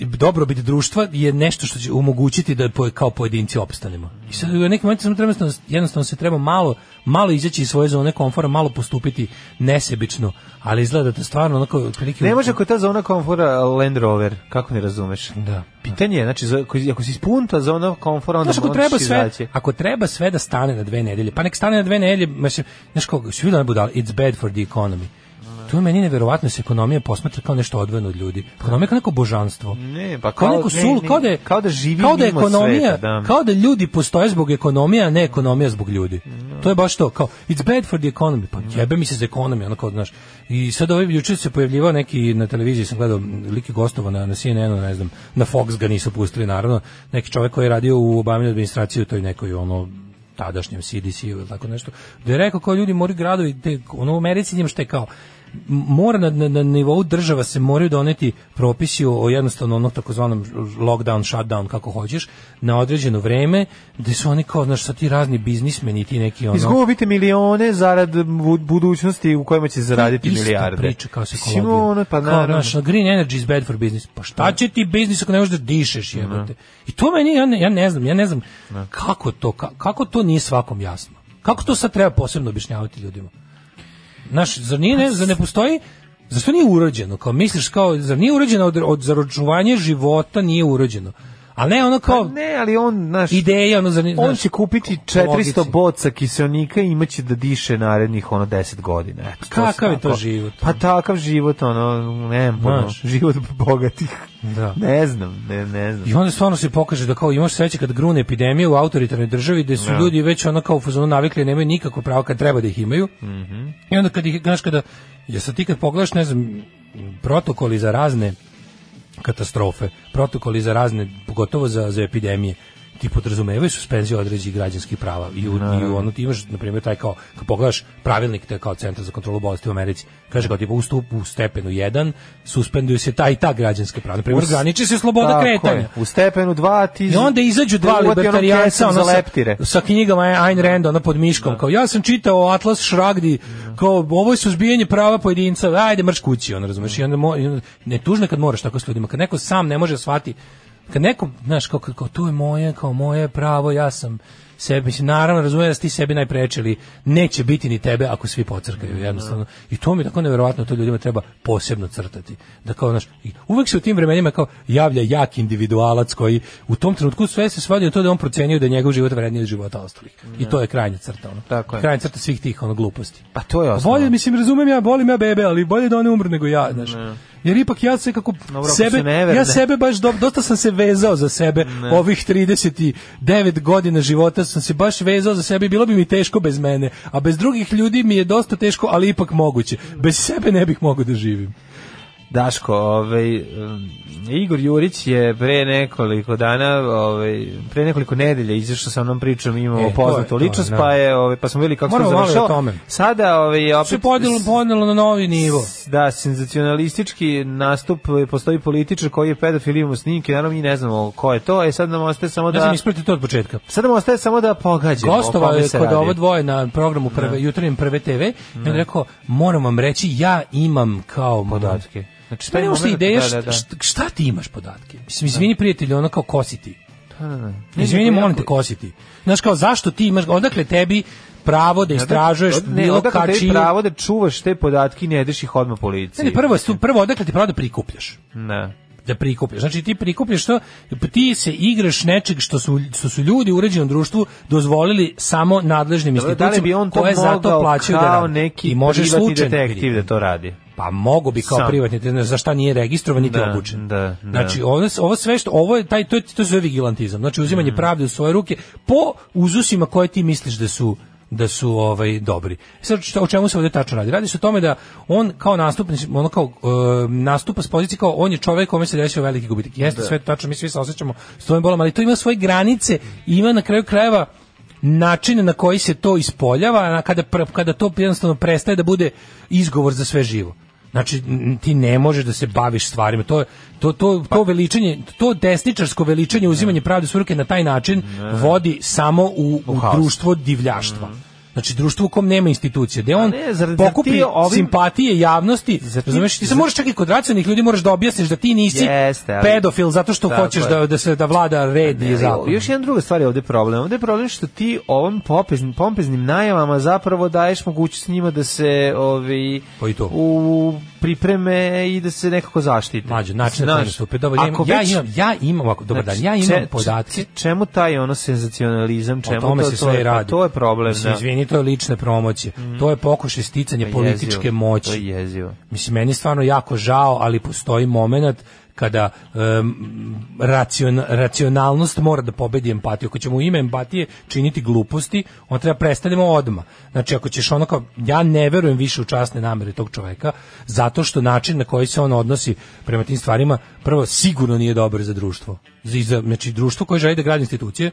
dobrobit društva je nešto što će omogućiti da po- kao pojedinci opstanemo. I sad u nekim momentima samo treba jednostavno se treba malo malo izaći iz svoje zone komfora, malo postupiti nesebično, ali izgleda da stvarno onako otprilike
Ne može ako je ta zona komfora Land Rover, kako ne razumeš?
Da.
Pitanje je, znači, za- ako, ako si ispunta
ono
zona komfora, onda
Znaš, ako
onda
treba
ćeš
sve,
izaći.
ako treba sve da stane na dve nedelje, pa nek stane na dve nedelje, mislim, znaš kako, svi da ne budala, it's bad for the economy. To je meni neverovatno da se ekonomija posmatra kao nešto odvojeno od ljudi. Ekonomija je kao neko božanstvo.
Ne, pa
kao,
kao-
neko
ne,
sul,
ne,
kao da je,
kao da živi
kao da je
mimo
ekonomija,
sveta, da.
kao da ljudi postoje zbog ekonomije, a ne ekonomija zbog ljudi. To je baš to, kao it's bad for the economy, pa jebe mi se za ekonomiju, ono kao, znaš. I sad ovaj juče se pojavljivao neki na televiziji sam gledao liki gostovo na na CNN-u, ne znam, na Fox ga nisu pustili naravno, neki čovjek koji je radio u Obaminoj administraciji u toj nekoj ono tadašnjem CDC-u ili tako nešto, da je rekao kao ljudi moraju gradovi, te, ono u Americi njima što je kao, mora na, na, na nivou država se moraju doneti propisi o, o jednostavno onom takozvanom lockdown, shutdown, kako hoćeš, na određeno vreme, gde su oni kao, znaš, sad ti razni biznismeni, ti neki ono...
Izgubite milione zarad bu- budućnosti u kojima će zaraditi
Ista
milijarde.
priča kao sa
Mislim,
ekologijom.
ono, pa
Kao,
naravno.
znaš, green energy is bad for business. Pa šta će ti biznis ako ne možeš da dišeš, jebote? I to meni, ja ne, ja ne znam, ja ne znam kako to, ka- kako to nije svakom jasno. Kako to sad treba posebno objašnjavati ljudima? Znaš, zar nije,
Pa
ne, zar ne postoji, zašto nije urođeno? Kao misliš kao, zar nije urođeno od, od zaročuvanja života nije urođeno? A ne ono kao,
Pa Ne, ali on, znaš,
ideja, ono, zar nije,
on
znaš,
će kupiti
po
400
logici.
boca kiselnika i imaće da diše narednih ono 10 godina. Eto, to
Kakav je
tako.
to život?
Pa takav život, ono, ne znam, ono,
Znaš.
život bogatih.
Da.
Ne znam, ne, ne znam.
I onda stvarno se pokaže da kao imaš sreće kad grune epidemije u autoritarnoj državi gde su ljudi već ono kao u fazonu navikli nemaju nikakvo pravo kad treba da ih imaju.
Mhm.
I onda kad ih, znaš, kada, jer sad ti kad pogledaš, ne znam, protokoli za razne katastrofe, protokoli za razne, pogotovo za, za epidemije, ti podrazumevaju suspenziju određenih građanskih prava i u, i u ono ti imaš na primjer taj kao kad pogledaš pravilnik te kao centar za kontrolu bolesti u Americi kaže kao tipa u stupu u stepenu 1 suspenduju se ta i ta građanska prava na primjer
U s-
ograniči se sloboda
Tako je.
kretanja
U stepenu 2 ti...
i onda izađu dva
uhvati onom
libertarijanca
kesom
ono
za
sa,
leptire.
sa knjigama Ayn Rand ono pod miškom kao ja sam čitao Atlas Šragdi kao ovo je suzbijanje prava pojedinca ajde mrš kući on razumeš i onda, mo, i onda- ne tužno je kad moraš tako s ljudima kad neko sam ne može shvati kad neko znaš kao, kao, kao to je moje kao moje pravo ja sam sebi, mislim, naravno razumijem da si ti sebi najprečeli, neće biti ni tebe ako svi pocrkaju, jednostavno. I to mi je tako neverovatno, to ljudima treba posebno crtati. Da kao, znaš, i uvek se u tim vremenima kao javlja jak individualac koji u tom trenutku sve se svodi na to da je on procenio da je njegov život vredniji od života ostalih. I to je krajnja crta, ono.
Tako je.
Krajnja crta svih tih, ono, gluposti.
Pa to je osnovno.
Bolje, mislim, razumem ja, bolim ja bebe, ali bolje da one umru nego ja, znaš. Jer ipak ja se kako
ako
sebe,
se ne verne.
ja sebe baš, do, dosta sam se vezao za sebe, ovih 39 godina života sam se baš vezao za sebe i bilo bi mi teško bez mene, a bez drugih ljudi mi je dosta teško, ali ipak moguće. Bez sebe ne bih mogao da živim.
Daško, ovaj, um, Igor Jurić je pre nekoliko dana, ovaj, pre nekoliko nedelja izašao sa mnom pričom, imamo
E, to je
poznatu
to,
ličnost,
da.
pa je, ovaj, pa smo vidjeli kako
Moramo
sam
malo i o
završao.
tome.
Sada, ovaj, opet...
Sve podelo, ponelo na novi nivo.
Da, senzacionalistički nastup, eh, postoji političar koji je pedofil, imamo snimke, naravno mi ne znamo ko je to, e sad nam ostaje samo
Ja sam
da...
ispratio to od početka.
Sad nam ostaje samo da pogađamo. o
Gostovao
kome
je
se
kod
radi.
ovo dvoje na programu prve, jutarnjem prve TV i
Mm.
on je rekao, moram vam reći, ja imam kao
Podatke. Znači,
Znači,
taj
pa nemaš ti
moment-
ideja
da,
šta,
da, da.
šta- šta ti imaš podatke? Mislim, izvini prijatelju, ono kao ko si ti?
Da, da, da.
Izvini,
Jako-
molim te, ko si ti? Znaš kao, zašto ti imaš, odakle tebi pravo da istražuješ
Od- ne,
bilo
odakle tebi
kačiju?
pravo da čuvaš te podatke i ne daš ih odmah policiji.
Ne, ne, prvo, su- prvo odakle ti pravo da prikupljaš?
Ne.
da prikupljaš. Znači ti prikupljaš to, ti se igraš nečeg što su, što su ljudi u uređenom društvu dozvolili samo nadležnim
Dobro, Da
institucijama
li bi on to
koje za to
mogao
plaćaju da
kao
rade.
neki
I možeš
privatni
slučajno
detektiv da
prikupiti.
to radi?
Pa mogu bi kao
Sam.
privatni, te znaš, za šta nije registrovan niti
Da,
obučen.
da, da.
Znači, ovo, ovo sve što, ovo je, taj, to, je- to se zove vigilantizam. Znači, uzimanje
Mm.
pravde u svoje ruke po uzusima koje ti misliš da su da su ovaj dobri. Sad šta, o čemu se ovdje tačno radi? Radi se o tome da on kao nastupnik, ono kao e, nastupa s pozicije kao on je čovjek kome se desio veliki gubitak. Jeste sve to tačno, mi svi se osjećamo s tvojim bolom, ali to ima svoje granice, i ima na kraju krajeva način na koji se to ispoljava, a kada, pr- kada to jednostavno prestaje da bude izgovor za sve živo. Znači, n- ti ne možeš da se baviš stvarima. To, je- to, to,
Pa-
to veličanje, to desničarsko veličanje, uzimanje pravde u ruke na taj način vodi samo u, u
haos. Mhm.
društvo divljaštva. Znači, društvo u kom nema institucije. Gde on
ne, zar- zar
pokupi
ti ovim-
simpatije javnosti.
Zar ti-
razumeš, ti se
zar-
moraš čak i kod racionalnih ljudi moraš da objasniš da ti nisi
Jeste, ali-
pedofil zato što
Tako
hoćeš
je. Pa
da, da se da vlada red i zakon.
Još jedna druga stvar je ovde problem. Ovde je problem što ti ovom popeznim, pompeznim najavama zapravo daješ mogućnost njima da se ovi,
Pa i to.
u pripreme i da se nekako zaštite.
Mlađe, način na
Znaš,
koji nastupe. Dobar, ja,
ako
imam, ja
već-
imam, ja imam, ovako, dobar dan,
Znači,
ja
če-
imam
če-
podatke.
Čemu taj ono senzacionalizam,
o
čemu
tome
to,
se
to,
sve
je-
i
pa
radi.
to je problem.
Mislim,
da.
izvini, to je lične promocije. To je pokušaj sticanja
To je jezivo,
političke
To
moći.
je jezivo.
Mislim, meni je stvarno jako žao, ali postoji moment kada em, raciona- racionalnost mora da pobedi empatiju. Ako ćemo u ime empatije činiti gluposti, on treba prestanemo odma. Znači, ako ćeš ono kao, ja ne verujem više u časne namere tog čoveka, zato što način na koji se on odnosi prema tim stvarima, prvo, sigurno nije dobar za društvo. Za- za- znači, društvo koje želi da gradi institucije,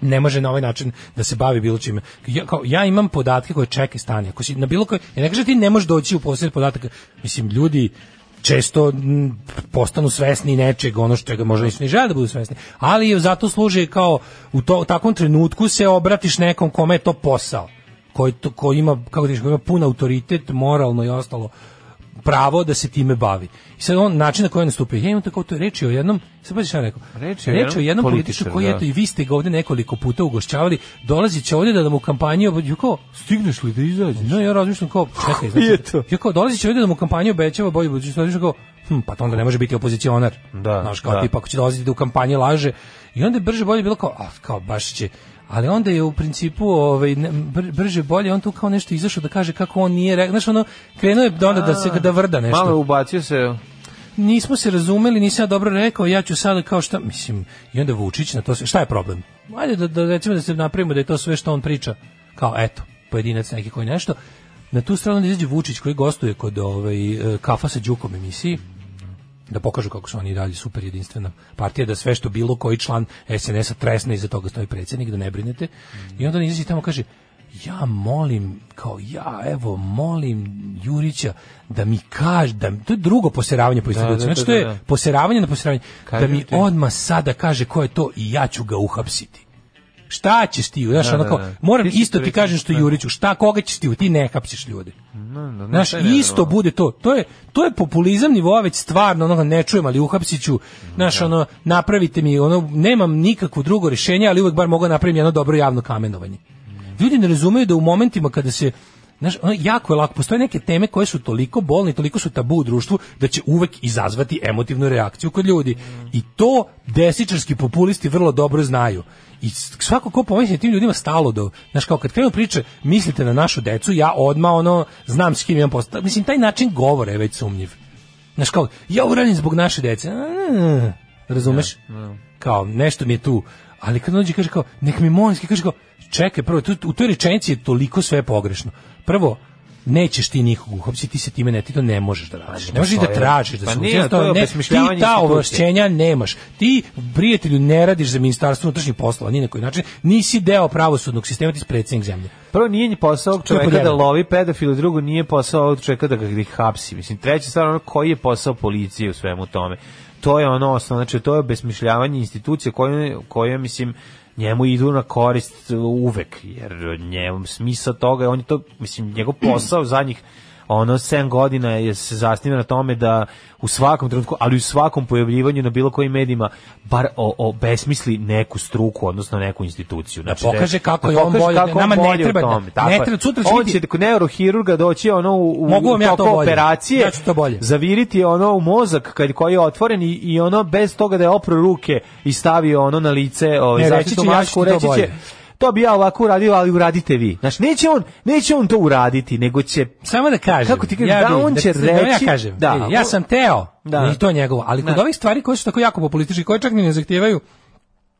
ne može na ovaj način da se bavi bilo čime. Ja, kao, ja imam podatke koje čeka stanje. Ako si na bilo koje, ja ne kažem da ti ne možeš doći u posjed podataka. Mislim, ljudi često m, postanu svesni nečeg, ono što čega možda nisu ni žele da budu svesni. Ali je zato služi kao u to, u takvom trenutku se obratiš nekom kome je to posao. Koji, to, koji ima, kako ti kažeš, koji ima pun autoritet, moralno i ostalo pravo da se time bavi. I sad on, način na koji on nastupio, ja imam tako, to je reč je o jednom, sad pazi šta je rekao,
Reč je
o
o jednom
jednom
političaru,
političaru koji,
da.
eto, i vi ste ga ovde nekoliko puta ugošćavali, dolazit će ovde da nam u kampanji obećava, kao, stigneš li da izađeš? No, ja razmišljam kao, čekaj,
Je
znači,
to.
ja kao, dolazit će ovde da mu u kampanji obećava bolje budućnost, razmišljam kao, hm, pa to onda ne može biti opozicionar.
Da,
Znaš, kao
da.
tipa, ako će dolaziti da u kampanji laže. I onda je brže bolje bilo kao, a, kao, baš će, Ali onda je u principu ovaj, ne- br- brže bolje on tu kao nešto izašao da kaže kako on nije rekao. Znaš, ono, krenuo je da onda da se da vrda nešto
Malo je ubacio se
nismo se razumeli, nisam ja dobro rekao, ja ću sada kao šta, mislim, i onda Vučić na to sve, šta je problem? Ajde da, da recimo da se napravimo da je to sve što on priča, kao eto, pojedinac neki koji nešto, na tu stranu da izađe Vučić koji gostuje kod ovaj, e, kafa sa Đukom emisiji, da pokažu kako su oni i dalje super jedinstvena partija, da sve što bilo koji član SNS-a tresne iza toga stoji predsjednik, da ne brinete. I onda on izlazi tamo kaže, ja molim, kao ja, evo, molim Jurića da mi kaže, da, mi- to je drugo poseravanje po instituciji,
da,
znači
da,
to
da,
je
da.
poseravanje na poseravanje, da
Kažem
mi
ti.
odma sada kaže ko je to i ja ću ga uhapsiti. šta ćeš ti, znaš,
Da,
ono
da,
kao,
da.
moram
Ti si
isto ti
predsjednik,
kažem što
da.
Juriću, šta, koga ćeš ti, ti ne hapsiš ljude.
da,
Znaš,
to Ono, je nenormalno.
isto bude to. To je, to je populizam nivoa već stvarno, ono, ne čujem, ali uhapsit ću, znaš, ono, napravite mi, ono, nemam nikakvo drugo rješenje, ali uvek bar mogu napraviti jedno dobro javno kamenovanje. Ljudi ne razumeju da u momentima kada se Znaš, ono, jako je lako, postoje neke teme koje su toliko bolne, i toliko su tabu u društvu da će uvek izazvati emotivnu reakciju kod ljudi. I to desičarski populisti vrlo dobro znaju. I s- svako ko pomisli tim ljudima stalo do, znaš kao kad krenu priče, mislite na našu decu, ja odma ono znam s kim imam posla. Mislim taj način govora je već sumnjiv. Znaš kao ja uradim zbog naše dece. A, Razumeš? Kao nešto mi je tu. Ali kad dođe i kaže kao nek mi molim, kaže kao čekaj prvo tu, u toj rečenici je toliko sve pogrešno. Prvo nećeš ti nikog uhapsiti, ti se time ne, ti to ne možeš da radiš. Ne možeš da
postoji.
tražiš da
Pa
se
nije,
učini,
to je
ne, ti
obesmišljavanje
ta
institucije.
ovlašćenja ovlašćenja nemaš. Ti, prijatelju, ne radiš za ministarstvo unutrašnjih poslova, ni na koji način, nisi deo pravosudnog sistema, ti si predsjednik zemlje.
Prvo nije ni posao ovog
Što je pod
čoveka da
jedan?
lovi pedofile, drugo nije posao ovog čoveka da ga ih hapsi. Mislim, treća stvar, ono koji je posao policije u svemu tome. To je ono osnovno, znači to je besmišljavanje institucije koje, koje mislim, njemu idu na korist uvek, jer njemu smisao toga, je- on je to, mislim, njegov posao zadnjih ono 7 godina je se zasniva na tome da u svakom trenutku, ali u svakom pojavljivanju na bilo kojim medijima bar o, obesmisli neku struku, odnosno neku instituciju. Znači,
pokaže kako
da
je on
pokaže
bolje,
kako on
nama ne
bolje u
treba,
tome.
ne
Tako je.
treba, sutra će
on
biti-
će kod neurohirurga doći ono u, u
Mogu vam ja
toku
to bolje.
operacije,
Ja ću to bolje.
zaviriti ono u mozak kad, koji je otvoren i, i ono bez toga da je opro ruke i stavio ono na lice ovaj,
Ne, reći
zaštitnu
će, ja ću
masku,
ti to
reći će,
bolje.
to bi ja ovako uradio, ali uradite vi. Znaš, neće on, neće on to uraditi, nego će
Samo da kažem.
Kako ti kažem, da
bi-
on će
da ja
reći-
kažem,
da,
vidi, ja
on-
sam teo,
Da.
i to je njegovo, ali kod
Da.
ovih stvari koje su tako jako populističke, koje čak ni ne zahtijevaju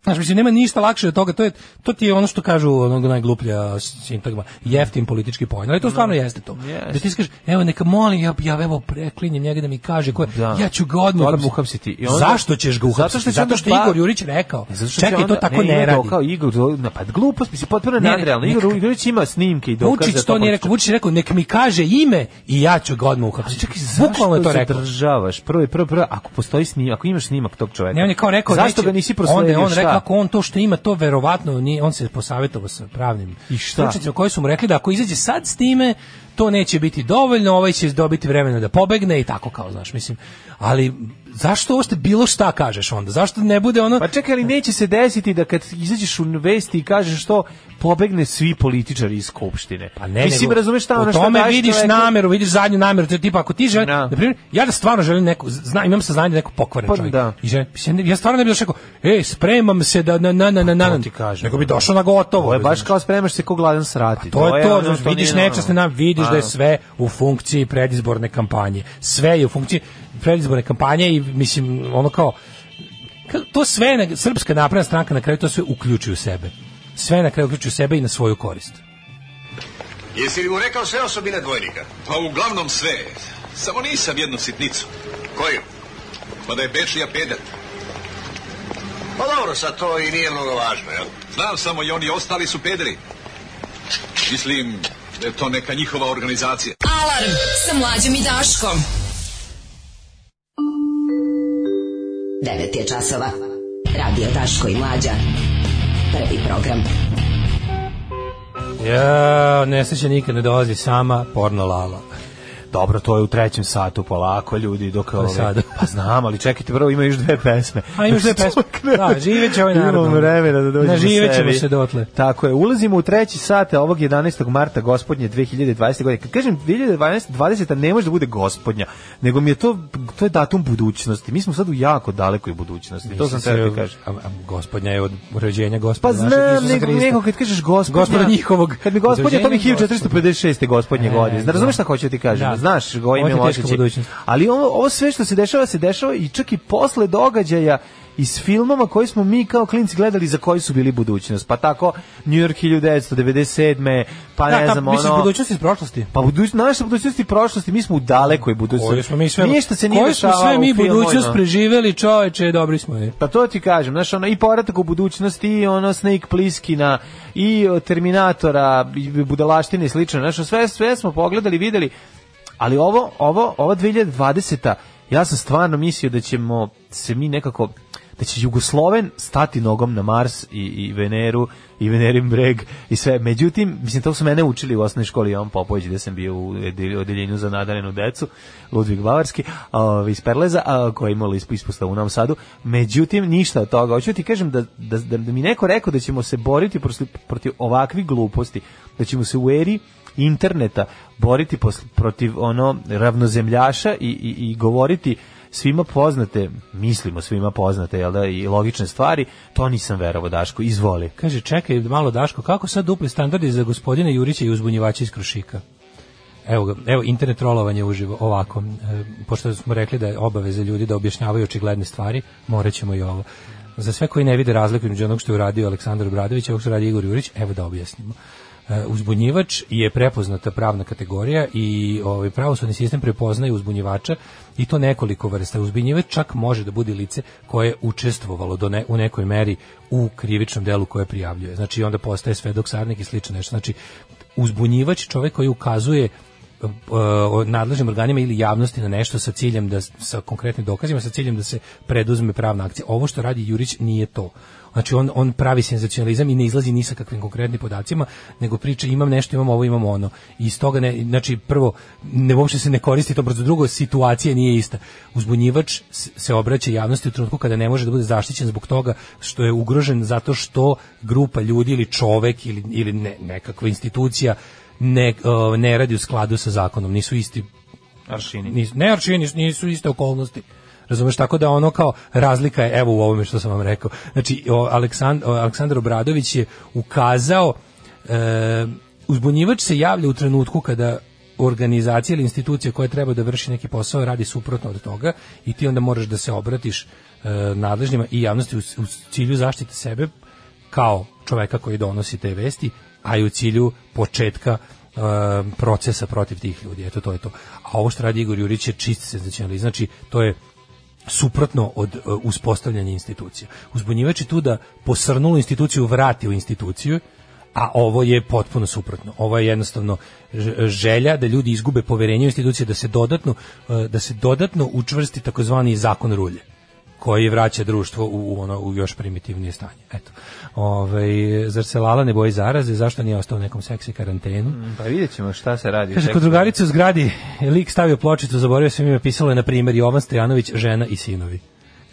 Znaš, mislim, nema ništa lakše od toga, to, je, to ti je ono što kažu onog najgluplja sintagma, jeftin politički poen, ali to stvarno jeste to. Da ti skaš, evo neka molim, ja, ja evo preklinjem njega da mi kaže, ko, je-
Da.
ja ću ga odmah
Odmah
uhapsiti.
uhapsiti. I onda-
Zašto ćeš ga
Zato što
uhapsiti?
će
Zato što,
onda ba-
Igor Jurić rekao.
Zato što će
Čekaj, to
onda-
tako
ima
ne radi.
Kao Igor,
pa
napad glupost, mislim, potpuno
Ne, ne,
nadrealno. Igor
nekako-
Jurić ima snimke i dokaze.
Vučić
za
to nije
pa-
rekao, Vučić je rekao, nek mi kaže ime i ja ću ga odmah uhapsiti.
Čekaj,
Bukvalno je to rekao.
Zadržavaš? Prvo, je- prvo, prvo, ako postoji snimak, ako imaš snimak tog čoveka.
Ne, on je kao rekao,
zašto
neće-
ga nisi prosledio?
Onda je on
šta?
rekao ako on to što ima to verovatno nije, on se posavjetovao sa pravnim
I šta?
stručnjacima koji su mu rekli da ako izađe sad s time to neće biti dovoljno, ovaj će dobiti vremena da pobegne i tako kao, znaš, mislim. Ali zašto uopšte bilo šta kažeš onda? Zašto ne bude ono
Pa čekaj, ali neće se desiti da kad izađeš u vesti i kažeš što pobegne svi političari iz skupštine.
Pa ne,
Mislim,
nego,
razumeš šta ono
u
što
tome
daješ
vidiš
čoveku?
nameru, vidiš zadnju nameru, to je tipa ako ti želiš,
Da.
na primjer, ja da stvarno želim neku, znam, imam saznanje da neko pokvaren
Pa
čovjek.
da.
I želim, mislim, ja stvarno ne bih došao, rekao, ej, spremam se da na na na na na,
to ti kažem.
nego bi došao na gotovo.
Ovo je baš
znaš.
kao spremaš se ko gladan srati.
Pa To je to,
ono
znaš,
što
vidiš
nije, ono-
nečasne nam, vidiš da je
A.
sve u funkciji predizborne kampanje. Sve je u funkciji predizborne kampanje i mislim ono kao ka- to sve na- srpska napredna stranka na kraju to sve uključi u sebe. Sve na kraju uključi u sebe i na svoju korist.
Jesi li mu rekao sve osobine dvojnika?
Pa uglavnom sve. Samo nisam jednu sitnicu.
Koju?
Pa da je Bečija peder.
Pa dobro, sad to i nije mnogo važno, jel?
Znam samo i oni ostali su pederi. Mislim da je to neka njihova organizacija.
Alarm sa mlađom i Daškom.
9 je časova. Radio Daško i Mlađa. Prvi program.
Ja, nesreća nikad ne dolazi sama, porno lala.
Dobro, to je u trećem satu polako, ljudi, dok ove-
sada.
Pa znam, ali čekajte, prvo ima još dve pesme.
A imaš
[laughs]
dve pesme. Da, živeće ovaj narod.
Imamo vremena da dođemo
Naživećemo
sebi.
se dotle.
Tako je, ulazimo u treći sat ovog 11. marta gospodnje 2020. godine. Kad kažem 2020. ne može da bude gospodnja, nego mi je to, to je datum budućnosti. Mi smo sad u jako dalekoj budućnosti. to sam
Mislim
teo
se,
ti kažem.
a- a Gospodnja je od rođenja
Pa
gospodnja.
znam, nego, nego kad kažeš gospodnja,
Gospoda njihovog.
Kad mi gospodnja, to mi je
Rođenja
1456. gospodnje
E,
godine. Znači,
da.
razumeš šta hoću ti kažem?
Da.
Znaš, go
Ovo ti
ime
je teška
osjećaj.
budućnost.
Ali ovo, ovo sve što se dešava, se dešava i čak i posle događaja iz filmova koji smo mi kao klinci gledali za koji su bili budućnost. Pa tako New York 1997. Pa ne
da,
znam,
ta, misliš
ono...
budućnost iz prošlosti?
Pa budućnost, naša budućnost i prošlosti, mi smo u dalekoj budućnosti.
Koju smo mi sve,
Ništa se nije
koju smo
dešavalo
sve mi
u filmu,
budućnost
ono.
preživeli, čoveče, dobri smo je.
Pa to ti kažem, znaš, ono, i povratak u budućnosti, i ono, Snake Pliskina, i o, Terminatora, i budalaštine i slično, znaš, sve, sve smo pogledali, videli, ali ovo, ovo, ova 2020. Ja sam stvarno mislio da ćemo se mi nekako, da će Jugosloven stati nogom na Mars i, i Veneru i Venerin breg i sve. Međutim, mislim, to su mene učili u osnovnoj školi Jovan Popović, gde sam bio u ede- odeljenju za nadarenu decu, Ludvig Bavarski, a, ovaj, iz Perleza, a, koji je imala ispustavu u Novom Sadu. Međutim, ništa od toga. Hoću ti kažem da, da, da, da mi neko rekao da ćemo se boriti protiv, protiv ovakvih gluposti, da ćemo se u eri interneta boriti posl- protiv ono ravnozemljaša i, i, i govoriti svima poznate, mislimo svima poznate, jel da, i logične stvari, to nisam verovo, Daško, izvoli.
Kaže, čekaj malo Daško, kako sad dupli standardi za gospodina Jurića i uzbunjivača iz Krušika? Evo ga, evo internet trolovanje uživo ovako. E, pošto smo rekli da je obaveza ljudi da objašnjavaju očigledne stvari, morat ćemo i ovo. Za sve koji ne vide razliku između onog što je uradio Aleksandar Obradović i ovog što radi Igor Jurić, evo da objasnimo. E, uzbunjivač je prepoznata pravna kategorija i ovaj pravosudni sistem prepoznaje uzbunjivača i to nekoliko vrsta. Uzbunjivač čak može da bude lice koje je učestvovalo do ne, u nekoj meri u krivičnom delu koje prijavljuje. Znači onda postaje svedok sarnik i slično nešto. Znači uzbunjivač je čovjek koji ukazuje e, nadležnim organima ili javnosti na nešto sa ciljem da sa konkretnim dokazima sa ciljem da se preduzme pravna akcija. Ovo što radi Jurić nije to. Znači on on pravi senzacionalizam i ne izlazi ni sa kakvim konkretnim podacima, nego priča imam nešto, imam ovo, imam ono. I iz toga ne znači prvo ne uopšte se ne koristi to brzo, drugo situacija nije ista. Uzbunjivač s- se obraća javnosti u trenutku kada ne može da bude zaštićen zbog toga što je ugrožen zato što grupa ljudi ili čovek ili ili ne, nekakva institucija ne, o, ne radi u skladu sa zakonom, nisu isti
Aršini.
nisu, ne aršini, nisu iste okolnosti. Razumeš, tako da ono kao razlika je, evo u ovome što sam vam rekao. Znači, o, Aleksand, o, Aleksandar Obradović je ukazao, e, uzbunjivač se javlja u trenutku kada organizacija ili institucija koja treba da vrši neki posao radi suprotno od toga i ti onda moraš da se obratiš e, nadležnima i javnosti u, u cilju zaštite sebe kao čoveka koji donosi te vesti, a i u cilju početka e, procesa protiv tih ljudi. Eto, to je to. A ovo što radi Igor Jurić je čist senzacionalizam. Znači, to je suprotno od e, uspostavljanja institucija. Uzbunjivač je tu da posrnulu instituciju vrati u instituciju, a ovo je potpuno suprotno. Ovo je jednostavno ž- želja da ljudi izgube poverenje u institucije, da se dodatno, e, da se dodatno učvrsti takozvani zakon rulje koji vraća društvo u, u ono u još primitivnije stanje. Eto. Ovaj zar se Lala ne boji zaraze, zašto nije ostao u nekom seksi karantenu?
Pa vidjet ćemo šta se radi.
Kaže, kod drugarice u zgradi, je lik stavio pločicu, zaboravio sam ime, pisalo je, na primjer, Jovan Stojanović, žena i sinovi.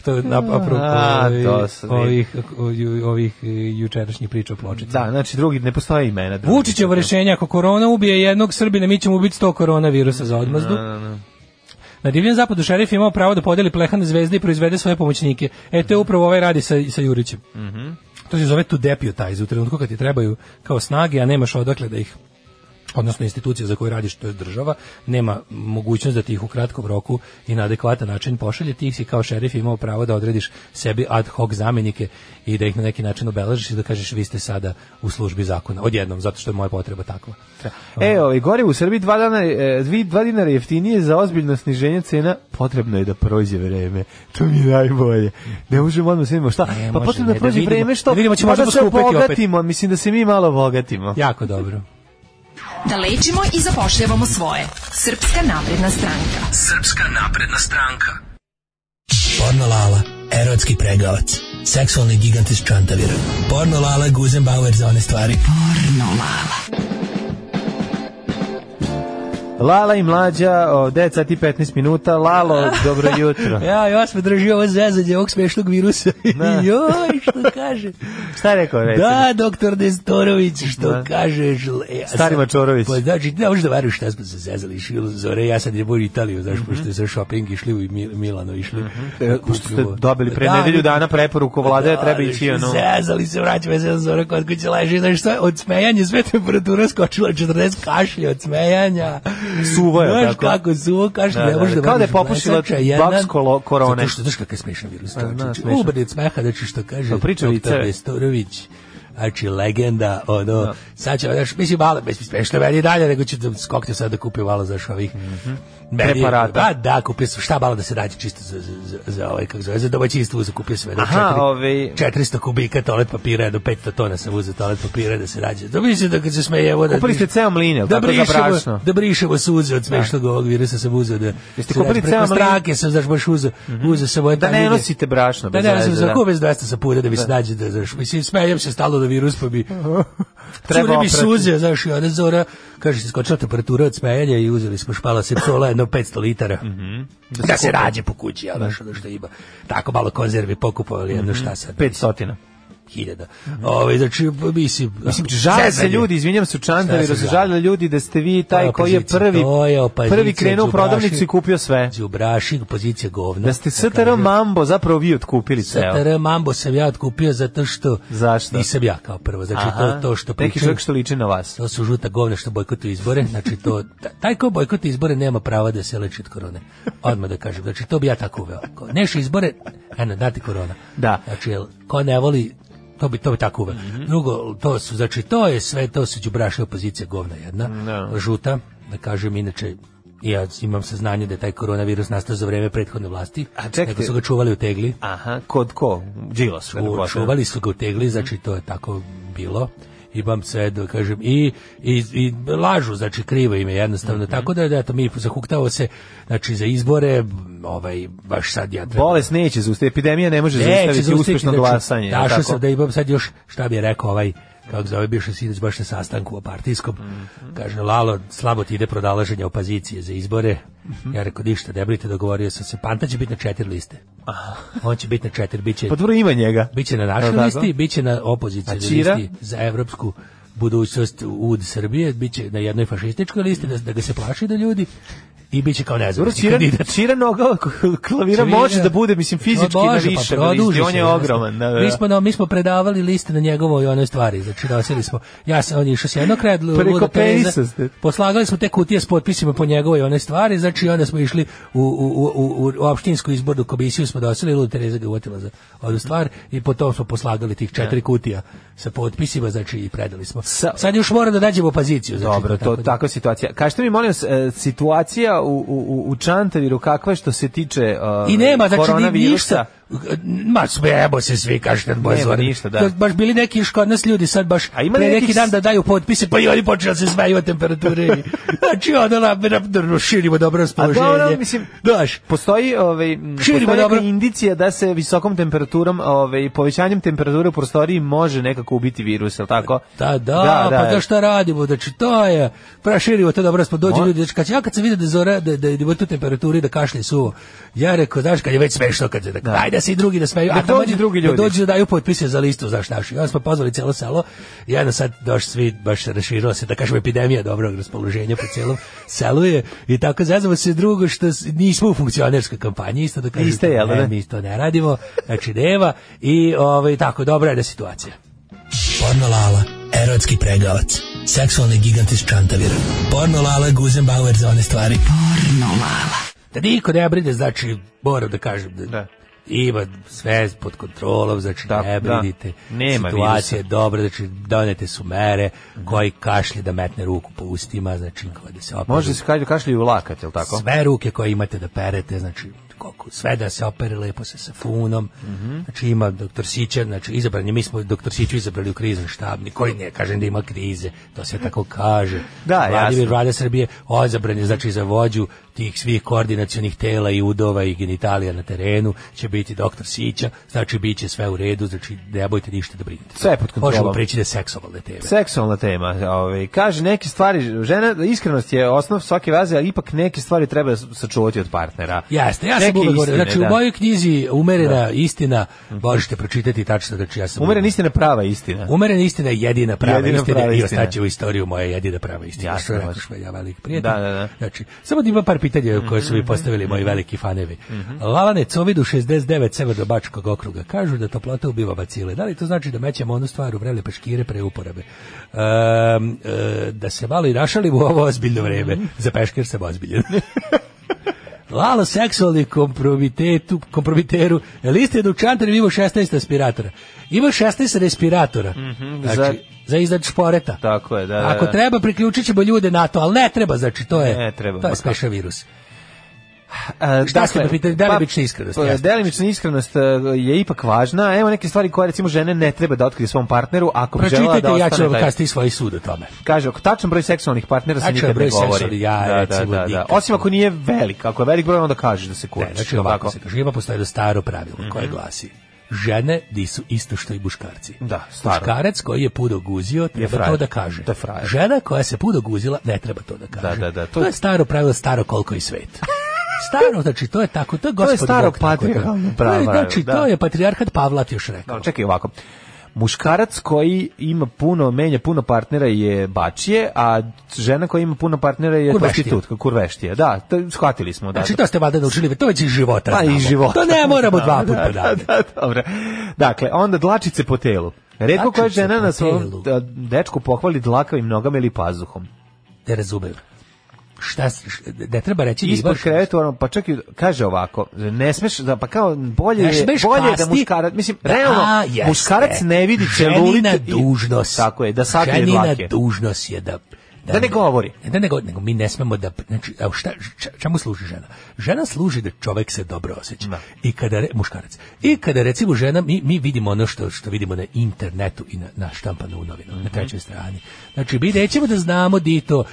To je na, apropo
A,
ovih,
to sam vidio.
ovih, ovih, ovih e, jučerašnjih priča o pločici.
Da, znači drugi, ne postoje imena. drugi.
Vučićevo rešenje, ako korona ubije jednog Srbina, mi ćemo ubiti 100 koronavirusa za odmazdu. Na divljem zapadu šerif je imao pravo da podeli plehane zvezde i proizvede svoje pomoćnike. E, to je upravo ovaj radi sa, sa Jurićem. To se zove to deputize, u trenutku kad ti trebaju kao snage, a nemaš odakle da ih odnosno institucija za koju radiš, to je država, nema mogućnost da ti ih u kratkom roku i na adekvatan način pošalje, ti si kao šerif imao pravo da odrediš sebi ad hoc zamenike i da ih na neki način obeležiš i da kažeš vi ste sada u službi zakona, odjednom, zato što je moja potreba takva. Ono,
E, ovaj, gorivo u Srbiji dva, dana, e, dvi, dva dinara jeftinije za ozbiljno sniženje cena, potrebno je da prođe vreme. To mi je najbolje. Ne možemo odmah svima šta?
Ne
pa
može,
potrebno
ne,
je da
da
prođe
vidimo.
vreme što?
Da vidimo, ćemo
pa da
možda
se
poskupeti opet.
obogatimo, mislim da se mi malo obogatimo.
Jako dobro.
Da lečimo i zapošljavamo svoje. Srpska napredna stranka.
Srpska napredna stranka. Porno Lala, erotski pregavac. Seksualni gigant iz Čantavira. Porno Lala, Guzenbauer za one stvari. Porno Lala.
Lala i mlađa, o, 10 sati i 15 minuta. Lalo, dobro jutro.
[laughs]
Pa
Ja, još me drži ovo zezanje ovog smešnog
[laughs]
virusa.
Da.
Joj, što kaže.
Šta je rekao? recimo?
Da, doktor Nestorović, što
Da.
kažeš? le- ja
Stari
sam-
Mačorović.
Pa znači, ne možeš da veruješ šta smo se zezali. Šilo zore, ja sad je bolj Italiju, znaš, pošto je za shopping išli u Mil- Milano, išli.
E, Pošto Mhm. ste dobili pre nedelju dana preporuku vlade, da, treba ići ono...
Zezali se, vraćamo se za zora kod kuće leži, znaš šta, od smejanja sve temperatura skočila 40 kašlja od smejanja.
Suvo je,
Znaš
tako?
kako suvo kašlja,
Da,
ne
da,
možeš
da.
da
Kao da je
veruješ,
popušila
blesača jedan.
baks kolo- korone.
Zato što, znaš kakav je smešan virus,
Pa,
to
da,
znači,
smešan.
ubrni od smeha, znači što kaže
Pa, priča
doktor
viceve.
Nestorović.
znači legenda, ono, sad će, još, mislim, malo, mislim, smešno je meni dalje, nego ću da skokne sad da kupim malo, znaš, ovih, meni-
Mhm. Preparata.
Pa da, kupio sam, šta malo da se nađe čisto za, za, za, za ovaj, kako zove, za domaćinstvo, za kupio sam jedno
Aha,
četiri-
ovaj-
400 kubika toalet papira, jedno 500 tona sam uzeo toalet papira da se nađe. Da mislim da kad se smeje, evo da...
Kupili ste ceo mlin, jel
da
tako, za
brišemo,
brašno?
da brišemo suze od smešnog ovog virusa sam uzeo da... Znači,
Jeste kupili
preko
ceo mlin?
strake sam, znaš, baš uzeo, uzeo sam moje
Da ne
tanjige.
nosite brašno,
Da
bez
ne
veze,
nosite,
da.
sam kupio bez 200 sapuda da mi se nađe, da, znaš, mislim, smejem se stalo da virus pa bi...
Treba
Cure mi
oprati.
suze, znaš, i ona zora, kaže, se skočila temperatura od smejanja i uzeli smo špala sepsola, jedno 500 litara. Da,
Mhm. se
se
kupi.
rađe po kući, a znaš, ono što ima. Tako malo konzervi pokupovali,
Mhm.
jedno šta sad.
500.
Hiljada. Ove, znači, mislim...
Mislim, žale se ljudi, izvinjam se
Šta
čantari,
se
da se
žale?
žale ljudi da ste vi taj
To
koji je
opozicija,
prvi,
to je opozicija,
prvi krenuo u
đubraši.
prodavnicu i kupio sve.
Đubraši, pozicija govna.
Da ste STR Mambo zapravo vi otkupili ceo.
STR Mambo sam ja otkupio zato što
Zašto?
nisam ja kao prvo. Znači
Aha,
to, to što
Neki
pričam,
čovjek što liči na vas.
to su žuta govna što bojkotuju izbore. Znači to, ta- taj ko bojkotuje izbore nema prava da se leči od korone. Odmah da kažem. Znači to bi ja tako uveo. Ko Neši izbore, eno, dati korona.
Da. Mhm.
Znači, jel, ko ne voli, to bi to bi tako uveo. Drugo, to su, znači to je sve, to su đubraši opozicija govna jedna,
Da.
žuta, da kažem inače ja imam saznanje da je taj koronavirus nastao za vreme prethodne vlasti,
A čekajte.
nego su ga čuvali u tegli.
Aha, kod ko? Đilas.
U, čuvali su ga u tegli, znači to je tako bilo imam sve da kažem i, i, i lažu, znači krivo im je jednostavno,
Mhm.
tako da, da, eto, mi zahuktavo se znači za izbore ovaj, baš sad ja treba
Bolest neće zaustaviti, epidemija ne može
Neće
zaustaviti
zaustaviti,
uspešno
znači,
glasanje. je li
Dašao
tako?
sam da imam sad još, šta bi je rekao ovaj, kako zove, bivši sinoć baš na sastanku o partijskom,
Mhm.
kaže, Lalo, slabo ti ide prodalaženje opozicije za izbore,
Mhm.
ja rekao, ništa, ne brinite, dogovorio sam se, Panta će biti na četiri liste. On će biti na četiri, bit će,
Pa dobro ima njega.
bit će na
Je
našoj
li tako?
listi, bit će na
A
opozicijoj
Ćira?
listi za evropsku budućnost UD Srbije, bit će na jednoj fašističkoj listi, da, da ga se plaši da ljudi, i bit će kao
Dobro,
nezavisni
Čiran,
kandidat.
Čiran noga klavira može da bude, mislim, fizički
O
na
Znači, Bože, pa
više. na listi,
produži
on
se,
je
jednostavno.
ogroman. Da, da.
Mi smo, no, mi smo predavali liste na njegovoj onoj stvari, znači nosili smo, ja sam, on je išao s jednog kraja, lu-
Preko
luda teza,
penisa ste.
poslagali smo te kutije s potpisima po njegovoj onoj stvari, znači onda smo išli u, u, u, u, u opštinsku izbornu komisiju, smo dosili, Luda Tereza ga uvatila za ovu stvar i potom smo poslagali tih četiri kutija sa potpisima, znači i predali smo.
Sa-
Sad još mora da nađemo opoziciju. Znači,
Dobro, to
da.
takva situacija. Kažete mi, molim vas, e, situacija u, u, u Čantaviru kakva je što se tiče e,
I nema, znači ni,
koronavirusa?
ništa. Ma smejemo se svi, kažete od moje
Nema
Zorane.
ništa, da.
To Baš bili neki još kod nas ljudi sad baš
A ima
pre neki
nekih
dan
s-
da daju potpise, pa i oni počeli da se smeju od temperature.
[laughs]
i- znači ono na, na, na- širimo dobro
A
raspoloženje.
dobro, mislim,
Daš,
postoji, ovaj, m,
Širimo,
postoji neka
dobro.
indicija da se visokom temperaturom, ovaj, povećanjem temperature u prostoriji može nekako ubiti virus, je li tako?
Da, da, pa da šta radimo, znači to je, proširimo to dobro, smo dođu
On-
ljudi, znači kad, ja kad sam vidio da je zora, da, da, da tu temperaturi, da kašlje suvo, ja rekao, znaš, kad je već smešno, kad je, da, ajde da se i drugi da smeju,
Da
tamo
dođu drugi ljudi.
Da dođu da daju potpise za listu, znaš, našu, i onda smo pozvali cijelo selo, i onda sad došli svi, baš se raširila se, da kažem, epidemija dobrog raspoloženja po cijelom selu je, i tako zazvamo se drugo, što s- nismo u funkcionerskoj kampanji, isto da kažem,
Niste, jel da?
ne, mi to ne radimo, znači nema, i ovaj, tako, dobra je da situacija.
Pornolala, erotski pregavac, seksualni gigant iz Čantavira. Pornolala, Guzenbauer za one stvari. Pornolala.
da niko ne brine, znači moram da kažem da,
Da.
ima sve pod kontrolom, znači
Da,
ne
da.
brinite,
Nema
situacija
virusa.
je dobra, znači donete su mere, koji kašlje da metne ruku po ustima, znači ko da se opere,
Može se kašlju kašlju ulakat, je li tako?
sve ruke koje imate da perete, znači koliko, sve da se opere lepo se sa funom,
Mhm.
znači ima doktor Sića, znači izabran je, mi smo doktor Siću izabrali u krizni štab, koji ne kažem da ima krize, to se tako kaže.
Da,
Vladimir
jasno.
Vlada Srbije odabran je, znači za vođu tih svih koordinacionih tela i udova i genitalija na terenu, će biti doktor Sića, znači bit će sve u redu, znači ne bojte ništa da brinete.
Sve je pod kontrolom.
Možemo preći da je seksualne teme.
Seksualna tema. Ovaj kaže neke stvari žena iskrenost je osnov svake veze, ali ipak neke stvari treba sačuvati od partnera.
Jeste, ja sam
Neke
uvek govorio,
istine,
znači u
da.
mojoj knjizi Umerena istina, možete pročitati tačno, znači ja sam...
Umeren istina prava istina.
Umerena istina je jedina prava
Jedina
istina
prava
i
istina.
ostaće u istoriju moja jedina prava istina.
Jasno,
Što je rekao
jasno.
Švelja, veliki prijatelj.
Da, da, da. Mhm.
Znači, samo da imam par pitanja koje su mi postavili moji veliki fanevi. Lalane Covidu 69 Severno-Bačkog okruga. Kažu da toplota ubiva bacile. Da li to znači da mećemo onu stvar u vrele peškire pre uporabe? Ehm,
Mhm.
[laughs] e, da se malo i našalimo u ovo ozbiljno vreme. Za peškir sam ozbiljen. Lalo seksualni kompromitetu, kompromiteru, liste dučantar ima 16 respiratora. Ima 16 respiratora.
Mhm,
znači,
za-
za, izdat šporeta.
Tako je, da, da,
Ako
da.
treba, priključit ćemo ljude na to, ali ne treba, znači to je,
Ne treba,
to
ma
je special virus.
E,
Šta ste me pitali? Delimična
pa,
iskrenost,
pa,
jeste.
Delimična iskrenost e, je ipak važna. Evo neke stvari koje recimo žene ne treba da otkrije svom partneru ako bi želela da
Pročitajte,
ostane
ja ću vam
taj-
kazati svoj sud o tome.
Kaže, ako tačan broj seksualnih partnera se
Tačan
nikad ne
broj
govori.
seksualnih, ja,
da, da,
recimo,
da, da.
nikad.
Osim ako nije velik. Ako je velik broj, onda kažeš da se Mhm.
Ne,
kurčiš.
znači
jel
ovako
tako?
se kaže, ima postoje jedno staro pravilo koje glasi žene di su isto što i muškarci.
Da, staro.
Muškarac koji je pudo guzio treba
frajer.
to da kaže.
To je frajer.
Žena koja se pudo guzila ne treba to da kaže.
Da, da, da, to-
To, je staro pravilo, staro koliko i svet. Staro, znači to je tako, to je gospod
staro
Bog tako
patrijarhalno
to je,
pravo,
Znači
da. Znači,
to je patrijarhat Pavlat još rekao.
Da, čekaj ovako. Muškarac koji ima puno, menja puno partnera je bačije, a žena koja ima puno partnera je
Kurveštija.
prostitutka, kurveštija. Da, to, shvatili smo. Da,
Znači to ste vada naučili, to već iz života
Pa
znamo.
i život.
To ne moramo dva
Da,
puta
da, da,
ponavljati.
da, dobro. Dakle, onda dlačice po telu. Redko koja
Dlačice
žena
po
na svom
telu.
da, dečku pohvali dlakavim nogama ili pazuhom.
Ne razumem. Šta, s- š- ne treba reći da
Ispod
imaš-
kreveta, ono, pa čak i kaže ovako, ne smeš da pa kao bolje
Ne
je
smeš
bolje je da
pasti.
muškarac, mislim,
Da,
realno
a, jeste.
muškarac ne vidi
Ženina
celulite i-
dužnost.
Tako je, da sakrije
Ženina
dlake.
dužnost je da
Da ne govori.
Da E, ne govori, nego mi ne smemo da znači evo šta č- čemu služi žena? Žena služi da čovek se dobro osjeća. I kada re- muškarac. I kada recimo žena mi, mi vidimo ono što što vidimo na internetu i na na štampano u novinama,
Mhm.
na trećoj strani. Znači mi nećemo da znamo di to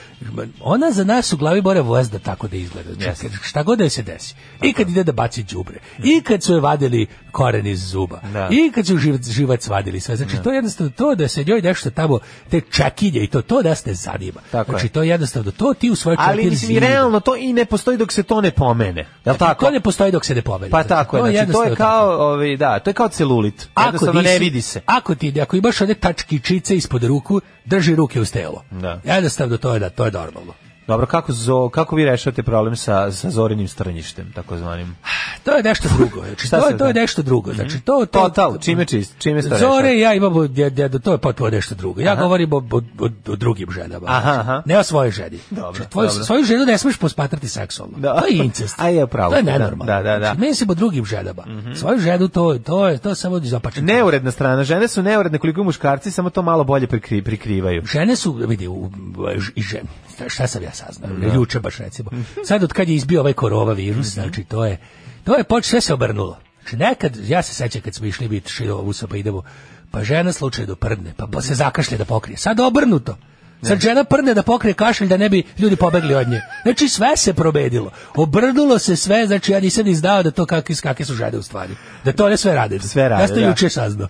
ona za nas u glavi bora vozda tako da izgleda. Znači,
Jeste.
kad- šta god da joj se desi. I kad ide da baci đubre. I kad su je vadili koren iz zuba.
Da.
I kad su živac, živac vadili sve. Znači, to je jednostavno to da se njoj nešto tamo, te čekinje i to, to da ste zanima.
Tako je.
znači, to je jednostavno, to ti u svojoj
Ali
četiri
mislim i realno to i ne postoji dok se to ne pomene. Je li tako?
Znači, To ne postoji dok se ne pomeri.
Pa
Znači,
tako je, znači to je
jednostavno tako.
kao, ovaj, da, to je kao celulit. Jednostavno ne
nisi-
vidi se.
Ako ti, ako imaš one tačkičice ispod ruku, drži ruke uz telo.
Da.
Jednostavno to je da, to je normalno.
Dobro, kako, zo, kako vi rešavate problem sa, sa Zorinim strnjištem, takozvanim?
To je nešto drugo. Znači,
Šta
to,
se
je, to je
da?
nešto drugo. Znači, to, to,
Total, čime čist, čime ste
Zore
rešavate?
i ja imamo, dje- dje- to je potpuno nešto drugo. Ja govorim o, o, o, o drugim ženama. znači,
Aha, aha.
Ne o svojoj ženi.
Dobro,
Znači, tvoju,
dobro.
Svoju ženu ne smiješ posmatrati seksualno.
Da.
To je incest.
[laughs] A je, pravo.
To je
Da,
nenormalno.
da, da, Mhm. da.
Znači, ne se o drugim ženama. Svoju ženu to, to, je, to je samo zapačeno.
Neuredna strana, žene su neuredne koliko i muškarci, samo to malo bolje prikri, prikrivaju.
Žene su, vidi, u, ž- i žene, šta, šta sam ja saznao, juče baš recimo. Sad od kad je izbio ovaj korova virus, znači to je, to je poč, sve se obrnulo. Znači nekad, ja se sećam kad smo išli biti šilo ovu pa idemo, pa žena slučajno prdne, pa, pa se zakašlje da pokrije. Sad obrnuto. Sad žena prdne da pokrije kašelj da ne bi ljudi pobegli od nje. Znači sve se probedilo. Obrnulo se sve, znači ja nisam ni znao da to kakve, kakve su žene u stvari. Da to ne sve rade.
Sve rade,
Ja sam to
da.
juče saznao.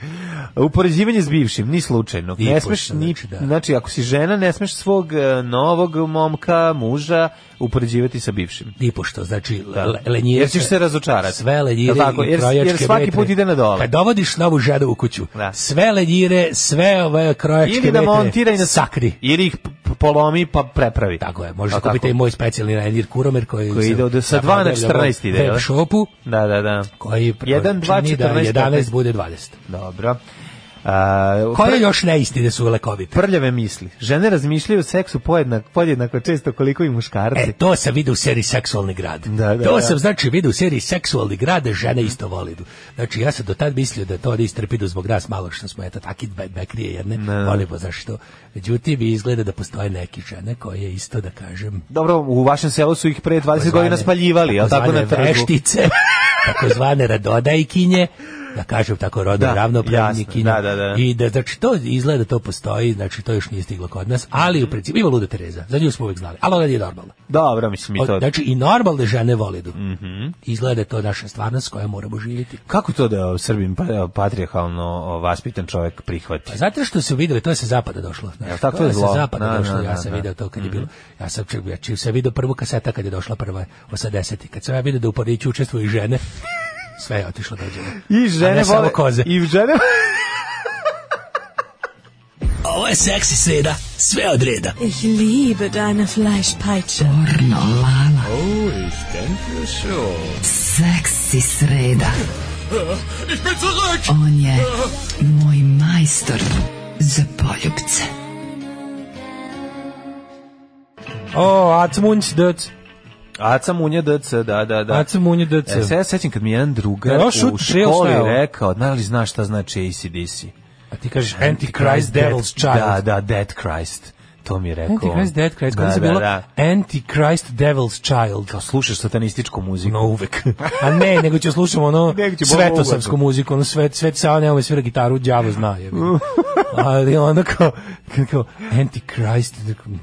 Upoređivanje s bivšim, ni slučajno.
Ni
ne smeš,
pošto,
ni,
znači,
znači,
da.
ako si žena, ne smeš svog e, novog momka, muža, upoređivati sa bivšim.
nipošto, znači le- lenjire.
Jer ćeš se razočarati.
Sve
Jel
lenjire
tako?
i
Jer-
krojačke
jer svaki
vetre.
put ide na dole.
Kad dovodiš novu ženu u kuću,
Da.
sve lenjire, sve ove krojačke
Ili da
vetre
montira i na
sakri.
Ili ih p- p- polomi pa prepravi.
Tako je, možeš
Jel tako?
kupiti i moj specijalni lenjir kuromer koji,
Koji
se-
ide od- sa
da,
2 na
prodaju
14 ide,
web
jel?
shopu,
Da, da, da.
koji pro-
1, 2,
čini
14,
da 11
15.
bude 20.
Dobro. A,
Koje još neistine su lekovite?
prljave misli. Žene razmišljaju o seksu podjednako, podjednako često koliko i muškarci.
E, to sam vidio u seriji Seksualni grad.
Da, da,
to
da.
sam, znači, vidio u seriji Seksualni grad da žene isto voli. Znači, ja sam do tad mislio da to ne istrpidu zbog nas malo što smo, eto, taki be- bekrije jedne,
Ne.
volimo zašto. Međutim, izgleda da postoje neke žene koje isto, da kažem,
Dobro, u vašem selu su ih pre 20 godina
takozvane-
spaljivali, jel tako na
takozvane
trgu? [laughs]
veštice, takozvane radodajkinje, da kažem tako rodno
Da,
da, ravnopravni
jasno,
kinje.
da, da, da.
I da, znači, to izgleda da to postoji, znači, to još nije stiglo kod nas, ali u principu, ima luda Tereza, za nju smo uvek znali, ali ona je normalna.
Dobro, mislim i
Od-
to. Mhm.
Znači i normalne žene vole idu. Izgleda je to naša stvarnost s kojom moramo živjeti.
Kako to da Srbim patrijarhalno o, vaspitan čovjek prihvati?
Pa zato što su videli, to je sa zapada došlo. znaš.
Jel tako
to
je
je sa
zlo?
zapada
Da,
došlo,
da, da,
ja sam
da. Mhm.
video to kad je bilo. Ja sam čak, ja čim sam video prvu kaseta kad je došla prva 80. Kad sam ja video da u Pariću učestvuju i žene, sve je otišlo dođe.
I žene
ne samo
vole...
koze.
I žene... [laughs]
Ovo je seksi sreda, sve od reda.
Ich liebe deine Fleischpeitsche.
Seksi sreda. On je moj majstor za poljubce.
O, Acmunc, döc.
Aca Munja DC, da, da, da.
Aca Munja DC.
E, se ja sećam kad mi je jedan drugar
Da,
u
on šut trail
školi
style.
rekao, da li znaš šta znači ACDC?
A ti kažeš Antichrist Devil's Child.
Da, da, Dead Christ. To mi je rekao.
Antichrist,
on.
Dead Christ, kada se bilo Antichrist, Devil's Child.
Kao Pa slušaš satanističku muziku.
No, uvek. [laughs] A ne, nego ću slušam ono
Nego će Boba
svetosavsku
Ubagu.
muziku, ono svet, svet sa, nema svira gitaru, đavo zna, je. Ali onda kao, kao Antichrist,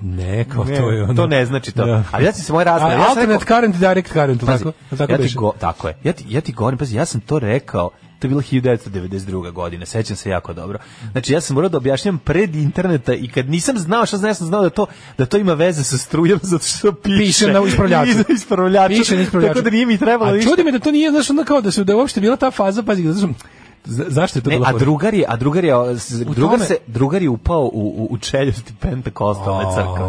ne, kao
Ne,
to je ono.
to ne znači to. Ali ja sam se moj razgled-
A,
ja sam
Alternate
rekao-
current, direct current,
Pazi,
tako? Tako
ja ti
beše.
go, tako je. Ja ti, ja ti govorim, pazi, ja sam to rekao, to je bilo 1992. godine, sećam se jako dobro. Znači, ja sam morao da objašnjam pred interneta i kad nisam znao šta znam, ja sam znao da to, da to ima veze sa strujom, [laughs] zato što piše.
Piše na ispravljaču.
[laughs] Na ispravljaču.
Piše na ispravljaču.
Tako da nije mi trebalo
A
ništa.
čudi me da to nije, znaš, onda kao da se da je uopšte bila ta faza, pazi, da znaš, za- zašto je to
Ne,
bila
a
fora?
drugar je, a drugar je, o, s-
U
drugar
tome-
se, drugar je upao u, u, u čeljosti pentakostalne crkve.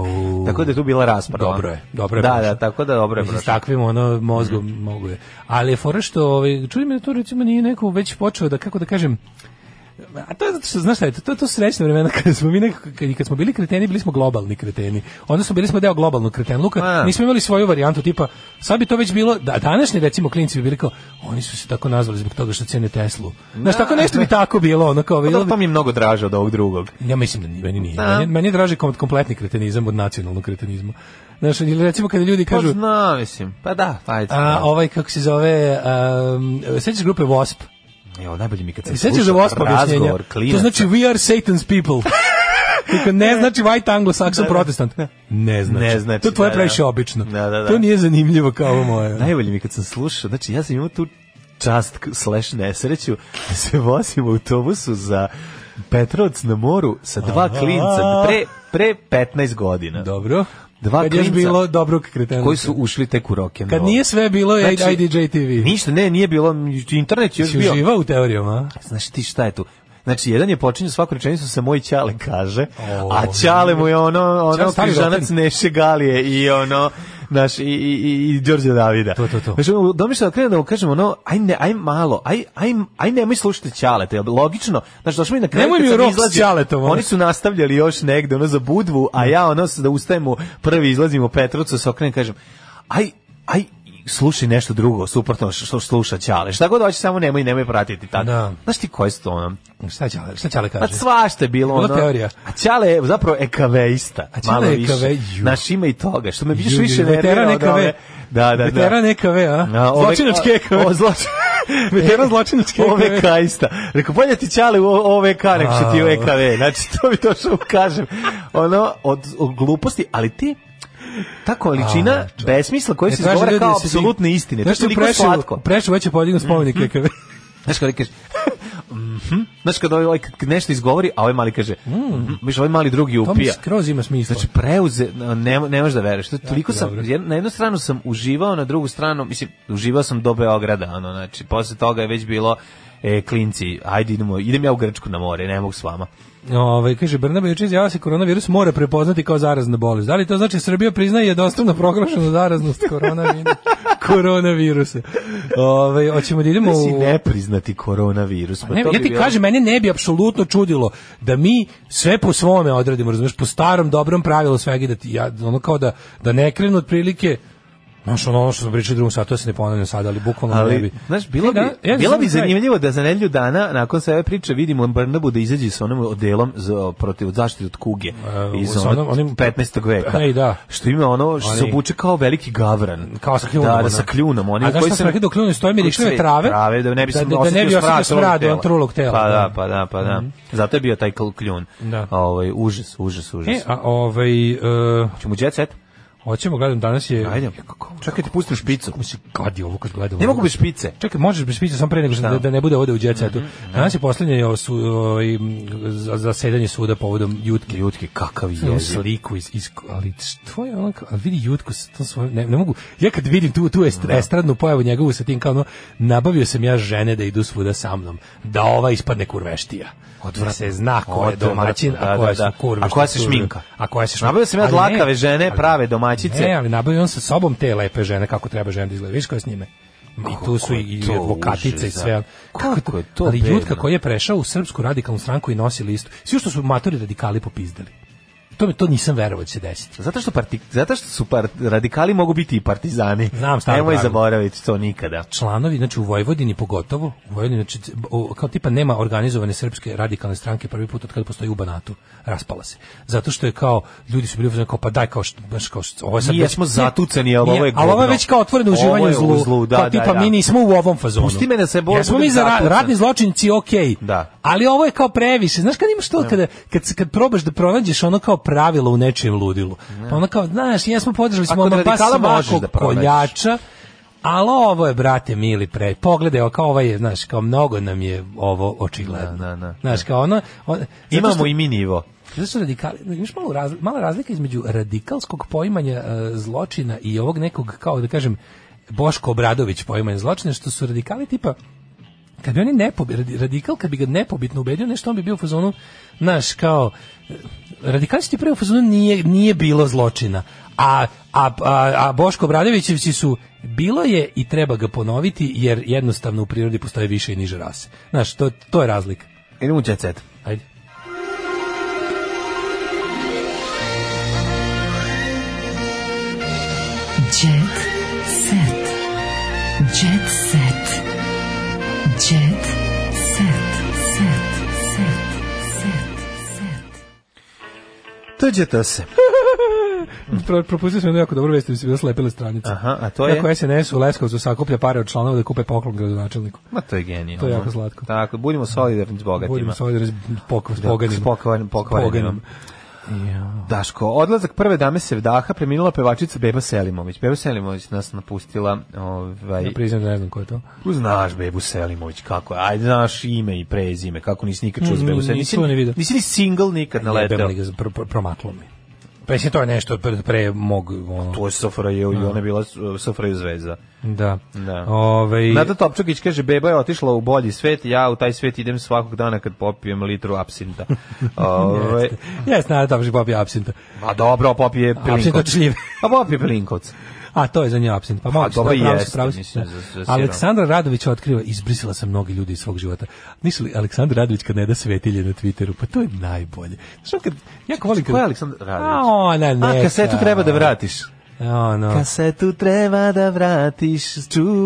Tako da je tu bila rasprava.
Dobro je, dobro je
Da,
prošlo.
da, tako da dobro je
Mislim, s
prošlo. Mhm.
takvim ono mozgom mogu je. Ali je fora što ovaj čudi me da to recimo nije neko već počeo da kako da kažem A to je zato što, znaš šta je, to, to, to su srećne vremena kada smo mi nekako, kad, i kad smo bili kreteni, bili smo globalni kreteni. Onda smo bili smo deo globalnog kretenluka,
Ma.
nismo imali svoju varijantu, tipa, sad bi to već bilo, da, današnji recimo klinci bi bili kao, oni su se tako nazvali zbog toga što cene Teslu. Znaš, tako nešto bi tako bilo, ono kao, bilo
To,
bi,
to mi je mnogo draže od ovog drugog.
ja mislim da nije, meni nije.
Pa Da.
Meni, meni je draži kom- kompletni kretenizam od nacionalnog kretenizma. Znaš, ili recimo kada ljudi
Pa
kažu...
zna, mislim. Pa da, pa ajde.
A ovaj kako se zove, um, sećaš grupe Wasp?
Evo, najbolje mi kad se
Sećaš za
sluša
Wasp objašnjenja?
E, razgovor klinaca.
To znači we are Satan's
[laughs]
people. Kako ne znači white anglo-saxon protestant. Ne znači.
Ne znači,
To tvoje
da,
previše
da.
obično.
Da, da, da.
To nije zanimljivo kao ovo moje.
Najbolje mi kad sam slušao, znači ja sam imao tu čast k- slash nesreću da se vozim u autobusu za Petrovac na moru sa dva
Aha.
klinca pre, pre 15 godina.
Dobro.
Dva
Kad je još
klinca
bilo dobrog kretenluka.
koji su ušli tek u rock and
Kad
roll.
nije sve bilo je
Znači,
IDJ TV.
Ništa, ne, nije bilo, internet je još
Si
bio.
uživao u teorijama, a?
Znaš ti šta je tu? Znači, jedan je počinio svaku rečenicu sa moj Ćale kaže,
O.
a Ćale mu je ono,
Ćale
ono
stari
križanac
rotin.
Neše Galije i ono, naš, i, i, i, i Đorđe Davida.
To, to, to.
Znači, domišljeno krenem da mu kažem ono, aj, ne, aj malo, aj, aj, aj nemoj slušati Ćale, to je logično. Znači, došlo mi na kraju,
Nemoj
kad
mi u
sam
rok s
izlazio,
Ćaletom, ono.
Oni su nastavljali još negde, ono, za budvu, a ja, ono, da ustajemo, prvi izlazimo u Petrovcu, se okrenem, i kažem, aj, aj, slušaj nešto drugo, suprotno što sluša Ćale. Šta god hoće, samo nemoj, nemoj pratiti tako.
Da.
Znaš ti koje su to ono?
Šta ćale, šta ćale
Pa
kaže?
svašta je bilo
Bila
ono.
teorija.
A Ćale je zapravo ekaveista. A
Ćale
malo
je
više.
ekave- ju.
Naš ima i toga, što me više
Ju,
više
ju, veteran
nervira od
EKV.
ove. Da, da, da.
Veteran EKV, a?
A, ove-
Zločinački EKV. [laughs]
O, zloč...
Veteran zločinački
Ove
EKV.
kajsta. Rekao, bolje ti Ćale u ove ka, nego što ti u EKV. Znači, to bi to što kažem. Ono, od, od gluposti, ali ti ta količina besmisla koji
Ne
se
traže
izgovara
ljudi
kao
da se dig-
apsolutne istine. To je
Znaš što
toliko slatko. Mhm.
Prešao već je podignu spomenik EKV.
[laughs] Znaš kada kaže, mhm, znaš kada ovaj kad nešto izgovori, a ovaj mali kaže, mhm, miš ovaj mali drugi
Mm. To mi
upija.
skroz ima smisla.
Znači preuze, ne, ne možeš da veruješ. To, toliko sam,
dobro.
jed- na jednu stranu sam uživao, na drugu stranu, mislim, uživao sam do Beograda, ono, znači, posle toga je već bilo, e, klinci, ajde idemo, idem ja u Grčku na more, ne mogu s vama.
Ovaj kaže Brnabe juče izjavila se koronavirus mora prepoznati kao zarazna bolest. Da li to znači Srbija priznaje jednostavno proglašenu zaraznost
[laughs]
koronavirusa? koronavirusa. Ovaj hoćemo da idemo
Ti si
u
nepriznati koronavirus. Pa
Ne,
to
ja
bi
ti
bilo-
kažem, mene ne bi apsolutno čudilo da mi sve po svome odradimo, razumeš, po starom dobrom pravilu svega i da ti, ja, ono kao da, da ne krenu otprilike Znaš, ono, ono što smo pričali u drugom satu, to se ne ponavljam sada, ali bukvalno ne
Ali,
bi.
znaš, bilo
E,
bi,
da, ja
bilo
sam
bi
za kraj.
zanimljivo da za nedelju dana nakon sve ove priče vidimo Brnabu da izađe sa onim odelom za protiv zaštite od kuge
E,
iz
sa
onog
onom- onim-
15. veka.
Ej, da.
Što ima ono što se
Oni-
obuče kao veliki gavran.
kao sa kljunom.
Da, da
ono.
sa kljunom, oni
A znaš
koji
šta
se
sam rekao da u kljunu stoje
koji
mirišljive
sve
trave?
trave, da ne bi se
da, da, da ne bi osetio smrad od trulog tela.
Pa
da. Mhm.
da, pa da, pa da. Zato je bio taj kl- kljun.
Da.
Ovaj užas, užas, užas.
E, a ovaj... e,
Ćemo jet set?
hoćemo, gledam, danas je...
Ajde. Čekaj, ti pustim špicu.
Kako si gadi ovo kad gledam?
Ne
ovo?
mogu bez Mhm, špice.
Čekaj, možeš bez pića samo pre nego što da, da ne bude ovde u djecetu. Danas je poslednje o su, ovaj, za- zasedanje suda povodom Jutke.
Ljutki, kakav
Ovu
je.
sliku iz, iz ali što je onako, ali vidi Jutku sa to svoje, ne, ne mogu, ja kad vidim tu, tu est, estradnu pojavu njegovu sa tim kao ono, nabavio sam ja žene da idu svuda sa mnom, da ova ispadne kurveštija.
Odvratno.
Da se zna ko je
Odvratno,
domaćin,
da,
a koja
da,
su
da.
kurve.
A koja
što
se
su-
šminka.
A koja se šminka.
Nabavio sam ja
Ali ne,
dlakave žene,
ali-
prave domaćice.
Ne, ali nabavio on sa sobom te lepe žene, kako treba žena da izgleda, viš koja je s njime. I tu su
Kako je
i
to
advokatice i
užas,
sve.
da. Kako je to
Ali
bedno.
Jutka koji je prešao u srpsku radikalnu stranku i nosi listu, svi što su matori radikali popizdali. to mi to nisam verovao da će se desiti.
Zato što parti, zato što su par, radikali mogu biti i partizani.
Znam staro
Nemoj
pravilo.
zaboraviti to nikada.
Članovi, znači u Vojvodini pogotovo, u Vojvodini, znači, c- o- kao tipa nema organizovane srpske radikalne stranke prvi put od kada postoji u Banatu, raspala se. Zato što je kao, ljudi su bili u fazonu kao, pa daj, kao, što, baš kao, što, ovo je sad
Mi jesmo zatucani, ali
Nije,
ovo je
ali ovo je
govno.
već kao otvoreno
Ovo je
uživanje u
u
zlu.
zlu, da,
kao,
da,
tipa,
da.
mi nismo u ovom fazonu.
Pusti me da se bo-
Jesmo
budem
mi za ra-
zatucan.
ratni zločinci, okej. Da. Ali ovo je kao previše. Znaš kad imaš to, kada, kad, se- kad probaš da pronađeš ono kao pravilo u nečijem ludilu. Pa ono kao, znaš, jesmo podržali smo
Ako
ono, pa
radikala možeš
svakog
da pronađeš.
koljača, ali ovo je, brate, mili pre. Pogledaj, ovo kao ovaj je, znaš, kao mnogo nam je ovo očigledno.
Da, da, da.
Znaš, kao ono... on- zato
Imamo
što-
i mi nivo.
zato što radikali, imaš malo raz, mala razlika između radikalskog poimanja e, zločina i ovog nekog, kao da kažem, Boško Obradović poimanja zločina, što su radikali tipa, kad bi oni nepobi, radi- radikal, kad bi ga nepobitno ubedio nešto, on bi bio u fazonu, znaš, kao, e, radikali su ti prvo u fazonu, nije, nije bilo zločina, a, a, a, a Boško Obradovićevci su bilo je i treba ga ponoviti jer jednostavno u prirodi postoje više i niže rase. Znaš, to, to je razlika.
Idemo u jet set.
Ajde.
Jet set. Jet set. Jet set. Set. Set. Set. Set.
Tođe to se.
Pro, propustio sam jednu jako dobro vest, da se bila slepile stranice.
Aha, a to je?
Kako SNS u Leskovcu sakuplja pare od članova da kupe poklon gradonačelniku.
Ma to je genijalno.
To je jako slatko.
Tako, budimo solidarni s bogatima.
Budimo solidarni s pok- s
Da,
poganim.
s pokvarenim- pokvarenim.
Poganim.
Daško, odlazak prve dame Sevdaha preminula pevačica Beba Selimović. Beba Selimović nas napustila. Ovaj,
Ja priznam da ne znam ko je to.
Znaš Bebu Selimović, kako je? Ajde, znaš ime i prezime, kako nisi nikad čuo za Bebu
Nisam
Selimović. Nisi,
Mm, to ni vidio.
nisi ni single nikad
Jebem
naleteo.
li ga, pro- pro- promaklo mi. Pa mislim, to je nešto pre, pre mog... Ono,
To je Sofraju i ona je bila Sofraju zvezda.
da.
Da.
Ovaj-
Nada Topčugić kaže, beba je otišla u bolji svet, ja u taj svet idem svakog dana kad popijem litru
[laughs]
apsinta. Ove,
Jeste. Jeste, naravno, tamo popio apsinta.
a dobro, popije
Apsint od
plinkovc.
šljive.
A popije plinkovc.
A to je za nje absent. Pa malo
dobro
da, pravo si,
jeste,
pravo si.
mislim,
Da.
za- za sigurno.
Aleksandra Radović otkriva, izbrisala sam mnogi ljudi iz svog života. Nisu li Aleksandar Radović kad ne da svetilje na Twitteru? Pa to je najbolje. Znaš, on kad, jako volim kad...
Ko je Aleksandar
A,
Radović?
ona neka.
A kasetu treba da vratiš.
A, Ono.
Kasetu treba da vratiš,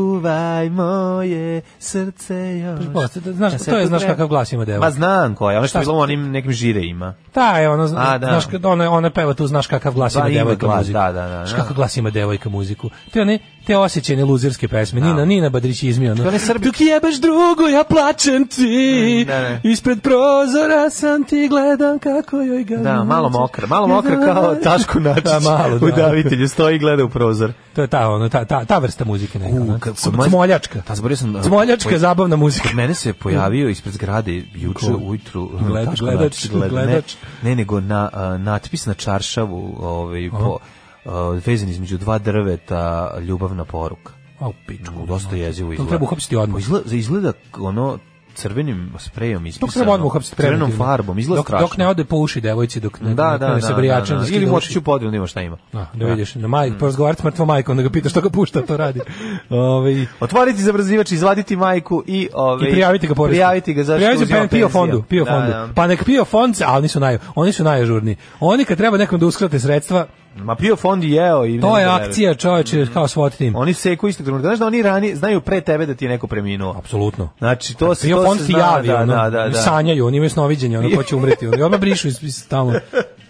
čuvaj moje srce još.
Pretpostavljam da Pa, znaš- to je,
Kasetu
znaš
treba-
kakav glas ima devojka.
Ma znam koja, je, ono što
Šta
je bilo
ste-
u onim nekim žireima.
Ta je ono,
A, da.
znaš, kad ona, ona peva tu, znaš kakav glas
Da,
ima
ima
devojka
glas,
muziku.
da, da, da,
Znaš
da.
kakav glas ima devojka muziku. Te one, te osjećajne luzerske pesme, Nina, Nina Badrić izmio. Ono,
To one Srbi-
Dok jebeš drugo, ja plačem ti.
Mm, da, da.
Ispred prozora sam ti gledam kako joj ga
Da, malo
vučeš.
mokra, malo mokra kao Taško Načić
Da, malo, da.
[laughs] u davitelju, stoji i gleda u prozor.
To je ta, ono, ta, ta, ta vrsta muzike neka. ono.
kad-
Cm- Cmoljačka.
Pa zaboravio sam, uh,
Cmoljačka
poj-
zabavna muzika.
Kod mene se pojavio ispred zgrade juče
Ko?
ujutru
Gled-
Taško
gledač,
Načić, gleda- ne-
gledač.
Ne, nego na uh, natpis na čaršavu, ovaj po uh, vezan između dva drveta, ljubavna poruka.
Au, pičku.
U, dosta jezivo izgleda.
treba uhapsiti odmah.
Pa Izgleda, izgleda k- ono crvenim sprejom ispisano.
Dok se odmah uhapsiti
ono Crvenom
preventivno.
farbom, izgleda
dok,
strašno.
dok ne ode po uši devojci, dok ne,
da,
ne
da,
krene
da,
sa
da,
brijačem.
da,
da
da.
skida
Ili
uši. Ah,
moći ću podijel, nema šta ima.
Da, da vidiš, na majku, mm. porazgovarati s mrtvom majkom, da ga pitaš što ga pušta, to
[laughs]
radi. Ovaj, Ove,
Otvoriti zabrazivač, izvaditi majku i ovaj
I prijaviti ga porezno.
Prijaviti ga zašto
Prijaviti
uzima
ga PIO
penziju.
fondu, PIO
Da,
fondu.
da.
Pa nek PIO fond, se- a oni su naj, oni su najažurniji. Oni kad treba nekom da uskrate sredstva,
Ma PIO fond je jeo i
to
ne
je
znam da Mhm.
akcija, čoveče, kao SWAT tim.
Oni se koji isto trenutka. Znaš da oni rani znaju pre tebe da ti je neko preminuo.
Apsolutno.
Znači to se
PIO
to
fond
se
ti
zna,
javi,
da,
ono,
da, da, da.
sanjaju, oni imaju snoviđenje, ono ko će umreti. Ono, I odmah brišu iz, iz tamo.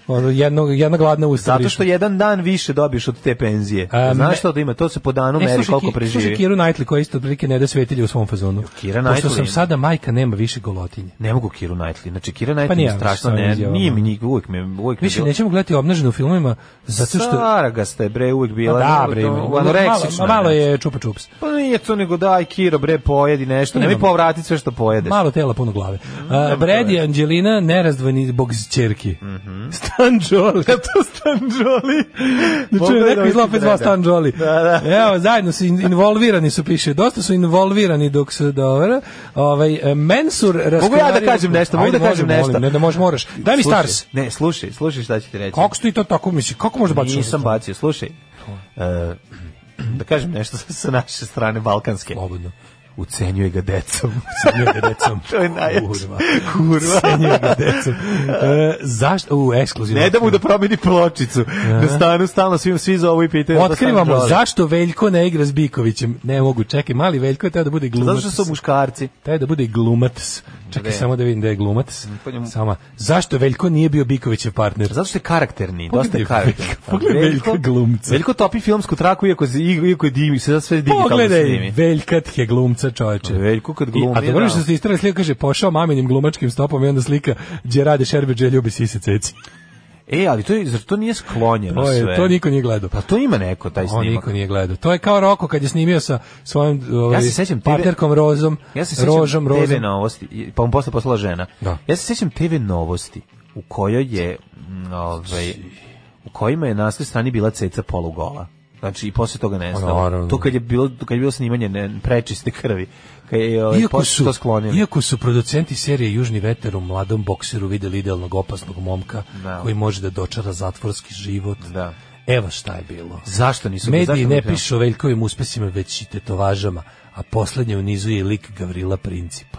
Ono, jedno, jedna gladna usta
Zato
brišu.
što jedan dan više dobiješ od te penzije.
A, E, me-
Znaš što da ima? To se po danu
E,
meri
slušaj,
koliko
Ki- Slušaj
preživi.
Kiru Knightley koja isto otprilike ne da svetilje u svom fazonu.
Kira
Pošto
Knightley.
sam sada majka nema više golotinje.
Ne mogu Kiru Knightley. Znači Kira Knightley
Pa
mi
nije,
je strašno.
sam
Ne,
izjava.
nije mi njih, uvijek mi je- uvijek mi je
Više
bilo-
nećemo gledati obnaženo u filmovima zato što Pa
Stara ga ste, bre, uvijek bila.
da,
ono,
bre,
to-
malo,
anoreksična,
malo
ne.
je čupa čups.
Pa nije to nego daj Kiro bre pojedi nešto, nemoj
Imam.
povratiti sve što pojedeš.
Malo tela puno glave. Uh, Brad i Anđelina nerazdvojni bog ćerki. Mm Stan Jolie.
to stanđoli.
Znači, neko iz opet zvao Stan Jolie.
Da, da.
Evo, zajedno su in- involvirani su, piše. Dosta su involvirani dok su dobro. Ovaj, e, Mensur
Mogu ja da
raskrivario-
kažem nešto, mogu
Ajde,
da kažem
može, molim,
nešto.
Ne, da može, moraš. Daj mi
Slušaj,
Stars.
Ne, slušaj, slušaj šta ću ti reći.
Kako ste to tako misli? Kako možda baciš?
Nisam bacio, slušaj. E, da kažem nešto sa naše strane balkanske.
Slobodno.
ucenjuje ga decom.
Ucenjuje ga decom.
to je najjače.
Kurva.
Kurva.
Ucenjuje ga decom. E, zašto? U, ekskluzivno.
Ne da mu da promeni pločicu. Da stanu stalno svim svi za ovo i pitaju.
E? Otkrivamo zašto Veljko ne igra s Bikovićem. Ne mogu, čekaj, mali Veljko je teo da bude glumac.
Zašto su muškarci?
Taj da bude glumac. Čekaj
Gde?
samo da vidim da je glumac.
Pa njemu-
Sama. Zašto Veljko nije bio Bikovićev partner?
Zato što je karakterni,
Pogledaj
dosta je karakterni.
Veljka, pogledaj Veljka glumca.
Veljko topi filmsku traku, iako, se- iako je dimi, se da sve digitalno
Pogledaj,
snimi.
Veljka ti je glumca, čoveče.
Veljko kad glumi,
I, a dobro
da.
što ste istrali slika, kaže, pošao maminim glumačkim stopom i onda slika, gdje rade šerbeđe, ljubi sise ceci.
E, ali to, je, zar to nije sklonjeno
To,
Pa sve?
je, to niko nije gledao.
Pa to ima neko, taj
On
snimak.
niko nije gledao. To je kao Roko kad je snimio sa svojom ovaj,
Ja se sećam TV
partnerkom Rozom,
Ja se sećam
Rožom,
TV
Rozom.
novosti, i- pa mu posle poslala žena.
Da.
Ja se sećam TV novosti u kojoj je mm, ovaj u kojima je na sve strani bila ceca polugola. Znači i posle toga
Pa,
nestalo.
naravno.
To kad je bilo kad je bilo snimanje ne, prečiste krvi. Kad je ovaj,
Iako
posle
su,
to sklonili.
iako su producenti serije Južni veter u mladom bokseru videli idealnog opasnog momka
Da.
koji može da dočara zatvorski život.
Da.
Evo šta je bilo.
Zašto nisu zašto
Mediji ne
nisu-
pišu o Veljkovim uspesima, već i tetovažama, a poslednje u nizu je lik Gavrila Principa.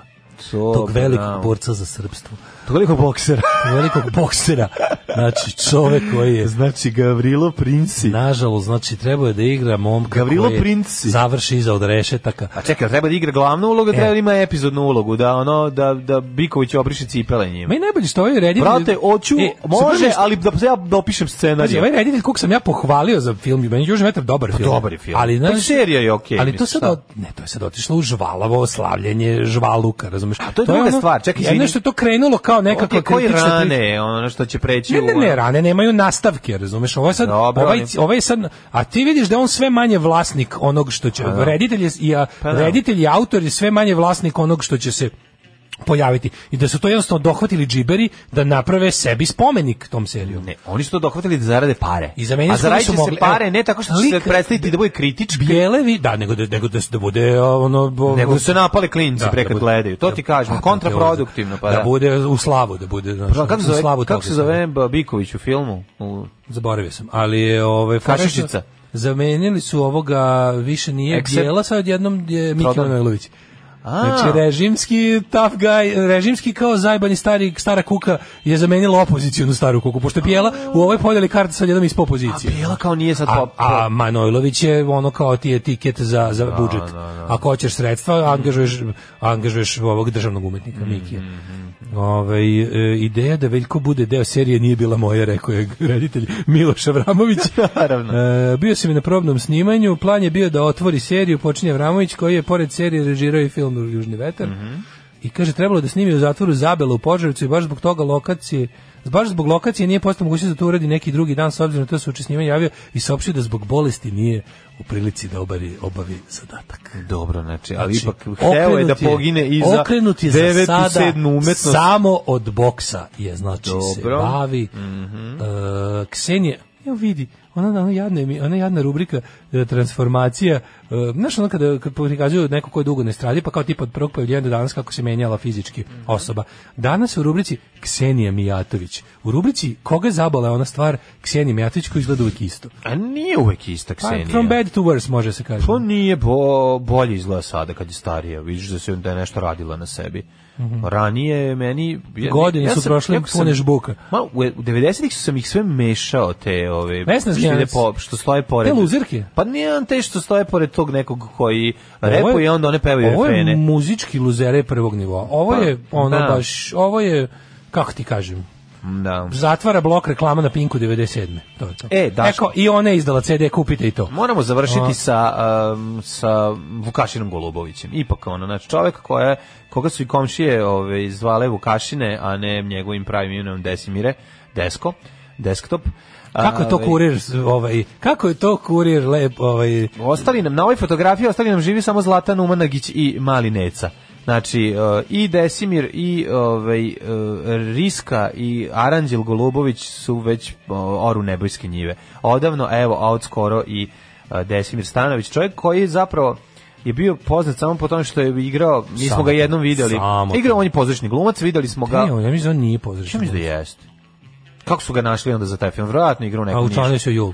To, pa
tog velikog
bravo.
borca za srpstvo.
Tog velikog boksera.
Tog velikog boksera. Znači, čovek koji je
[laughs] Znači Gavrilo Princi.
Nažalost, znači trebao je da igra momka
Gavrilo
koji je
Princi.
završi iza od rešetaka.
A čekaj, jel treba da igra glavnu
E.
ulogu, treba da ima epizodnu ulogu, da ono da da Biković obriše cipele njima.
Ma i najbolje što ovaj reditelj...
Brate, hoću,
E, super
može,
je što-
ali da ja dopišem
Pazi,
scenarij.
ovaj reditelj kog sam ja pohvalio za film, meni je Južni vetar dobar film.
dobar je film.
Ali,
Pa
znaš,
i serija je okej,
Ali to
mislim,
sad,
šta?
od, ne, to je sad otišlo u žvalavo slavljenje žvaluka, razumeš? A
to je druga stvar, čekaj,
jedno je
izvini.
što je to krenulo kao nekako
Ovdje koji
kritična priča.
rane, ono što će preći
Ne, ne,
u...
ne, rane nemaju nastavke, razumeš? Ovo je sad,
Dobro,
ovaj,
ali-
ovaj je sad, a ti vidiš da je on sve manje vlasnik onog što će, reditelj je, i, a,
Pa da.
reditelj i autor je sve manje vlasnik onog što će se pojaviti. I da su to jednostavno dohvatili džiberi da naprave sebi spomenik tom serijom.
Ne, oni su to dohvatili da zarade pare.
I za meni
A
su oni
zaradit
su
će se
mogli-
pare
evo,
ne tako što će
lik-
se predstaviti da bude kritički,
Bijelevi, da, nego da, nego da, da bude a, ono... bo-
nego da se napale klinci
Da, da
prekad
bude-
gledaju. To ti
Pa,
kažem,
to je
kontraproduktivno. Pa
da.
da.
bude u slavu, da bude... Znaš,
Bro, kako
u
se zove,
slavu
kako
toga
se zove Biković u filmu? U...
Zaboravio sam, ali je ovaj fora što-
Kašičica.
Zamenili su ovoga, više nije
Except-
bijela, sad odjednom je Miki
Prodan.
Manojlović.
A.
Znači, režimski tough guy, režimski kao zajbani stari, stara kuka je zamenila opozicijonu staru kuku, pošto je Bijela u ovoj podeli karta sad jednom iz opozicije.
A Bijela kao nije sad
a,
pop-
a Manojlović je ono kao ti je tiket za, za budžet. Ako hoćeš sredstva, angažuješ, angažuješ ovog državnog umetnika Mikija. Ove, e, ideja da Veljko bude deo serije nije bila moja, rekao je reditelj Miloš Avramović.
Naravno.
E, bio sam i na probnom snimanju, plan je bio da otvori seriju, počinje Avramović koji je pored serije režirao i film Južni vetar. I kaže, trebalo da snimi u zatvoru Zabela u Požarevcu i baš zbog toga lokacije baš zbog lokacije nije postao mogućnost da to uradi neki drugi dan s obzirom na to se učesnjivanje javio i saopštio da zog bolesti nije u prilici da obari, obavi zadatak.
Dobro, znači, ali
Znači,
ipak hteo je da
okrenut
pogine i za
okrenut je za
devetu,
sada
sedmu umetnost.
Samo od boksa je, znači, se
Dobro. Mhm.
bavi. E, Ksenija, evo vidi, ona, ona, jadna, emi- ona jadna rubrika e, transformacija, e, znaš ono kada, kad prikazuju neko ko je dugo na estradi, pa kao tipa od prvog pojavljenja do danas kako se menjala fizički
Mhm.
osoba. Danas u rubrici Ksenija Mijatović. U rubrici koga zabala je ona stvar Ksenija Mijatović koja izgleda uvijek isto.
A nije uvek ista
Pa,
Ksenija. Pa,
from bad to worse može se kaže.
To nije bo, bolje izgleda sada kad je starija, vidiš da se da je nešto radila na sebi. Ranije je meni ja-
Mhm. Godine su
sam-
prošle
jako sam-
pune žbuka.
Ma, u, e- u 90-ih sam ih sve mešao te ove
Vesna
što, ide
Zmijanac.
po, što stoje pored.
Te luzerke?
Pa nije on te što stoje pored tog nekog koji
Ovo je-
repuje Pa i onda one pevaju
Ovo je
refrene.
muzički luzere prvog nivoa. Ovo
Pa,
je ono
da.
baš, ovo je, kako ti kažem,
Da.
zatvara blok reklama na Pinku 97. To je to.
E, Daško.
Eko, i ona je izdala CD, kupite i to.
Moramo završiti
A.
sa um, sa Vukašinom Golubovićem. Ipak ono znači čovjek koja koga su i komšije ove zvale Vukašine, a ne njegovim pravim imenom Desimire, Desko, desktop.
Kako je to
Ove,
kurir, s- ovaj, kako je to kurir lep, ovaj,
Ostali nam na ovoj fotografiji ostali nam živi samo Zlatan Umanagić i Mali Neca. Znači e, i Desimir i ovaj e, Riska i Aranđel Golubović su već o, oru nebojske njive. Odavno evo outskoro i e, Desimir Stanović, čovjek koji je zapravo je bio poznat samo po tome što je igrao, mi smo
Samo
ga
to,
jednom vidjeli.
samo to.
Igrao on je pozorišni glumac, vidjeli smo ga.
ne, on, ja mislim da on nije
Ja
pozdrašen.
mislim da jeste. Kako su ga našli onda za taj film? Vjerojatno igrao
A
neku
u
nišu.
se Jul.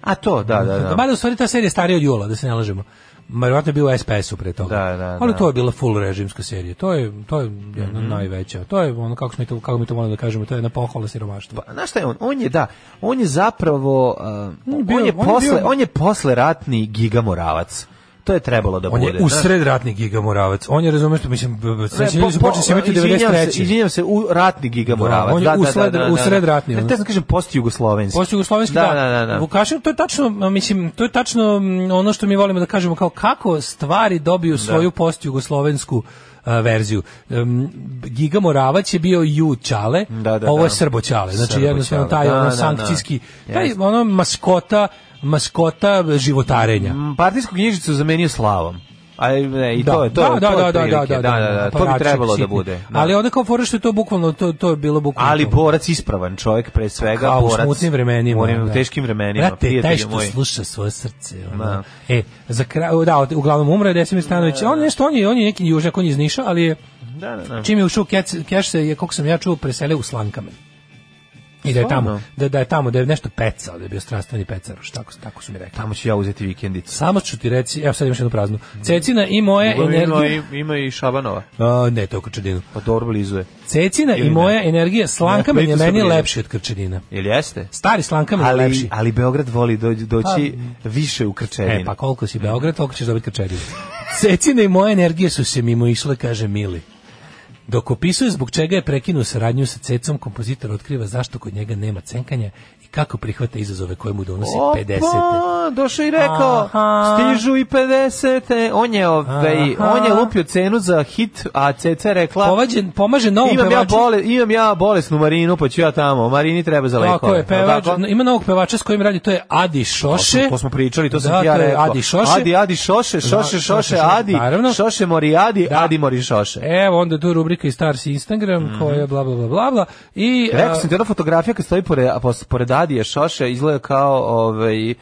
A to, da, da, da.
Mada u stvari ta serija je starija od Jula, da se ne lažemo. Ma, Verovatno je bio u SPS-u pre toga.
Da, da,
Ali
da. Mhm.
to je bila full režimska serija. To je to je jedna najveća. To je ono kako smo to kako mi to volimo da kažemo, to je na pohvala siromaštva.
Pa, znaš šta je on? On je, da, on je zapravo, uh, on,
bio-
je
on je
posle,
bio-
on je posle ratni gigamoravac. To je trebalo da
On
bude.
je usred ratni gigamoravac. On je razumeš što mislim b- b- srećni ljudi su počeli se imati u
Izvinjam se,
93.
Izvinjam se, u ratni gigamoravac.
Da, on je
da, da,
usred-
da, da, da.
usred ratni,
Ne,
ono.
te sam kažem post-jugoslovenski.
Post jugoslovenski
da.
da.
Da, da, da.
Vukašin, to je tačno, ma, mislim, to je tačno mm, ono što mi volimo da kažemo kao kako stvari dobiju svoju post jugoslovensku verziju. Um, Giga Moravac je bio Ju Čale,
Da, da,
ovo je
da.
Srbo Čale. Znači
Srbo
jednostavno
Ćale,
taj
da,
ono
da, da.
sankcijski, taj
Jeste.
ono maskota, maskota životarenja.
Mm, Partijsku knjižicu zamenio slavom. A ne, i to je to. je-
da,
to je
da, da, da,
otprilike,
da,
da, da, to bi
aparaček
trebalo da
sitni.
bude. Da.
Ali onda kao fora što je to bukvalno, to, to je bilo bukvalno.
Ali
to.
borac ispravan čovjek pre svega,
Kao u
borac.
smutnim vremenima.
Morim, u
da.
teškim vremenima,
Brate, taj
prijatelju
što
moj.
sluša svoje srce. ono.
Da.
E, za kraj, da, od- uglavnom umre Desimir Stanović. On nešto, on je, on je neki južnjak, on je iz Niša, ali je,
Da, da, da.
čim je ušao u kec, keš se je, koliko sam ja čuo, preselio u Slankamen. I da je tamo,
Stvarno?
da, da je tamo, da je nešto pecao, da je bio strastveni pecar, šta tako, tako su mi rekli.
Tamo ću ja uzeti vikendicu.
Samo ću ti reći, evo sad imaš jednu praznu. Cecina i moje
Uglavnom Ima,
energije...
Mm. i- ima i Šabanova.
A, ne, to je Krčedinu.
Pa dobro blizu je.
Cecina
Ili
i
ne?
moja energija, Slankamen
Ne,
je
blizu sam
meni
blizu.
lepši od Krčedina.
Jel jeste?
Stari Slankamen je
Ali,
lepši. Pa,
ali Beograd voli dođi, doći više u Krčevinu.
E, pa koliko si Beograd, toliko ćeš dobiti kačeriju. Cecina i moje energije su se mimo išle, kaže Mili. Dok opisuje zbog čega je prekinuo saradnju sa Cecom, kompozitor otkriva zašto kod njega nema cenkanja i kako prihvata izazove koje mu donosi 50.
Opa, došao i rekao,
Aha.
stižu i 50. On je, ovaj,
Aha.
on je lupio cenu za hit, a Ceca je rekla...
Povađen, pomaže novom
imam ja,
pevaču.
bole, imam ja bolesnu Marinu, pa ću ja tamo. Marini treba za lekove.
Tako je, pevač,
Jel tako?
ima novog pevača s kojim radi, to je Adi Šoše.
To smo- to smo pričali, to sam
Da,
ti ja
to je
rekao.
Adi Šoše.
Adi, Adi Šoše,
Da,
Šoše,
Šoše,
Šoše,
Šoše,
Adi,
naravno. E,
Šoše mori Adi, Adi mori Šoše.
Evo, onda je tu rubrika i Stars Instagram, koja je bla, bla, bla, bla, bla. I,
Rekao
a,
sam ti, ona fotografija kad stoji pored, a pos- pored Adija Šoše izgleda kao, ovaj,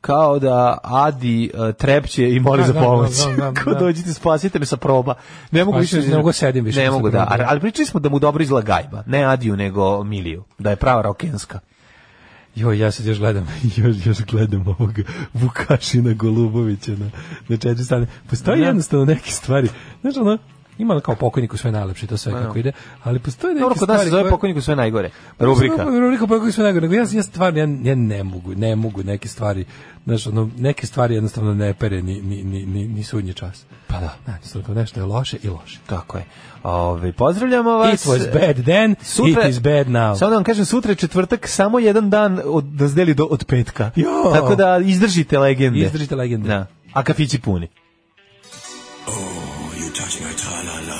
kao da Adi e, trepće i moli
Da,
za
da,
pomoć.
da, da, da.
[laughs] Kao dođite, spasite me sa proba. Ne mogu
Spasite
više.
me, ne mogu sedim više
Ne
posle
mogu, da.
probe.
Ali pričali smo da mu dobro izgleda gajba. Ne Adiju, nego Miliju. Da je prava rokenska.
Joj, ja sad još gledam, [laughs] još, još gledam ovog Vukašina Golubovića na, na četiri strane. Postoji jednostavno neke stvari, znaš ono, ima ono kao pokojnik u sve najlepše, to sve kako ide, ali postoje neke
Dobro, kod nas
stvari
se zove
koje-
pokojniku sve najgore. Rubrika.
Rubrika pokojnik u sve najgore, nego ja, ja stvarno, ja, ja ne mogu, ne mogu neke stvari, znaš ono, neke stvari jednostavno ne pere ni, ni, ni, ni, ni sudnji čas. Pa da. Jednostavno, nešto je loše i loše.
Tako je. Ove, pozdravljamo vas. e,
It was bad then, it is bad now.
Samo da vam kažem, sutra je četvrtak, samo jedan dan od, nas deli do, od petka.
Jo!
Tako da izdržite legende.
Izdržite legende.
Da. A kafići puni.